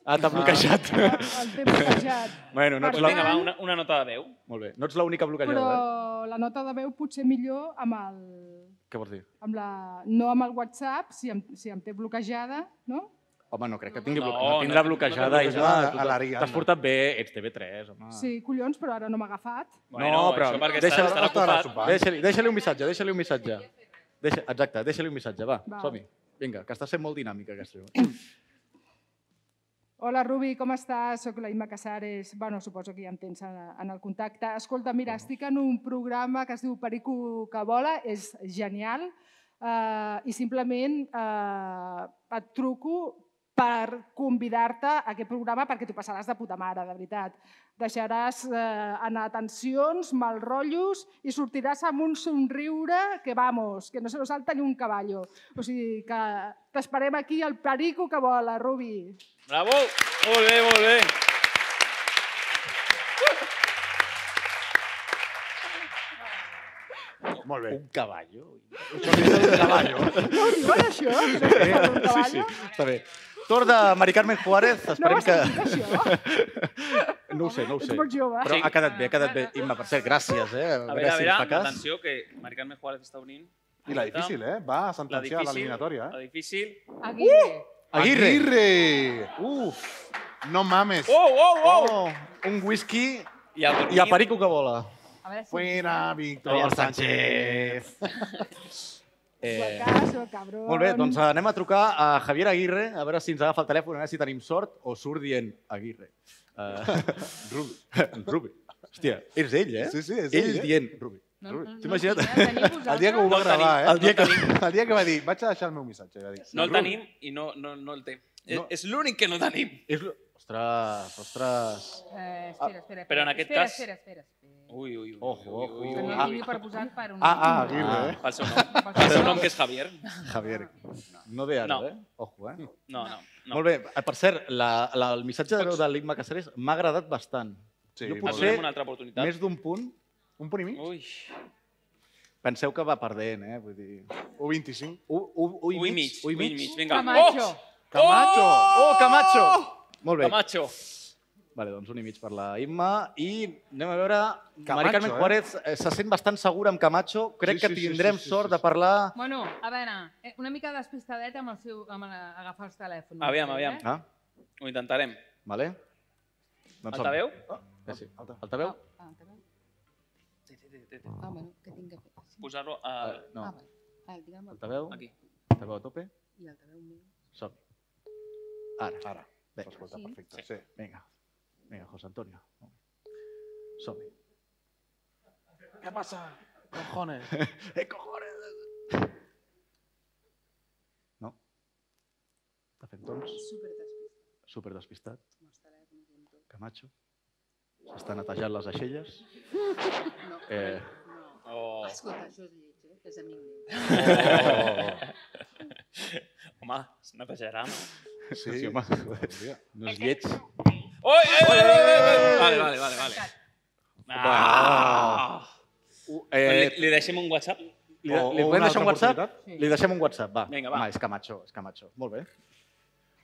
Speaker 2: ah t'ha bloquejat.
Speaker 12: El té
Speaker 3: (laughs)
Speaker 12: bloquejat.
Speaker 2: (laughs) bueno, no ets
Speaker 12: Per
Speaker 2: la...
Speaker 12: tant- Vinga, va,
Speaker 3: Pues Una, una nota de veu.
Speaker 2: Molt bé. No ets l'única bloquejada,
Speaker 12: Però
Speaker 2: eh?
Speaker 12: la nota de veu potser millor amb el,
Speaker 2: Què vols dir?
Speaker 12: amb la, no amb el WhatsApp, si em, si em té bloquejada, no?
Speaker 2: Home, no crec que tingui
Speaker 3: No,
Speaker 2: bloquejada.
Speaker 3: no,
Speaker 2: No, tindrà
Speaker 3: no,
Speaker 2: bloquejada.
Speaker 4: no,
Speaker 2: No,
Speaker 4: no,
Speaker 2: no,
Speaker 4: no, a l'Ariadna.
Speaker 2: T'has portat bé, ets TV3, este
Speaker 3: Ah.
Speaker 2: home.
Speaker 12: Sí, collons, però ara no m'ha agafat.
Speaker 3: Bueno,
Speaker 2: no, però
Speaker 3: això perquè
Speaker 2: deixa,
Speaker 3: estarà- estarà
Speaker 2: deixa-li
Speaker 3: ocupat.
Speaker 2: deixa deixa-li un missatge, deixa-li un missatge. Deixa, exacte, deixa-li un missatge, va,
Speaker 12: Va.
Speaker 2: som-hi. Vinga, que està sent molt dinàmica aquesta. eh?
Speaker 12: Hola, Rubi, com estàs? Soc la Imma Casares. Bueno, suposo que ja em tens en, en el contacte. Escolta, mira, estic en un programa que es diu Perico que vola, és genial, eh, i simplement eh, et truco per convidar-te a aquest programa perquè t'ho passaràs de puta mare, de veritat. Deixaràs eh, anar tensions, mal rotllos i sortiràs amb un somriure que, vamos, que no se lo salta ni un caballo. O sigui que t'esperem aquí al Perico que vola, Rubi.
Speaker 3: Bravo! Molt bé, molt bé.
Speaker 4: Molt bé.
Speaker 2: Un cavallo?
Speaker 4: Un cavallo.
Speaker 12: No, no era això? Això que fa un
Speaker 2: (laughs) Sí,
Speaker 12: cavall?
Speaker 2: sí, està bé. Torn de Mari Carmen Juárez, esperem
Speaker 12: vas sentir
Speaker 2: que... No ho sé, no ho sé.
Speaker 12: Ets molt jove.
Speaker 2: Però
Speaker 12: Sí.
Speaker 2: ha quedat bé, ha quedat bé. Imma, per cert, gràcies, eh?
Speaker 3: A veure, a
Speaker 2: Gràcies,
Speaker 3: veure,
Speaker 2: fa cas.
Speaker 3: atenció, que Mari Carmen Juárez està unint.
Speaker 4: I la difícil, eh? Va a
Speaker 3: La
Speaker 4: sentenciar
Speaker 3: difícil,
Speaker 4: l'eliminatòria, eh?
Speaker 3: la difícil.
Speaker 12: Aguirre.
Speaker 2: Aguirre.
Speaker 4: Aguirre! Uf! No mames.
Speaker 3: Oh, oh, oh!
Speaker 2: Un whisky
Speaker 3: I a,
Speaker 2: i a Perico que vola.
Speaker 12: A veure si...
Speaker 4: Fuera, Víctor
Speaker 2: Ariel
Speaker 4: Sánchez.
Speaker 2: Eh,
Speaker 12: Suacaso, cabrón.
Speaker 2: molt bé, doncs anem a trucar a Javier Aguirre, a veure si ens agafa el telèfon, a veure si tenim sort o surt dient Aguirre. Uh, Rubi. (laughs) Rubi. Hòstia, és ell, eh?
Speaker 4: Sí, sí, és
Speaker 2: ell.
Speaker 4: ell, eh?
Speaker 2: dient Rubi.
Speaker 15: No, no, no,
Speaker 2: T'imagina't?
Speaker 4: El dia que ho va
Speaker 3: No el
Speaker 4: gravar, eh?
Speaker 2: El dia que...
Speaker 4: (laughs) El dia que va dir, vaig a deixar el meu missatge. Va dir,
Speaker 3: No el
Speaker 4: "Rubi".
Speaker 3: tenim i no, no, no el té.
Speaker 2: No.
Speaker 3: No. És l'únic que no tenim.
Speaker 2: És... lo- Ostres, ostres...
Speaker 15: Eh, espera, espera,
Speaker 3: Ah, Però en aquest
Speaker 15: espera,
Speaker 3: cas- Uh,
Speaker 15: Espera, espera, espera.
Speaker 3: Ui, ui, ui.
Speaker 2: Ojo,
Speaker 3: ui, ui,
Speaker 15: Que
Speaker 3: ui.
Speaker 15: no
Speaker 2: Ah.
Speaker 15: tingui per posar per un...
Speaker 2: Ah, ah,
Speaker 15: número.
Speaker 2: Aguirre, eh?
Speaker 3: Pel seu nom. Pel seu nom, que és Javier.
Speaker 2: Javier. No de ara,
Speaker 3: No.
Speaker 2: eh? Ojo, eh?
Speaker 3: No, no. no.
Speaker 2: Molt bé, eh, per cert, la, la, el missatge de veu de l'Igma Caceres m'ha agradat bastant.
Speaker 4: Sí,
Speaker 2: jo
Speaker 4: molt
Speaker 3: Et
Speaker 2: potser
Speaker 3: donem una altra oportunitat.
Speaker 2: més d'un punt,
Speaker 4: Un punt i mig?
Speaker 3: Ui.
Speaker 2: penseu que va perdent, eh? Vull dir...
Speaker 4: O 25?
Speaker 2: U, u, u,
Speaker 3: Ui, mig. Ui, mig. mig. Vinga.
Speaker 15: Camacho.
Speaker 4: Camacho!
Speaker 2: Oh, Camacho! Molt
Speaker 3: Oh!
Speaker 2: bé.
Speaker 3: Camacho.
Speaker 2: Vale, doncs un i mig per la Imma. I anem a veure...
Speaker 4: Camacho,
Speaker 2: Mari Carmen
Speaker 4: eh?
Speaker 2: Juárez eh? se sent bastant segura amb Camacho. Crec
Speaker 4: Sí,
Speaker 2: que
Speaker 4: sí, sí,
Speaker 2: tindrem
Speaker 4: sí, sí,
Speaker 2: sort
Speaker 4: sí,
Speaker 2: de parlar...
Speaker 15: Bueno, a veure, eh, una mica despistadeta amb, el seu, amb la- agafar els telèfons.
Speaker 3: Aviam, aviam.
Speaker 15: Eh?
Speaker 2: Ah,
Speaker 3: Ho intentarem.
Speaker 2: vale. Doncs som-hi.
Speaker 3: Altaveu?
Speaker 2: Eh, sí. Altaveu?
Speaker 15: Ah, també. Ah, bueno, que tinc que fer. Sí.
Speaker 3: Posar-lo a...
Speaker 2: Ah, no.
Speaker 15: Ah, vale. Ah, digue'm,
Speaker 2: Altaveu?
Speaker 3: Aquí.
Speaker 2: Altaveu a tope?
Speaker 15: i el teu meu.
Speaker 2: som -hi. Ara.
Speaker 4: Ara.
Speaker 2: Bé,
Speaker 4: Escolta,
Speaker 15: Sí.
Speaker 4: perfecte. Sí.
Speaker 2: vinga. Vinga, José Antonio. som -hi.
Speaker 4: Què passa? Cojones.
Speaker 2: (laughs) ¡Eh, cojones! No. De fet, doncs,
Speaker 15: Super
Speaker 2: super despistat.
Speaker 15: despistat. amb els telèfons i amb tot.
Speaker 2: Camacho. S'està netejant les aixelles.
Speaker 15: No,
Speaker 2: Eh.
Speaker 15: no.
Speaker 3: Oh.
Speaker 15: Escolta, això és lleig, eh? És amic meu.
Speaker 3: Home, es netejarà. no?
Speaker 2: Sí, sí home. No és lleig.
Speaker 3: Oi, oi, oi, oi, oi, oi. Vale, vale, vale. vale. Ah.
Speaker 2: Eh,
Speaker 3: Li, li deixem un WhatsApp?
Speaker 2: li,
Speaker 4: O-
Speaker 2: li podem
Speaker 4: o una
Speaker 2: deixar un
Speaker 4: altra
Speaker 2: WhatsApp?
Speaker 4: oportunitat?
Speaker 2: Li deixem un WhatsApp, va.
Speaker 3: Vinga, va.
Speaker 2: Home, és Camacho, és Camacho. Molt bé.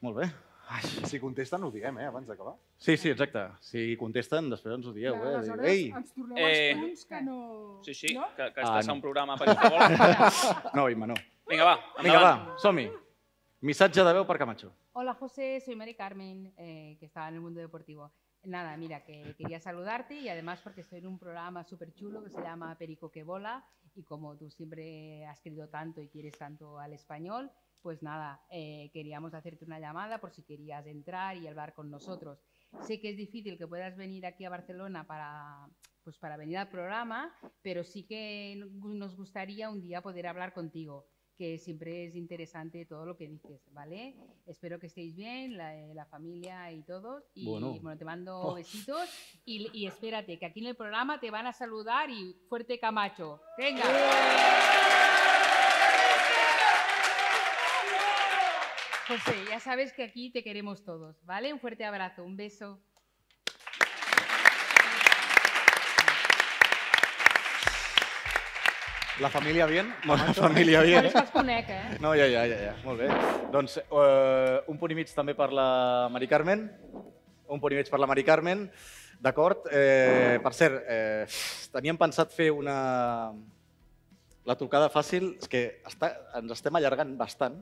Speaker 2: Molt bé.
Speaker 4: Ai. Si contesten, ho diem, eh, abans d'acabar.
Speaker 2: Sí, sí, exacte. Si contesten, després ens ho dieu.
Speaker 12: Clar,
Speaker 2: Eh?
Speaker 12: aleshores
Speaker 2: Ei!
Speaker 12: ens torneu els Eh, punts que no...
Speaker 3: Sí, sí, no? que, que
Speaker 2: Ah,
Speaker 3: estàs
Speaker 2: no.
Speaker 3: a un programa per si vol.
Speaker 2: No, Imma, no.
Speaker 3: Vinga, va,
Speaker 2: (laughs) Vinga,
Speaker 3: endavant.
Speaker 2: va, som-hi. Missatge de veu per Camacho.
Speaker 15: Hola José, soy Mari Carmen, eh, que estaba en el mundo deportivo. Nada, mira, que quería saludarte y además porque estoy en un programa súper chulo que se llama Perico que Bola y como tú siempre has querido tanto y quieres tanto al español, pues nada, eh, queríamos hacerte una llamada por si querías entrar y hablar con nosotros. Sé que es difícil que puedas venir aquí a Barcelona para, pues para venir al programa, pero sí que nos gustaría un día poder hablar contigo, que siempre es interesante todo lo que dices, ¿vale? Espero que estéis bien, la, eh, la familia y todos. Y
Speaker 2: Bueno.
Speaker 15: bueno, te mando
Speaker 2: Oh.
Speaker 15: besitos y, y espérate, que aquí en el programa te van a saludar y fuerte Camacho. Venga. José, ya sabes que aquí te queremos todos, ¿vale? Un fuerte abrazo, un beso.
Speaker 4: La família bien?
Speaker 2: Bueno, família bien.
Speaker 15: Només els conec,
Speaker 2: (laughs)
Speaker 15: eh?
Speaker 2: No, ja, ja, ja, ja. Molt bé. Doncs eh, un punt i mig també per la Mari Carmen. Un punt i mig per la Mari Carmen. D'acord. Eh, per cert, eh, teníem pensat fer una... La trucada fàcil és que està, ens estem allargant bastant.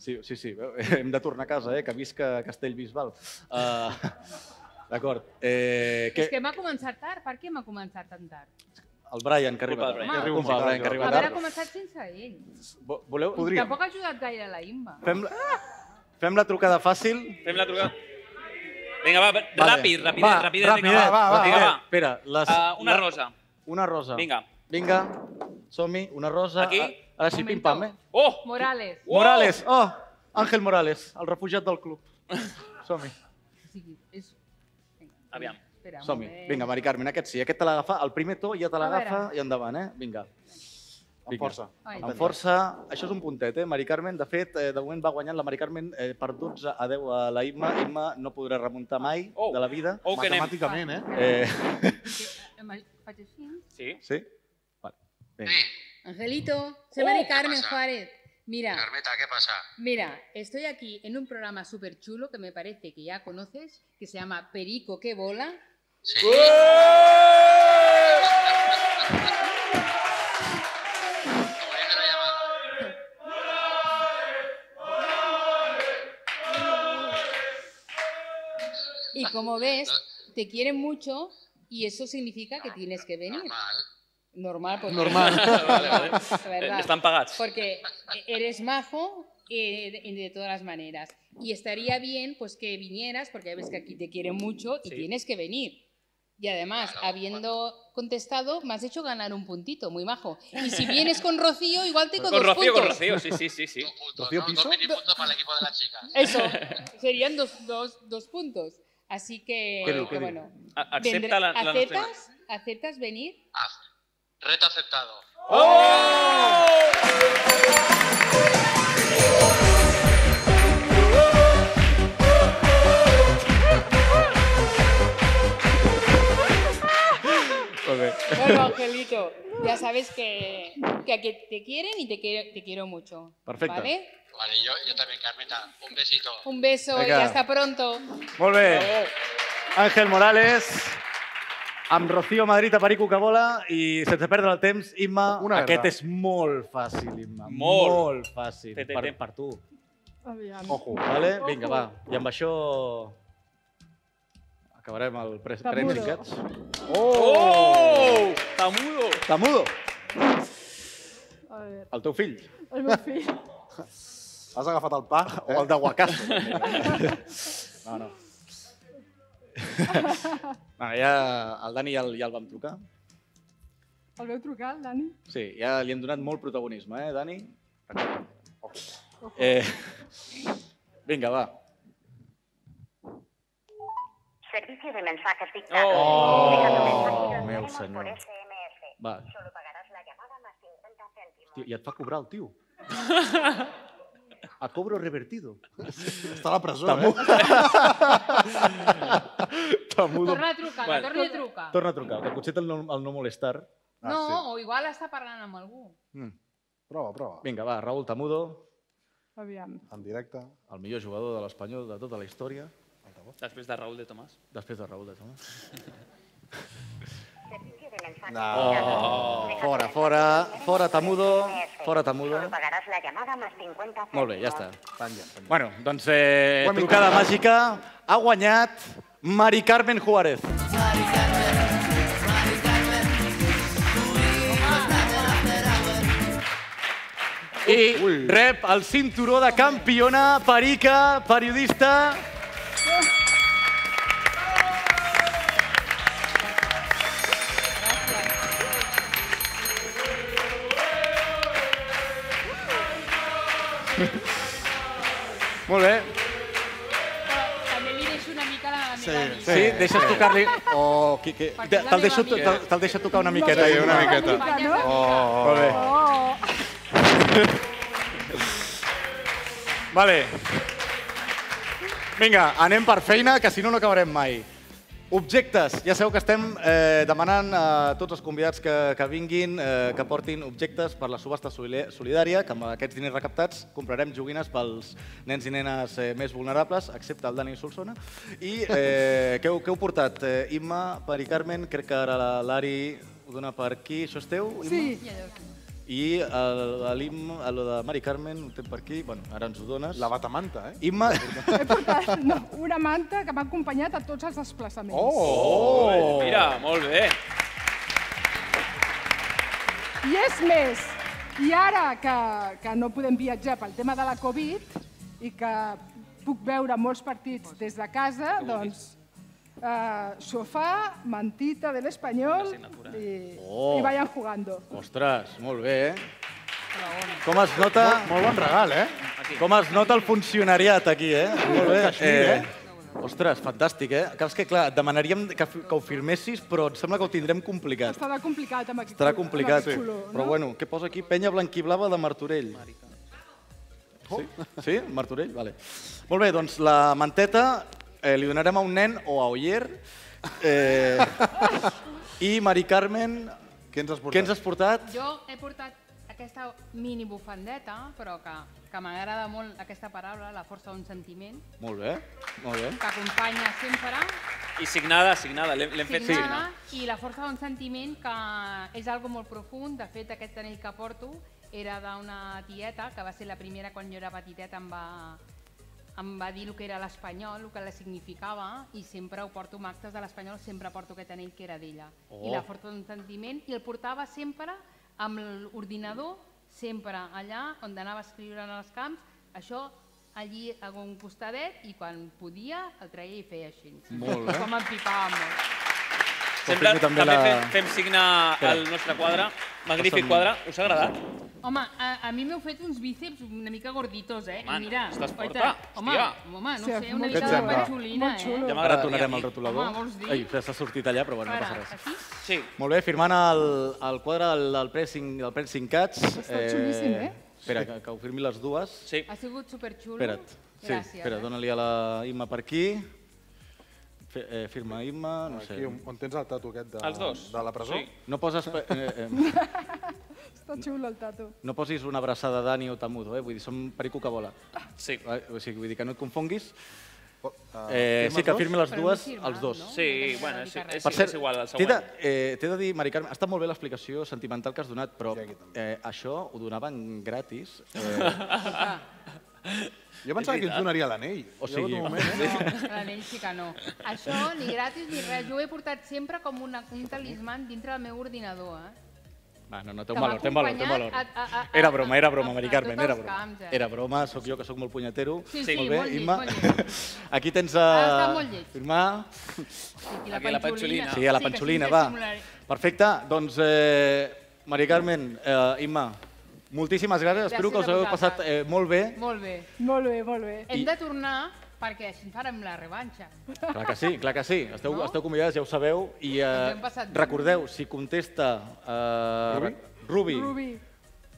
Speaker 2: Sí, sí, sí, veu? (laughs) hem de tornar a casa, eh? que visca Castellbisbal. Uh, D'acord. Eh,
Speaker 15: Que... És que m'ha començat tard. Per què m'ha començat tan tard?
Speaker 2: El Brian, que arriba
Speaker 4: Culpa del
Speaker 2: tard. Culpa del
Speaker 4: Brian. Culpa del
Speaker 2: Brian, que arriba
Speaker 15: Haver
Speaker 2: tard.
Speaker 15: començat sense ell.
Speaker 2: Vo- Voleu?
Speaker 15: Tampoc ha ajudat gaire la Imba.
Speaker 2: Fem la, fem la trucada fàcil.
Speaker 3: Fem la trucada. Vinga, va, ràpid, ràpid,
Speaker 2: va,
Speaker 3: ràpid,
Speaker 2: ràpid,
Speaker 3: vinga, va,
Speaker 2: va, va,
Speaker 3: vinga,
Speaker 2: va.
Speaker 3: va.
Speaker 2: Espera, les,
Speaker 3: Ah, una
Speaker 2: la-
Speaker 3: rosa.
Speaker 2: Una rosa.
Speaker 3: Vinga.
Speaker 2: Vinga, som-hi, una rosa.
Speaker 3: Aquí?
Speaker 2: A- Ara sí, pim-pam, eh?
Speaker 3: Oh!
Speaker 15: Morales.
Speaker 2: Morales, oh, Ángel Morales, el refugiat del
Speaker 3: (laughs)
Speaker 2: club. Som-hi,
Speaker 15: O sigui, és... Vinga.
Speaker 3: Aviam.
Speaker 15: Espera, un
Speaker 2: som-hi.
Speaker 15: moment.
Speaker 2: Vinga, Mari Carmen, aquest sí, aquest te l'agafa, el primer to ja te
Speaker 15: A
Speaker 2: l'agafa
Speaker 15: veure.
Speaker 2: i endavant, eh? Vinga. Amb
Speaker 4: força.
Speaker 15: Ai.
Speaker 2: Amb força. Això és un puntet, eh, Mari Carmen. De fet, eh, de moment va guanyant la Mari Carmen eh, per 12 a 10 a la Imma. Imma no podrà remuntar mai de la vida.
Speaker 4: Oh, que anem. Matemàticament,
Speaker 2: eh? eh
Speaker 15: Que, em- Faig així.
Speaker 6: (laughs)
Speaker 3: Sí.
Speaker 2: Sí? Vale. Vinga.
Speaker 15: Angelito, soy Mari Carmen Juárez. Mira,
Speaker 6: Oh, Carmeta, ¿qué pasa?
Speaker 15: mira, estoy aquí en un programa súper chulo que me parece que ya conoces, que se llama Perico que bola.
Speaker 6: Sí.
Speaker 15: Y como ves, te quieren mucho y eso significa que tienes que venir. Normal. porque- (laughs)
Speaker 3: Normal. Vale, vale.
Speaker 15: La verdad.
Speaker 3: Eh, (laughs) están pagados.
Speaker 15: Porque eres majo eh, de, de todas las maneras. Y estaría bien pues que vinieras porque ves que aquí te quieren mucho y
Speaker 26: Sí.
Speaker 15: tienes que venir. Y además, habiendo contestado, me has hecho ganar un puntito, muy majo. Y si vienes con Rocío, igual tengo
Speaker 3: Con
Speaker 15: dos
Speaker 3: Rocío,
Speaker 15: puntos.
Speaker 3: con Rocío, sí, sí, sí. sí.
Speaker 4: Rocío Piso?
Speaker 6: para el equipo de las chicas.
Speaker 15: Eso,
Speaker 3: (laughs)
Speaker 15: serían dos, dos- dos puntos. Así que,
Speaker 3: Qué bien,
Speaker 15: que
Speaker 3: qué bien.
Speaker 15: bueno.
Speaker 3: A-
Speaker 15: vendré-
Speaker 3: Accepta la, la
Speaker 15: ¿aceptas, ¿Aceptas venir?
Speaker 6: Reto aceptado.
Speaker 2: Molt bé.
Speaker 15: Bueno, Angelito, ya sabes que, que aquí te quieren y te quiero, te quiero mucho.
Speaker 2: Perfecto.
Speaker 15: ¿Vale?
Speaker 6: Vale, yo, yo también, Carmeta. Un besito.
Speaker 15: Un beso y
Speaker 2: Venga.
Speaker 15: hasta pronto.
Speaker 2: Molt bé. Àngel Morales, amb Rocío Madrid a Perico que vola i sense perdre el temps, Imma,
Speaker 4: Una
Speaker 2: aquest
Speaker 4: guerra.
Speaker 2: és molt fàcil, Imma.
Speaker 4: Molt.
Speaker 2: Molt fàcil.
Speaker 4: Té, té,
Speaker 2: Per,
Speaker 4: té.
Speaker 2: per tu.
Speaker 12: Aviam.
Speaker 4: Oh.
Speaker 2: Ojo, vale? Vinga, va. I amb això acabarem el pre
Speaker 12: Tamudo.
Speaker 2: Premi Cats.
Speaker 12: Oh!
Speaker 3: Tamudo!
Speaker 2: Tamudo,
Speaker 12: A veure,
Speaker 2: el teu fill.
Speaker 12: el meu fill.
Speaker 2: Has agafat el pa eh? (laughs) o el d'aguacasso. no, no. (laughs) Bueno, ja el Dani ja, el- ja el vam trucar.
Speaker 12: El veu trucar, el Dani?
Speaker 2: Sí, ja li hem donat molt protagonisme, eh, Dani? Eh, vinga, va.
Speaker 13: Servicio de mensajes dictado.
Speaker 2: Oh,
Speaker 13: Deja tu mensaje y lo
Speaker 2: meu
Speaker 13: leeremos
Speaker 2: senyor.
Speaker 13: por SMS.
Speaker 2: Va.
Speaker 13: Solo pagarás la llamada más 50 céntimos.
Speaker 2: Tio, I et fa cobrar el tio. A cobro revertido. Està
Speaker 4: a la presó,
Speaker 2: eh? Tamudo.
Speaker 15: Torna a trucar,
Speaker 2: Vale.
Speaker 15: torna a trucar.
Speaker 2: Torna a trucar, que potser té el no, el no molestar.
Speaker 15: no, o igual està parlant amb algú.
Speaker 2: Mm.
Speaker 4: Prova, prova.
Speaker 2: Vinga, va, Raül Tamudo.
Speaker 12: Aviam.
Speaker 4: En directe.
Speaker 14: El millor jugador de l'Espanyol de tota la història.
Speaker 3: Després de Raúl de Tomàs.
Speaker 14: Després de Raúl de Tomàs.
Speaker 2: No. Fora, fora, fora Tamudo, fora Tamudo.
Speaker 13: Pagarás la llamada más 50
Speaker 2: Molt bé, ja està.
Speaker 4: Penja,
Speaker 2: Bueno, doncs eh,
Speaker 14: Ho hem
Speaker 2: trucada
Speaker 14: intentat.
Speaker 2: màgica ha guanyat Mari Carmen Juárez. I rep el cinturó de campiona perica, periodista. Molt bé.
Speaker 15: També li deixo una mica la
Speaker 2: Sí,
Speaker 15: meva
Speaker 2: sí, sí deixes tocar-li... O... qui- qui-
Speaker 15: Perquè és la
Speaker 2: Te'l deixo,
Speaker 15: meva amiga.
Speaker 2: te'l te'l deixo tocar una miqueta.
Speaker 4: Sí, una miqueta.
Speaker 2: Oh. Molt bé.
Speaker 12: Oh.
Speaker 2: Vale. Vinga, anem per feina, que si no, no acabarem mai. Objectes. Ja sabeu que estem eh, demanant a tots els convidats que, que vinguin eh, que portin objectes per la subhasta solidà- solidària, que amb aquests diners recaptats comprarem joguines pels nens i nenes eh, més vulnerables, excepte el Dani Solsona. I eh, què, heu, què heu portat? Eh, Imma, Pari Carmen, crec que ara la- l'Ari ho dona per aquí. Això és teu, Imma? I el, el, Im, el de Mari Carmen, ho té per aquí, bueno, ara ens ho dones. La
Speaker 4: batamanta, eh?
Speaker 2: Imma...
Speaker 12: No, una manta que m'ha acompanyat a tots els desplaçaments.
Speaker 2: Oh!
Speaker 3: Mira, molt bé.
Speaker 12: I és més, i ara que, que no podem viatjar pel tema de la Covid i que puc veure molts partits des de casa, doncs eh, sofà, mantita de l'Espanyol i,
Speaker 2: Oh.
Speaker 12: i vayan jugando.
Speaker 2: Ostres, molt bé, eh? Com es nota...
Speaker 4: Molt- molt bon regal, eh?
Speaker 2: Com es nota el funcionariat aquí, eh? Molt bé.
Speaker 4: Caixmir, eh?
Speaker 2: Ostres, fantàstic, eh? Que és que, clar, et demanaríem que, fi- que ho firmessis, però em sembla que ho tindrem complicat.
Speaker 12: Estarà complicat amb aquest,
Speaker 2: Estarà
Speaker 12: col-
Speaker 2: complicat.
Speaker 12: amb aquest color, no?
Speaker 2: Però bueno, què posa aquí? Penya blanquiblava de Martorell. Sí? sí? Martorell? Vale. Molt bé, doncs la manteta eh, li donarem a un nen o a Oyer. Eh, I Mari Carmen...
Speaker 4: Què ens has portat?
Speaker 2: Què ens has portat?
Speaker 15: Jo he portat aquesta mini bufandeta, però que, que m'agrada molt aquesta paraula, la força d'un sentiment,
Speaker 2: Molt bé, molt bé.
Speaker 15: que acompanya sempre
Speaker 3: I signada, signada. L'hem l'hem fet
Speaker 15: signada,
Speaker 3: signar.
Speaker 15: i la força d'un sentiment que és algo molt profund. De fet, aquest anell que porto era d'una tieta, que va ser la primera quan jo era petiteta em va, em va dir el que era l'espanyol, el que la significava, i sempre ho porto amb actes de l'espanyol, sempre porto aquest anell que era d'ella.
Speaker 27: Oh.
Speaker 15: I la força d'un sentiment, i el portava sempre amb l'ordinador, sempre allà on anava a escriure en els camps, això allí a un costadet i quan podia el treia i feia així.
Speaker 2: Molt bé.
Speaker 15: Com empipava molt.
Speaker 3: Sempre
Speaker 2: Aplico
Speaker 3: també,
Speaker 2: també la-
Speaker 3: fem, fem signar
Speaker 2: Espera.
Speaker 3: el nostre quadre. Magnífic
Speaker 2: Passa'm-
Speaker 3: quadre. Us ha agradat?
Speaker 15: Home, a, a mi m'heu fet uns bíceps una mica gorditos, eh?
Speaker 3: Home,
Speaker 15: I mira,
Speaker 3: estàs forta,
Speaker 15: oita, home,
Speaker 3: hòstia.
Speaker 15: home, Ah, no
Speaker 12: Hòstia,
Speaker 15: sé, una
Speaker 12: molt
Speaker 15: mica de
Speaker 2: xulo.
Speaker 15: patxolina,
Speaker 12: Molt
Speaker 15: eh?
Speaker 12: xulo.
Speaker 2: Ara tornarem al
Speaker 15: Home,
Speaker 2: rotulador.
Speaker 15: vols dir?
Speaker 2: Ai, s'ha sortit allà, però bueno, no passa
Speaker 15: Ara,
Speaker 2: res.
Speaker 15: aquí?
Speaker 3: Sí.
Speaker 2: Molt bé, firmant el, el quadre del, del pressing, del pressing Cats.
Speaker 15: Està xulíssim, eh?
Speaker 2: Espera, que, que ho firmi les dues.
Speaker 3: Sí.
Speaker 15: Ha sigut superxulo.
Speaker 2: Espera't. Sí,
Speaker 15: Gràcies.
Speaker 2: espera,
Speaker 15: eh?
Speaker 2: dóna-li a la Imma per aquí. Fe- eh, firma Imma, no sé.
Speaker 4: Aquí, on, on tens el tatu aquest de,
Speaker 3: Els dos.
Speaker 4: de la presó?
Speaker 3: Sí.
Speaker 2: No poses... pe- Eh,
Speaker 15: (laughs)
Speaker 2: eh,
Speaker 12: Està xulo el tatu.
Speaker 2: no posis una abraçada Dani o Tamudo, eh? Vull dir, som perico que vola. Eh,
Speaker 3: Sí.
Speaker 2: O sigui, vull dir que no et confonguis.
Speaker 4: Eh,
Speaker 2: Eh, sí, que firmi les
Speaker 15: Però no
Speaker 2: dues,
Speaker 15: firma,
Speaker 2: els dos.
Speaker 3: Sí, bueno, és, és,
Speaker 2: Per cert,
Speaker 3: és igual, el
Speaker 2: t'he de,
Speaker 3: següent.
Speaker 2: eh, t'he de dir, Mari Carme, ha estat molt bé l'explicació sentimental que has donat, però eh, això ho donaven gratis.
Speaker 15: (laughs)
Speaker 2: Eh,
Speaker 4: Jo pensava que ens donaria l'anell.
Speaker 2: O
Speaker 4: Hi ha hagut
Speaker 2: sigui-
Speaker 4: un moment,
Speaker 2: (laughs)
Speaker 4: eh?
Speaker 15: No, l'anell sí que no. Això ni gratis ni res. Jo ho he portat sempre com una, un talisman dintre del meu ordinador, eh?
Speaker 2: Va, no, no, té
Speaker 15: Que
Speaker 2: un valor, té un valor, té un valor.
Speaker 15: m'ha acompanyat a- a- a-
Speaker 2: Era broma, era broma,
Speaker 15: a- a-
Speaker 2: Mari
Speaker 15: a
Speaker 2: Carmen,
Speaker 15: tots
Speaker 2: era
Speaker 15: els
Speaker 2: broma.
Speaker 15: camps, eh?
Speaker 2: Era broma, sóc jo que sóc molt punyetero.
Speaker 15: Sí, sí,
Speaker 2: molt bé,
Speaker 15: molt lleig,
Speaker 2: Imma. (laughs)
Speaker 15: molt
Speaker 2: Aquí tens
Speaker 15: Ha estat
Speaker 2: a
Speaker 15: molt lleig.
Speaker 2: firmar.
Speaker 15: I la
Speaker 3: Aquí la
Speaker 15: panxolina.
Speaker 3: panxolina.
Speaker 2: Sí, a la
Speaker 15: que
Speaker 2: panxolina,
Speaker 15: sí que
Speaker 2: va.
Speaker 15: simularé.
Speaker 2: Perfecte, doncs, eh, Mari Carmen, eh, Imma, moltíssimes gràcies. Espero
Speaker 15: Gràcies
Speaker 2: que us
Speaker 15: a
Speaker 2: heu
Speaker 15: vosaltres.
Speaker 2: passat eh, molt bé.
Speaker 15: Molt bé.
Speaker 12: Molt bé, molt bé.
Speaker 15: Hem de tornar perquè així farem la revanxa.
Speaker 2: Clar que sí, clar que sí. Esteu, no? esteu convidades, ja ho sabeu. I
Speaker 15: Ens
Speaker 2: eh,
Speaker 15: hem passat bé.
Speaker 2: recordeu, si contesta eh, Rubi?
Speaker 12: Rubi.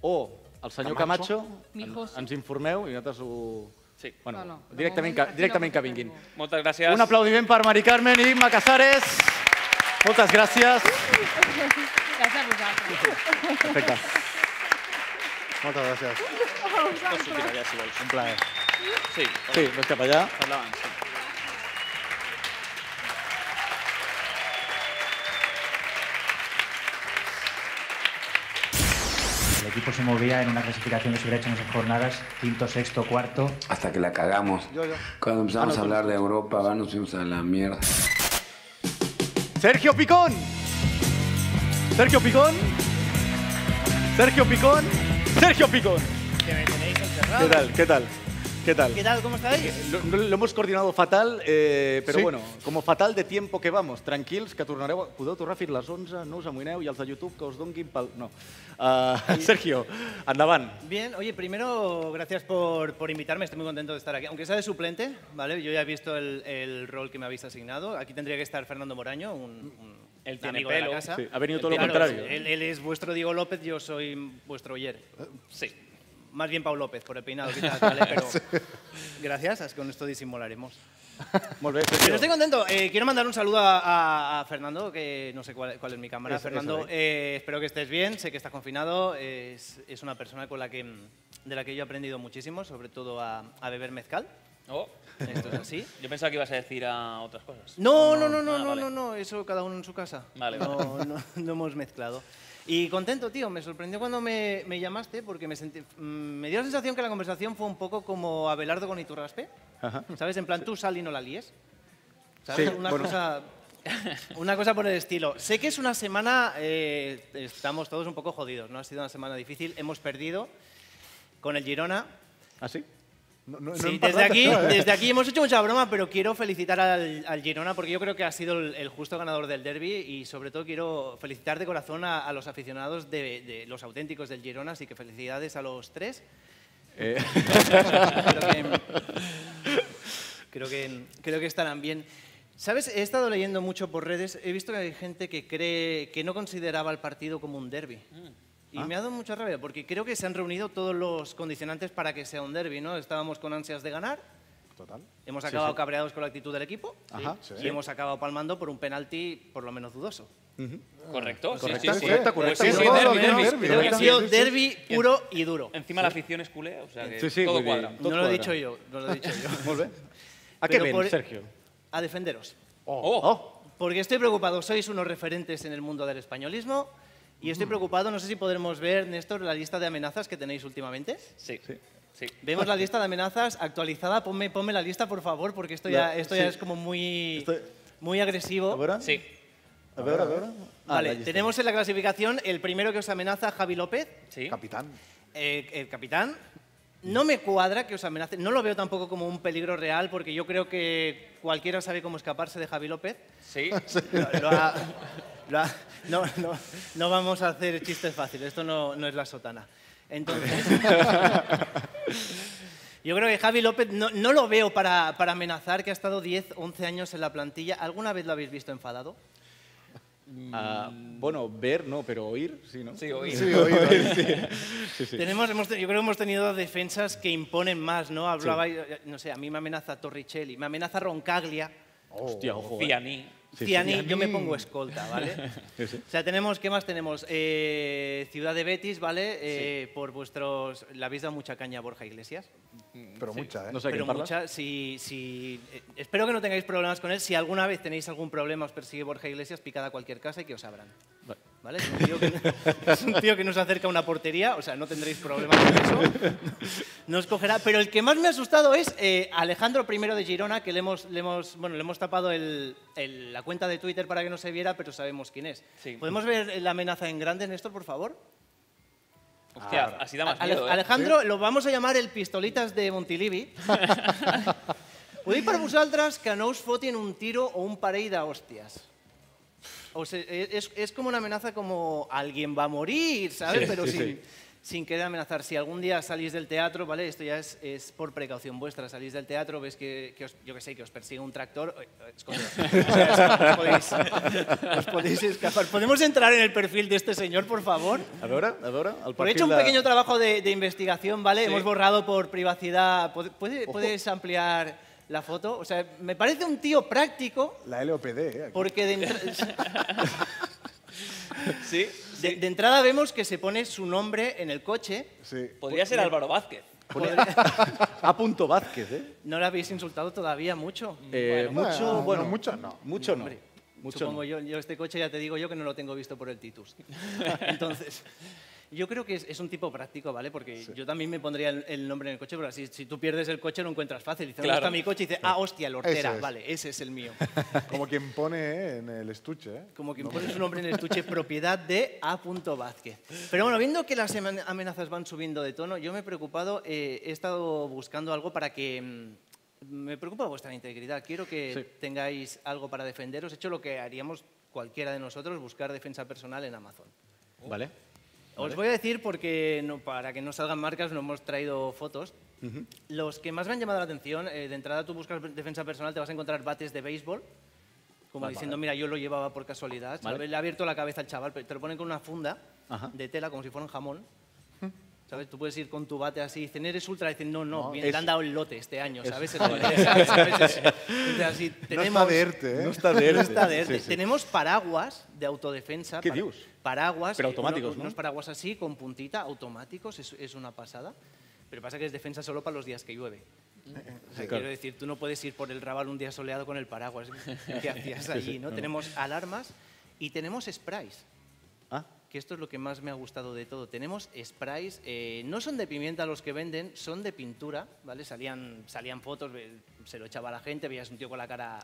Speaker 2: o el senyor
Speaker 3: Camacho.
Speaker 2: Camacho,
Speaker 15: Mijoso.
Speaker 2: ens informeu i nosaltres ho...
Speaker 3: Sí.
Speaker 2: Bueno,
Speaker 15: No, no, de
Speaker 2: directament,
Speaker 15: moment
Speaker 2: que,
Speaker 15: aquí
Speaker 2: directament
Speaker 15: no
Speaker 2: que vinguin.
Speaker 3: Moltes gràcies.
Speaker 2: Un aplaudiment per Mari Carmen i Imma Casares. Moltes gràcies.
Speaker 15: Gràcies a vosaltres.
Speaker 2: Perfecte.
Speaker 4: Moltes gràcies.
Speaker 28: a
Speaker 3: Pots sortir
Speaker 28: vosaltres.
Speaker 3: allà, si vols.
Speaker 29: Un plaer.
Speaker 3: Sí,
Speaker 29: Sí, vas cap allà.
Speaker 3: per davant, sí.
Speaker 30: El equipo se movía en una clasificación que se hubiera hecho en esas jornadas, quinto, sexto, cuarto.
Speaker 31: Hasta que la cagamos. Cuando empezamos
Speaker 30: Ah, no,
Speaker 31: a
Speaker 30: tú no.
Speaker 31: hablar de Europa, va, nos fuimos a la mierda.
Speaker 2: Sergio Picón. Sergio Picón. Sergio Picón. Sergio Picón.
Speaker 12: Que me tenéis encerrado.
Speaker 2: ¿Qué tal? ¿Qué tal? ¿Qué tal? Eh,
Speaker 12: ¿Qué tal? ¿Cómo estáis?
Speaker 2: Lo, lo hemos coordinado fatal, eh, però
Speaker 29: Sí.
Speaker 2: sí. bueno, com a fatal de tiempo que vamos. Tranquils, que tornareu... A... Podeu tornar fins les 11, no us amoïneu, i els de YouTube que us donguin pel... No. Uh, Sergio, endavant.
Speaker 12: Bien, oye, primero, gracias por, por invitarme, estoy muy contento de estar aquí. Aunque sea de suplente, ¿vale? Yo ya he visto el, el rol que me habéis asignado. Aquí tendría que estar Fernando Moraño, un, un
Speaker 3: Él tiene
Speaker 12: amigo de
Speaker 3: pelo.
Speaker 12: la casa.
Speaker 2: Sí, ha venido
Speaker 12: Él
Speaker 2: todo lo
Speaker 12: tiene-
Speaker 2: contrario.
Speaker 12: Él, él es vuestro Diego López, yo soy vuestro Oyer. Sí. Más bien Pau López, por el peinado quizás, ¿vale?
Speaker 2: (laughs)
Speaker 12: Pero
Speaker 2: Sí.
Speaker 12: gracias, con
Speaker 2: (laughs)
Speaker 12: esto disimularemos.
Speaker 2: Molt bé,
Speaker 12: Pero
Speaker 2: Sergio.
Speaker 12: estoy contento. Eh, quiero mandar un saludo a, a- a Fernando, que no sé cuál, cuál es mi cámara.
Speaker 2: Esa- esa de
Speaker 12: Fernando,
Speaker 2: ahí.
Speaker 12: eh, espero que estés bien. Sé que estás confinado. Es, es una persona con la que, mm, de la que yo he aprendido muchísimo, sobre todo a, a beber mezcal.
Speaker 3: Oh.
Speaker 12: Esto
Speaker 3: (laughs)
Speaker 12: es así.
Speaker 3: Yo pensaba que ibas a decir a otras cosas.
Speaker 12: No, no, no, no,
Speaker 3: Ah,
Speaker 12: no,
Speaker 3: vale.
Speaker 12: no, no, eso cada uno en su casa.
Speaker 3: Vale,
Speaker 12: no,
Speaker 3: vale.
Speaker 12: No, no hemos mezclado. Y contento, tío, me sorprendió cuando me, me llamaste porque me, sentí- mm, me dio la sensación que la conversación fue un poco como Abelardo con Iturraspe.
Speaker 2: Ajá.
Speaker 12: ¿Sabes? En plan, tú sal y no la líes. ¿Sabes?
Speaker 2: Sí,
Speaker 12: una,
Speaker 2: bueno.
Speaker 12: cosa, (laughs) una cosa por el estilo. Sé que es una semana, eh, estamos todos un poco jodidos, ¿no? Ha sido una semana difícil, hemos perdido con el Girona.
Speaker 2: ¿Ah, sí? No, no, eh.
Speaker 12: Sí, desde
Speaker 2: (laughs)
Speaker 12: aquí, desde aquí hemos hecho mucha broma, pero quiero felicitar al, al Girona porque yo creo que ha sido el, el justo ganador del derby y sobre todo quiero felicitar de corazón a, a los aficionados de, de los auténticos del Girona, así que felicidades a los tres.
Speaker 2: Eh.
Speaker 12: creo, que, creo, que, creo que estarán bien. ¿Sabes? He estado leyendo mucho por redes, he visto que hay gente que cree que no consideraba el partido como un derby. Y me ha dado mucha rabia, porque creo que se han reunido todos los condicionantes para que sea un derby, ¿no? Estábamos con ansias de ganar,
Speaker 4: Total.
Speaker 12: hemos
Speaker 4: Sí,
Speaker 12: acabado
Speaker 4: sí.
Speaker 12: cabreados con la actitud del equipo
Speaker 4: Ajá,
Speaker 12: y
Speaker 4: sí.
Speaker 12: hemos acabado palmando por un penalti por lo menos dudoso.
Speaker 3: Correcto, sí,
Speaker 4: Correcto,
Speaker 3: sí, sí.
Speaker 4: correcto,
Speaker 3: Pues
Speaker 4: correcto.
Speaker 3: sí, sí,
Speaker 4: Todo
Speaker 3: derbi,
Speaker 4: lo que es
Speaker 3: derbi,
Speaker 4: derbi,
Speaker 3: creo que ha
Speaker 4: correcto.
Speaker 12: sido
Speaker 4: Sí, sí,
Speaker 12: derbi puro y duro.
Speaker 3: Encima la afición es culé, o sea que
Speaker 12: Sí, sí,
Speaker 3: todo
Speaker 12: muy bien.
Speaker 3: cuadra.
Speaker 12: No lo he dicho yo, no lo he dicho
Speaker 4: (laughs)
Speaker 12: yo.
Speaker 2: Molt bé. A
Speaker 4: Ah,
Speaker 2: què
Speaker 12: Pero
Speaker 2: ven,
Speaker 12: por-
Speaker 2: Sergio?
Speaker 12: A defenderos.
Speaker 3: Oh.
Speaker 12: Porque estoy preocupado, sois unos referentes en el mundo del españolismo y
Speaker 4: Mm.
Speaker 12: estoy preocupado, no sé si podremos ver, Néstor, la lista de amenazas que tenéis últimamente.
Speaker 3: Sí. Sí.
Speaker 12: Vemos la lista de amenazas actualizada, ponme, ponme la lista, por favor, porque esto
Speaker 2: La-
Speaker 12: ya, esto
Speaker 2: sí.
Speaker 12: ya es como muy, muy agresivo. Sí.
Speaker 2: A veure, a veure. Ah,
Speaker 12: Vale,
Speaker 2: allà està.
Speaker 12: tenemos en la clasificación el primero que os amenaza, Javi López.
Speaker 4: Capitán.
Speaker 12: Eh, el capitán. No me cuadra que os amenace. No lo veo tampoco como un peligro real, porque yo creo que cualquiera sabe cómo escaparse de Javi López.
Speaker 3: Sí.
Speaker 12: (laughs) Lo- lo ha- lo ha- no, no- no vamos a hacer chistes fáciles. Esto no, no es la sotana. Entonces. (laughs) Yo creo que Javi López no, no lo veo para, para amenazar, que ha estado 10, 11 años en la plantilla. ¿Alguna vez lo habéis visto enfadado?
Speaker 2: Ah, bueno, ver no, pero oír sí, ¿no?
Speaker 3: Sí, oír.
Speaker 2: Sí, oír,
Speaker 12: oír.
Speaker 2: sí. sí, sí.
Speaker 12: Tenemos, hemos te- yo creo que hemos tenido defensas que imponen más, ¿no? Hablaba, eh, no sé, a mí me amenaza Torricelli, me amenaza Roncaglia.
Speaker 3: Oh,
Speaker 2: Hostia, ojo, eh.
Speaker 12: Cianí.
Speaker 2: Sí, sí.
Speaker 12: Cianí, yo me
Speaker 2: Cianí.
Speaker 12: pongo escolta, ¿vale?
Speaker 2: (laughs) Sí, sí.
Speaker 12: O sea, tenemos, ¿qué más tenemos? Eh, Ciudad de Betis, ¿vale? Eh, Por vuestros... Le habéis dado mucha caña a Borja Iglesias.
Speaker 4: Pero mucha, ¿eh?
Speaker 12: Pero mucha, si, si- eh, espero que no tengáis problemas con él. Si alguna vez tenéis algún problema, os persigue Borja Iglesias, picad a cualquier casa y que os abran. ¿Vale? Es un, tío que, es un tío que no (laughs) se acerca a una portería, o sea, no tendréis problemas con eso. No os cogerá. Pero el que más me ha asustado es eh, Alejandro I de Girona, que le hemos, le hemos, bueno, le hemos tapado el- el- la cuenta de Twitter para que no se viera, pero sabemos quién es. ¿Podemos ver la amenaza en grande, Néstor, por favor?
Speaker 3: Hostia, así da más
Speaker 12: Ale-
Speaker 3: miedo, ¿eh?
Speaker 12: Alejandro, lo vamos a llamar el Pistolitas
Speaker 2: (laughs)
Speaker 12: de Montilivi. Ho dic per vosaltres que no us fotin un tiro o un parell d'hòsties. eh, O sea, es, es como una amenaza como alguien va a morir, ¿sabes?
Speaker 2: Sí,
Speaker 12: Pero
Speaker 2: sí,
Speaker 12: sin,
Speaker 2: sí.
Speaker 12: sin querer amenazar. Si algún día salís del teatro, ¿vale? Esto ya es, es por precaución vuestra. Salís del teatro, ves que, que os- yo que sé, que os persigue un tractor, eh, eh,
Speaker 2: (laughs)
Speaker 12: escondeos. O sea, os, podéis, os eh, podéis escapar. ¿Podemos entrar en el perfil de este señor, por favor?
Speaker 2: A veure, a veure, el
Speaker 12: Por he hecho un
Speaker 2: perfil de-
Speaker 12: pequeño trabajo de, de investigación, ¿vale?
Speaker 2: Sí.
Speaker 12: Hemos borrado por privacidad. ¿Puede- puede-
Speaker 4: Ojo.
Speaker 12: ¿Puedes ampliar la foto? O sea, me parece un tío práctico
Speaker 4: La LOPD, ¿eh? Aquí.
Speaker 12: porque de,
Speaker 2: (laughs)
Speaker 12: entra- De, de entrada vemos que se pone su nombre en el coche.
Speaker 4: Sí.
Speaker 12: (laughs) Podría ser Álvaro
Speaker 3: Vázquez.
Speaker 2: A punto Vázquez, ¿eh?
Speaker 12: No la habéis insultado todavía mucho.
Speaker 2: Eh,
Speaker 12: Bueno,
Speaker 2: mucho,
Speaker 12: no,
Speaker 2: bueno,
Speaker 12: no,
Speaker 2: mucho no. Mucho no.
Speaker 12: Hombre,
Speaker 2: Mucho
Speaker 12: supongo
Speaker 2: no.
Speaker 12: yo, yo este coche ya te digo yo que no lo tengo visto por
Speaker 2: (laughs)
Speaker 12: el Titus. Entonces, yo creo que es, es un tipo práctico, ¿vale? Porque yo también me pondría el, el nombre en el coche, pero así, si tú pierdes el coche lo encuentras fácil. Dices, Claro. ¿dónde está mi coche? Y dices, ah, hostia, el
Speaker 4: Ese
Speaker 12: hortera,
Speaker 4: es.
Speaker 12: vale, ese es
Speaker 2: (laughs)
Speaker 12: el mío.
Speaker 4: Como quien pone eh, en el estuche. eh.
Speaker 12: Como quien
Speaker 4: No
Speaker 12: pone
Speaker 4: me-
Speaker 12: su nombre en el estuche, propiedad de A. Vázquez. Pero bueno, viendo que las eman- amenazas van subiendo de tono, yo me he preocupado, eh, he estado buscando algo para que... mm, Me preocupa vuestra integridad. Quiero que
Speaker 2: Sí.
Speaker 12: tengáis algo para defenderos. He hecho lo que haríamos cualquiera de nosotros, buscar defensa personal en Amazon.
Speaker 2: Vale.
Speaker 12: Os voy a decir, porque no, para que no salgan marcas, no hemos traído fotos.
Speaker 2: Ujú.
Speaker 12: Los que más me han llamado la atención, eh, de entrada tú buscas defensa personal, te vas a encontrar bates de béisbol. Como
Speaker 2: Vale.
Speaker 12: diciendo, mira, yo lo llevaba por casualidad.
Speaker 2: Vale.
Speaker 12: ¿sabes? Le ha abierto la cabeza al chaval, pero te lo ponen con una funda
Speaker 2: Ajá.
Speaker 12: de tela, como si fuera un jamón. ¿Sabes? Tú puedes ir con tu bate así, dicen, eres ultra, dicen, no, no,
Speaker 2: No,
Speaker 12: bien,
Speaker 2: es-
Speaker 12: le han dado el lote este año,
Speaker 2: es- (laughs)
Speaker 12: ¿sabes?
Speaker 2: Ah, vale.
Speaker 12: ¿Sabes? eh, ¿Sabes? Entonces, así,
Speaker 4: No está
Speaker 12: tenemos-
Speaker 4: de ERTE, ¿eh?
Speaker 2: (laughs)
Speaker 12: No está de ERTE.
Speaker 4: Sí, sí.
Speaker 12: Tenemos paraguas de autodefensa.
Speaker 2: ¿Qué
Speaker 12: para-
Speaker 2: dius?
Speaker 12: Paraguas.
Speaker 2: Pero
Speaker 12: eh, uno-
Speaker 2: automáticos, ¿no?
Speaker 12: Unos paraguas así, con puntita, automáticos, es, es una pasada. Pero pasa que es defensa solo para los días que llueve. O sea,
Speaker 2: claro.
Speaker 12: Quiero decir, tú no puedes ir por el rabal un día soleado con el
Speaker 2: (laughs)
Speaker 12: paraguas que hacías
Speaker 2: Sí, sí,
Speaker 12: allí, ¿no?
Speaker 2: no, no.
Speaker 12: Tenemos alarmas y tenemos sprays.
Speaker 2: Ah.
Speaker 12: Que esto es lo que más me ha gustado de todo. Tenemos sprays, eh, no son de pimienta los que venden, son de pintura, ¿vale? Salían, salían fotos, ve- se lo echaba a la gente, veías un tío con la
Speaker 2: (laughs)
Speaker 12: cara...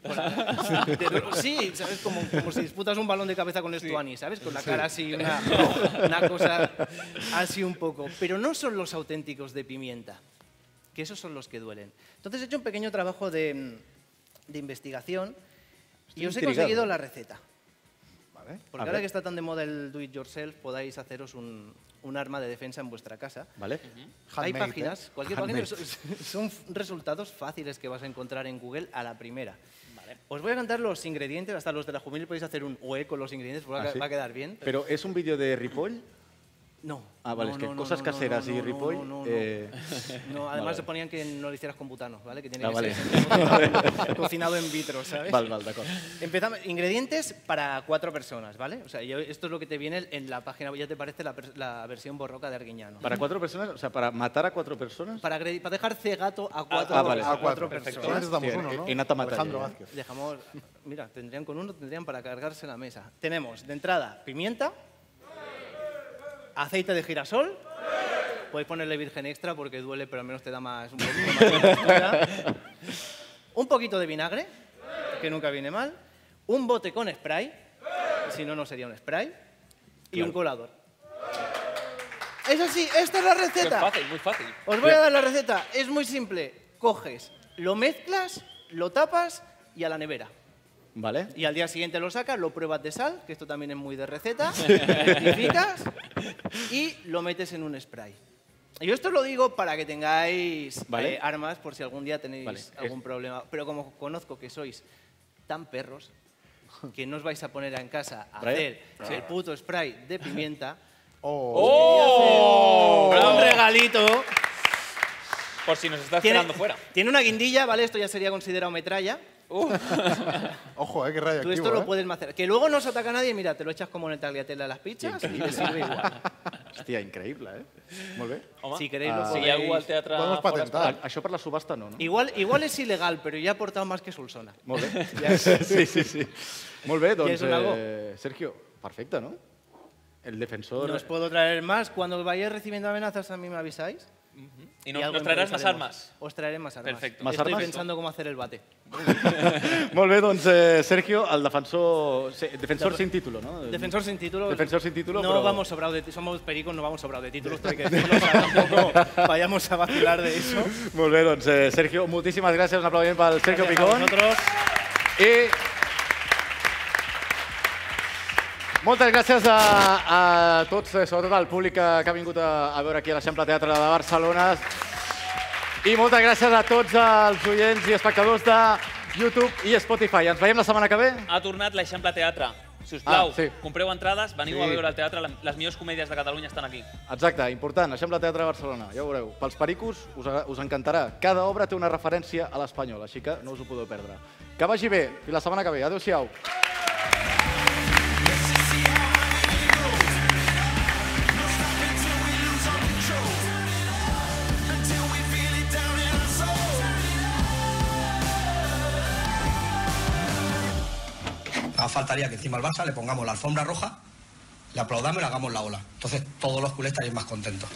Speaker 12: con la- de- sí, ¿sabes? Como, como si disputas un balón de cabeza con el Stuani, ¿sabes? Con la
Speaker 2: Sí.
Speaker 12: cara así, una,
Speaker 2: (laughs)
Speaker 12: una cosa así un poco. Pero no son los auténticos de pimienta, que esos son los que duelen. Entonces he hecho un pequeño trabajo de, mm, de investigación y os he
Speaker 2: intrigado.
Speaker 12: conseguido la receta.
Speaker 4: Vale.
Speaker 12: Porque
Speaker 2: A
Speaker 12: ahora
Speaker 2: ver.
Speaker 12: que está tan de moda el do it yourself, podáis haceros un, un arma de defensa en vuestra casa.
Speaker 2: Vale.
Speaker 12: Hay
Speaker 4: Handmade,
Speaker 12: páginas,
Speaker 4: ¿eh?
Speaker 12: cualquier página,
Speaker 4: Handmade.
Speaker 12: son- (laughs) son resultados fáciles que vas a encontrar en Google a la primera. Os voy a cantar los ingredientes, hasta los de la jumil podéis hacer un UE con los ingredientes, porque va a
Speaker 2: Ah,
Speaker 12: ca-
Speaker 2: sí.
Speaker 12: va a quedar bien.
Speaker 2: Pero es un vídeo de Ripoll.
Speaker 12: No.
Speaker 2: Ah, vale,
Speaker 12: No,
Speaker 2: es que
Speaker 12: no, no,
Speaker 2: cosas
Speaker 12: no, no,
Speaker 2: caseras
Speaker 12: no,
Speaker 2: y
Speaker 12: no,
Speaker 2: Ripoll.
Speaker 12: No, no, no. (laughs)
Speaker 2: eh,
Speaker 12: No, además
Speaker 2: vale,
Speaker 12: se
Speaker 2: vale.
Speaker 12: ponían que no lo hicieras con butano, ¿vale? Que tiene
Speaker 2: Ah,
Speaker 12: que
Speaker 2: vale. (laughs)
Speaker 12: ser (laughs) cocinado en vitro, ¿sabes?
Speaker 2: Val, val, d'acord.
Speaker 12: Empezamos. Ingredientes para cuatro personas, ¿vale? O sea, yo- esto es lo que te viene en la página, ya te parece la, per- la versión borroca de Arguiñano.
Speaker 2: Para cuatro personas, o sea, para matar a cuatro personas.
Speaker 12: Para, agredir- para dejar cegato a cuatro,
Speaker 2: Ah, vale.
Speaker 12: a
Speaker 2: A cuatro,
Speaker 12: cuatro personas.
Speaker 2: perfecto. Antes damos Sí, uno, ¿no? he anat a matar, Alejandro ja.
Speaker 4: Vázquez.
Speaker 12: Dejamos, mira, tendrían con uno, tendrían para cargarse la mesa. Tenemos de entrada pimienta, aceite de girasol. Podéis ponerle virgen extra porque duele, pero al menos te da más un poquito más de textura. Un poquito de vinagre, que nunca viene mal. Un bote con spray, si no, no sería un spray. Y un colador. Es así, esta es la
Speaker 3: Qué
Speaker 12: receta.
Speaker 3: fácil, muy fácil.
Speaker 12: Os voy a dar la receta. Es muy simple. Coges, lo mezclas, lo tapas y a la nevera.
Speaker 2: Vale.
Speaker 12: Y al día siguiente lo sacas, lo pruebas de sal, que esto también es muy de
Speaker 2: (laughs)
Speaker 12: receta, rectificas y lo metes en un spray. Yo esto lo digo para que tengáis
Speaker 2: Vale.
Speaker 12: eh, armas por si algún día tenéis
Speaker 2: Vale, es-
Speaker 12: algún problema. Pero como conozco que sois tan perros que no os vais a poner en casa a
Speaker 2: Spray. Ah.
Speaker 12: hacer el puto spray
Speaker 2: (laughs)
Speaker 12: de pimienta,
Speaker 3: ¡Oh!
Speaker 12: un
Speaker 3: Bravo.
Speaker 12: regalito
Speaker 3: Por si nos está
Speaker 12: Tiene-
Speaker 3: esperando fuera.
Speaker 12: Tiene una guindilla, ¿vale? Esto ya sería considerado metralla.
Speaker 4: Ojo, eh, qué
Speaker 12: Tú
Speaker 4: radiactivo,
Speaker 12: esto
Speaker 4: eh.
Speaker 12: lo puedes macerar. Que luego no se ataca a nadie, mira, te lo echas como en el tagliatelle a las pizzas y te sirve igual.
Speaker 2: Hòstia, increïble, eh? Molt bé.
Speaker 3: Home,
Speaker 12: Si queréis, lo
Speaker 2: Ah.
Speaker 3: Si hi ha algú al teatre...
Speaker 4: Podemos
Speaker 3: fora,
Speaker 4: patentar.
Speaker 2: A- Això per la subhasta no, no?
Speaker 12: Igual, igual es ilegal, pero ya ha aportado más que Solsona.
Speaker 2: Molt
Speaker 12: (laughs)
Speaker 2: bé.
Speaker 12: Ja.
Speaker 2: Sí, sí, sí. Molt bé,
Speaker 12: Tens
Speaker 2: doncs,
Speaker 12: un algo?
Speaker 2: eh, Sergio, perfecte, no? El defensor...
Speaker 12: No os puedo traer más. Cuando vayáis recibiendo amenazas, a mí me avisáis.
Speaker 3: Y nos,
Speaker 12: algo
Speaker 3: nos traerás más
Speaker 12: improvisaremos.
Speaker 3: armas.
Speaker 12: Os traeré más armas.
Speaker 3: Perfecto.
Speaker 2: ¿Más
Speaker 12: Estoy
Speaker 2: armas?
Speaker 12: pensando cómo hacer el bate.
Speaker 2: Molt bé, doncs, eh, Sergio, el defensor... se- Defensor
Speaker 12: Defe-
Speaker 2: sin título, no?
Speaker 12: Defensor sin título.
Speaker 2: Defensor sin título,
Speaker 12: No
Speaker 2: però...
Speaker 12: vamos sobrado de ti- Somos pericos, no vamos sobrado de
Speaker 2: (laughs)
Speaker 12: títulos. esto hay que decirlo, para que tampoco vayamos a vacilar de eso.
Speaker 2: Molt bé, doncs, eh, Sergio, moltíssimes gràcies. Un aplaudiment pel Sergio
Speaker 12: Gracias a
Speaker 2: Picón.
Speaker 12: vosotros.
Speaker 2: I... Moltes gràcies a, a tots, eh, sobretot al públic que, que ha vingut a, a veure aquí a l'Eixample Teatre de Barcelona. I moltes gràcies a tots els oients i espectadors de YouTube i Spotify. Ens veiem la setmana que ve?
Speaker 3: Ha tornat l'Eixample Teatre. Si us plau,
Speaker 2: Ah, sí.
Speaker 3: compreu entrades, veniu
Speaker 2: Sí.
Speaker 3: a veure al teatre, la- les millors comèdies de Catalunya estan aquí.
Speaker 2: Exacte, important, Eixample Teatre de Barcelona, ja ho veureu. Pels pericos us, agra- us encantarà. Cada obra té una referència a l'espanyol, així que no us ho podeu perdre. Que vagi bé, i la setmana que ve. Adéu-siau.
Speaker 32: No stop until we lose our control.
Speaker 6: Ah, faltaría que encima al Barça le pongamos la alfombra roja, le aplaudamos y le hagamos la ola. Entonces todos los culés estarían más contentos.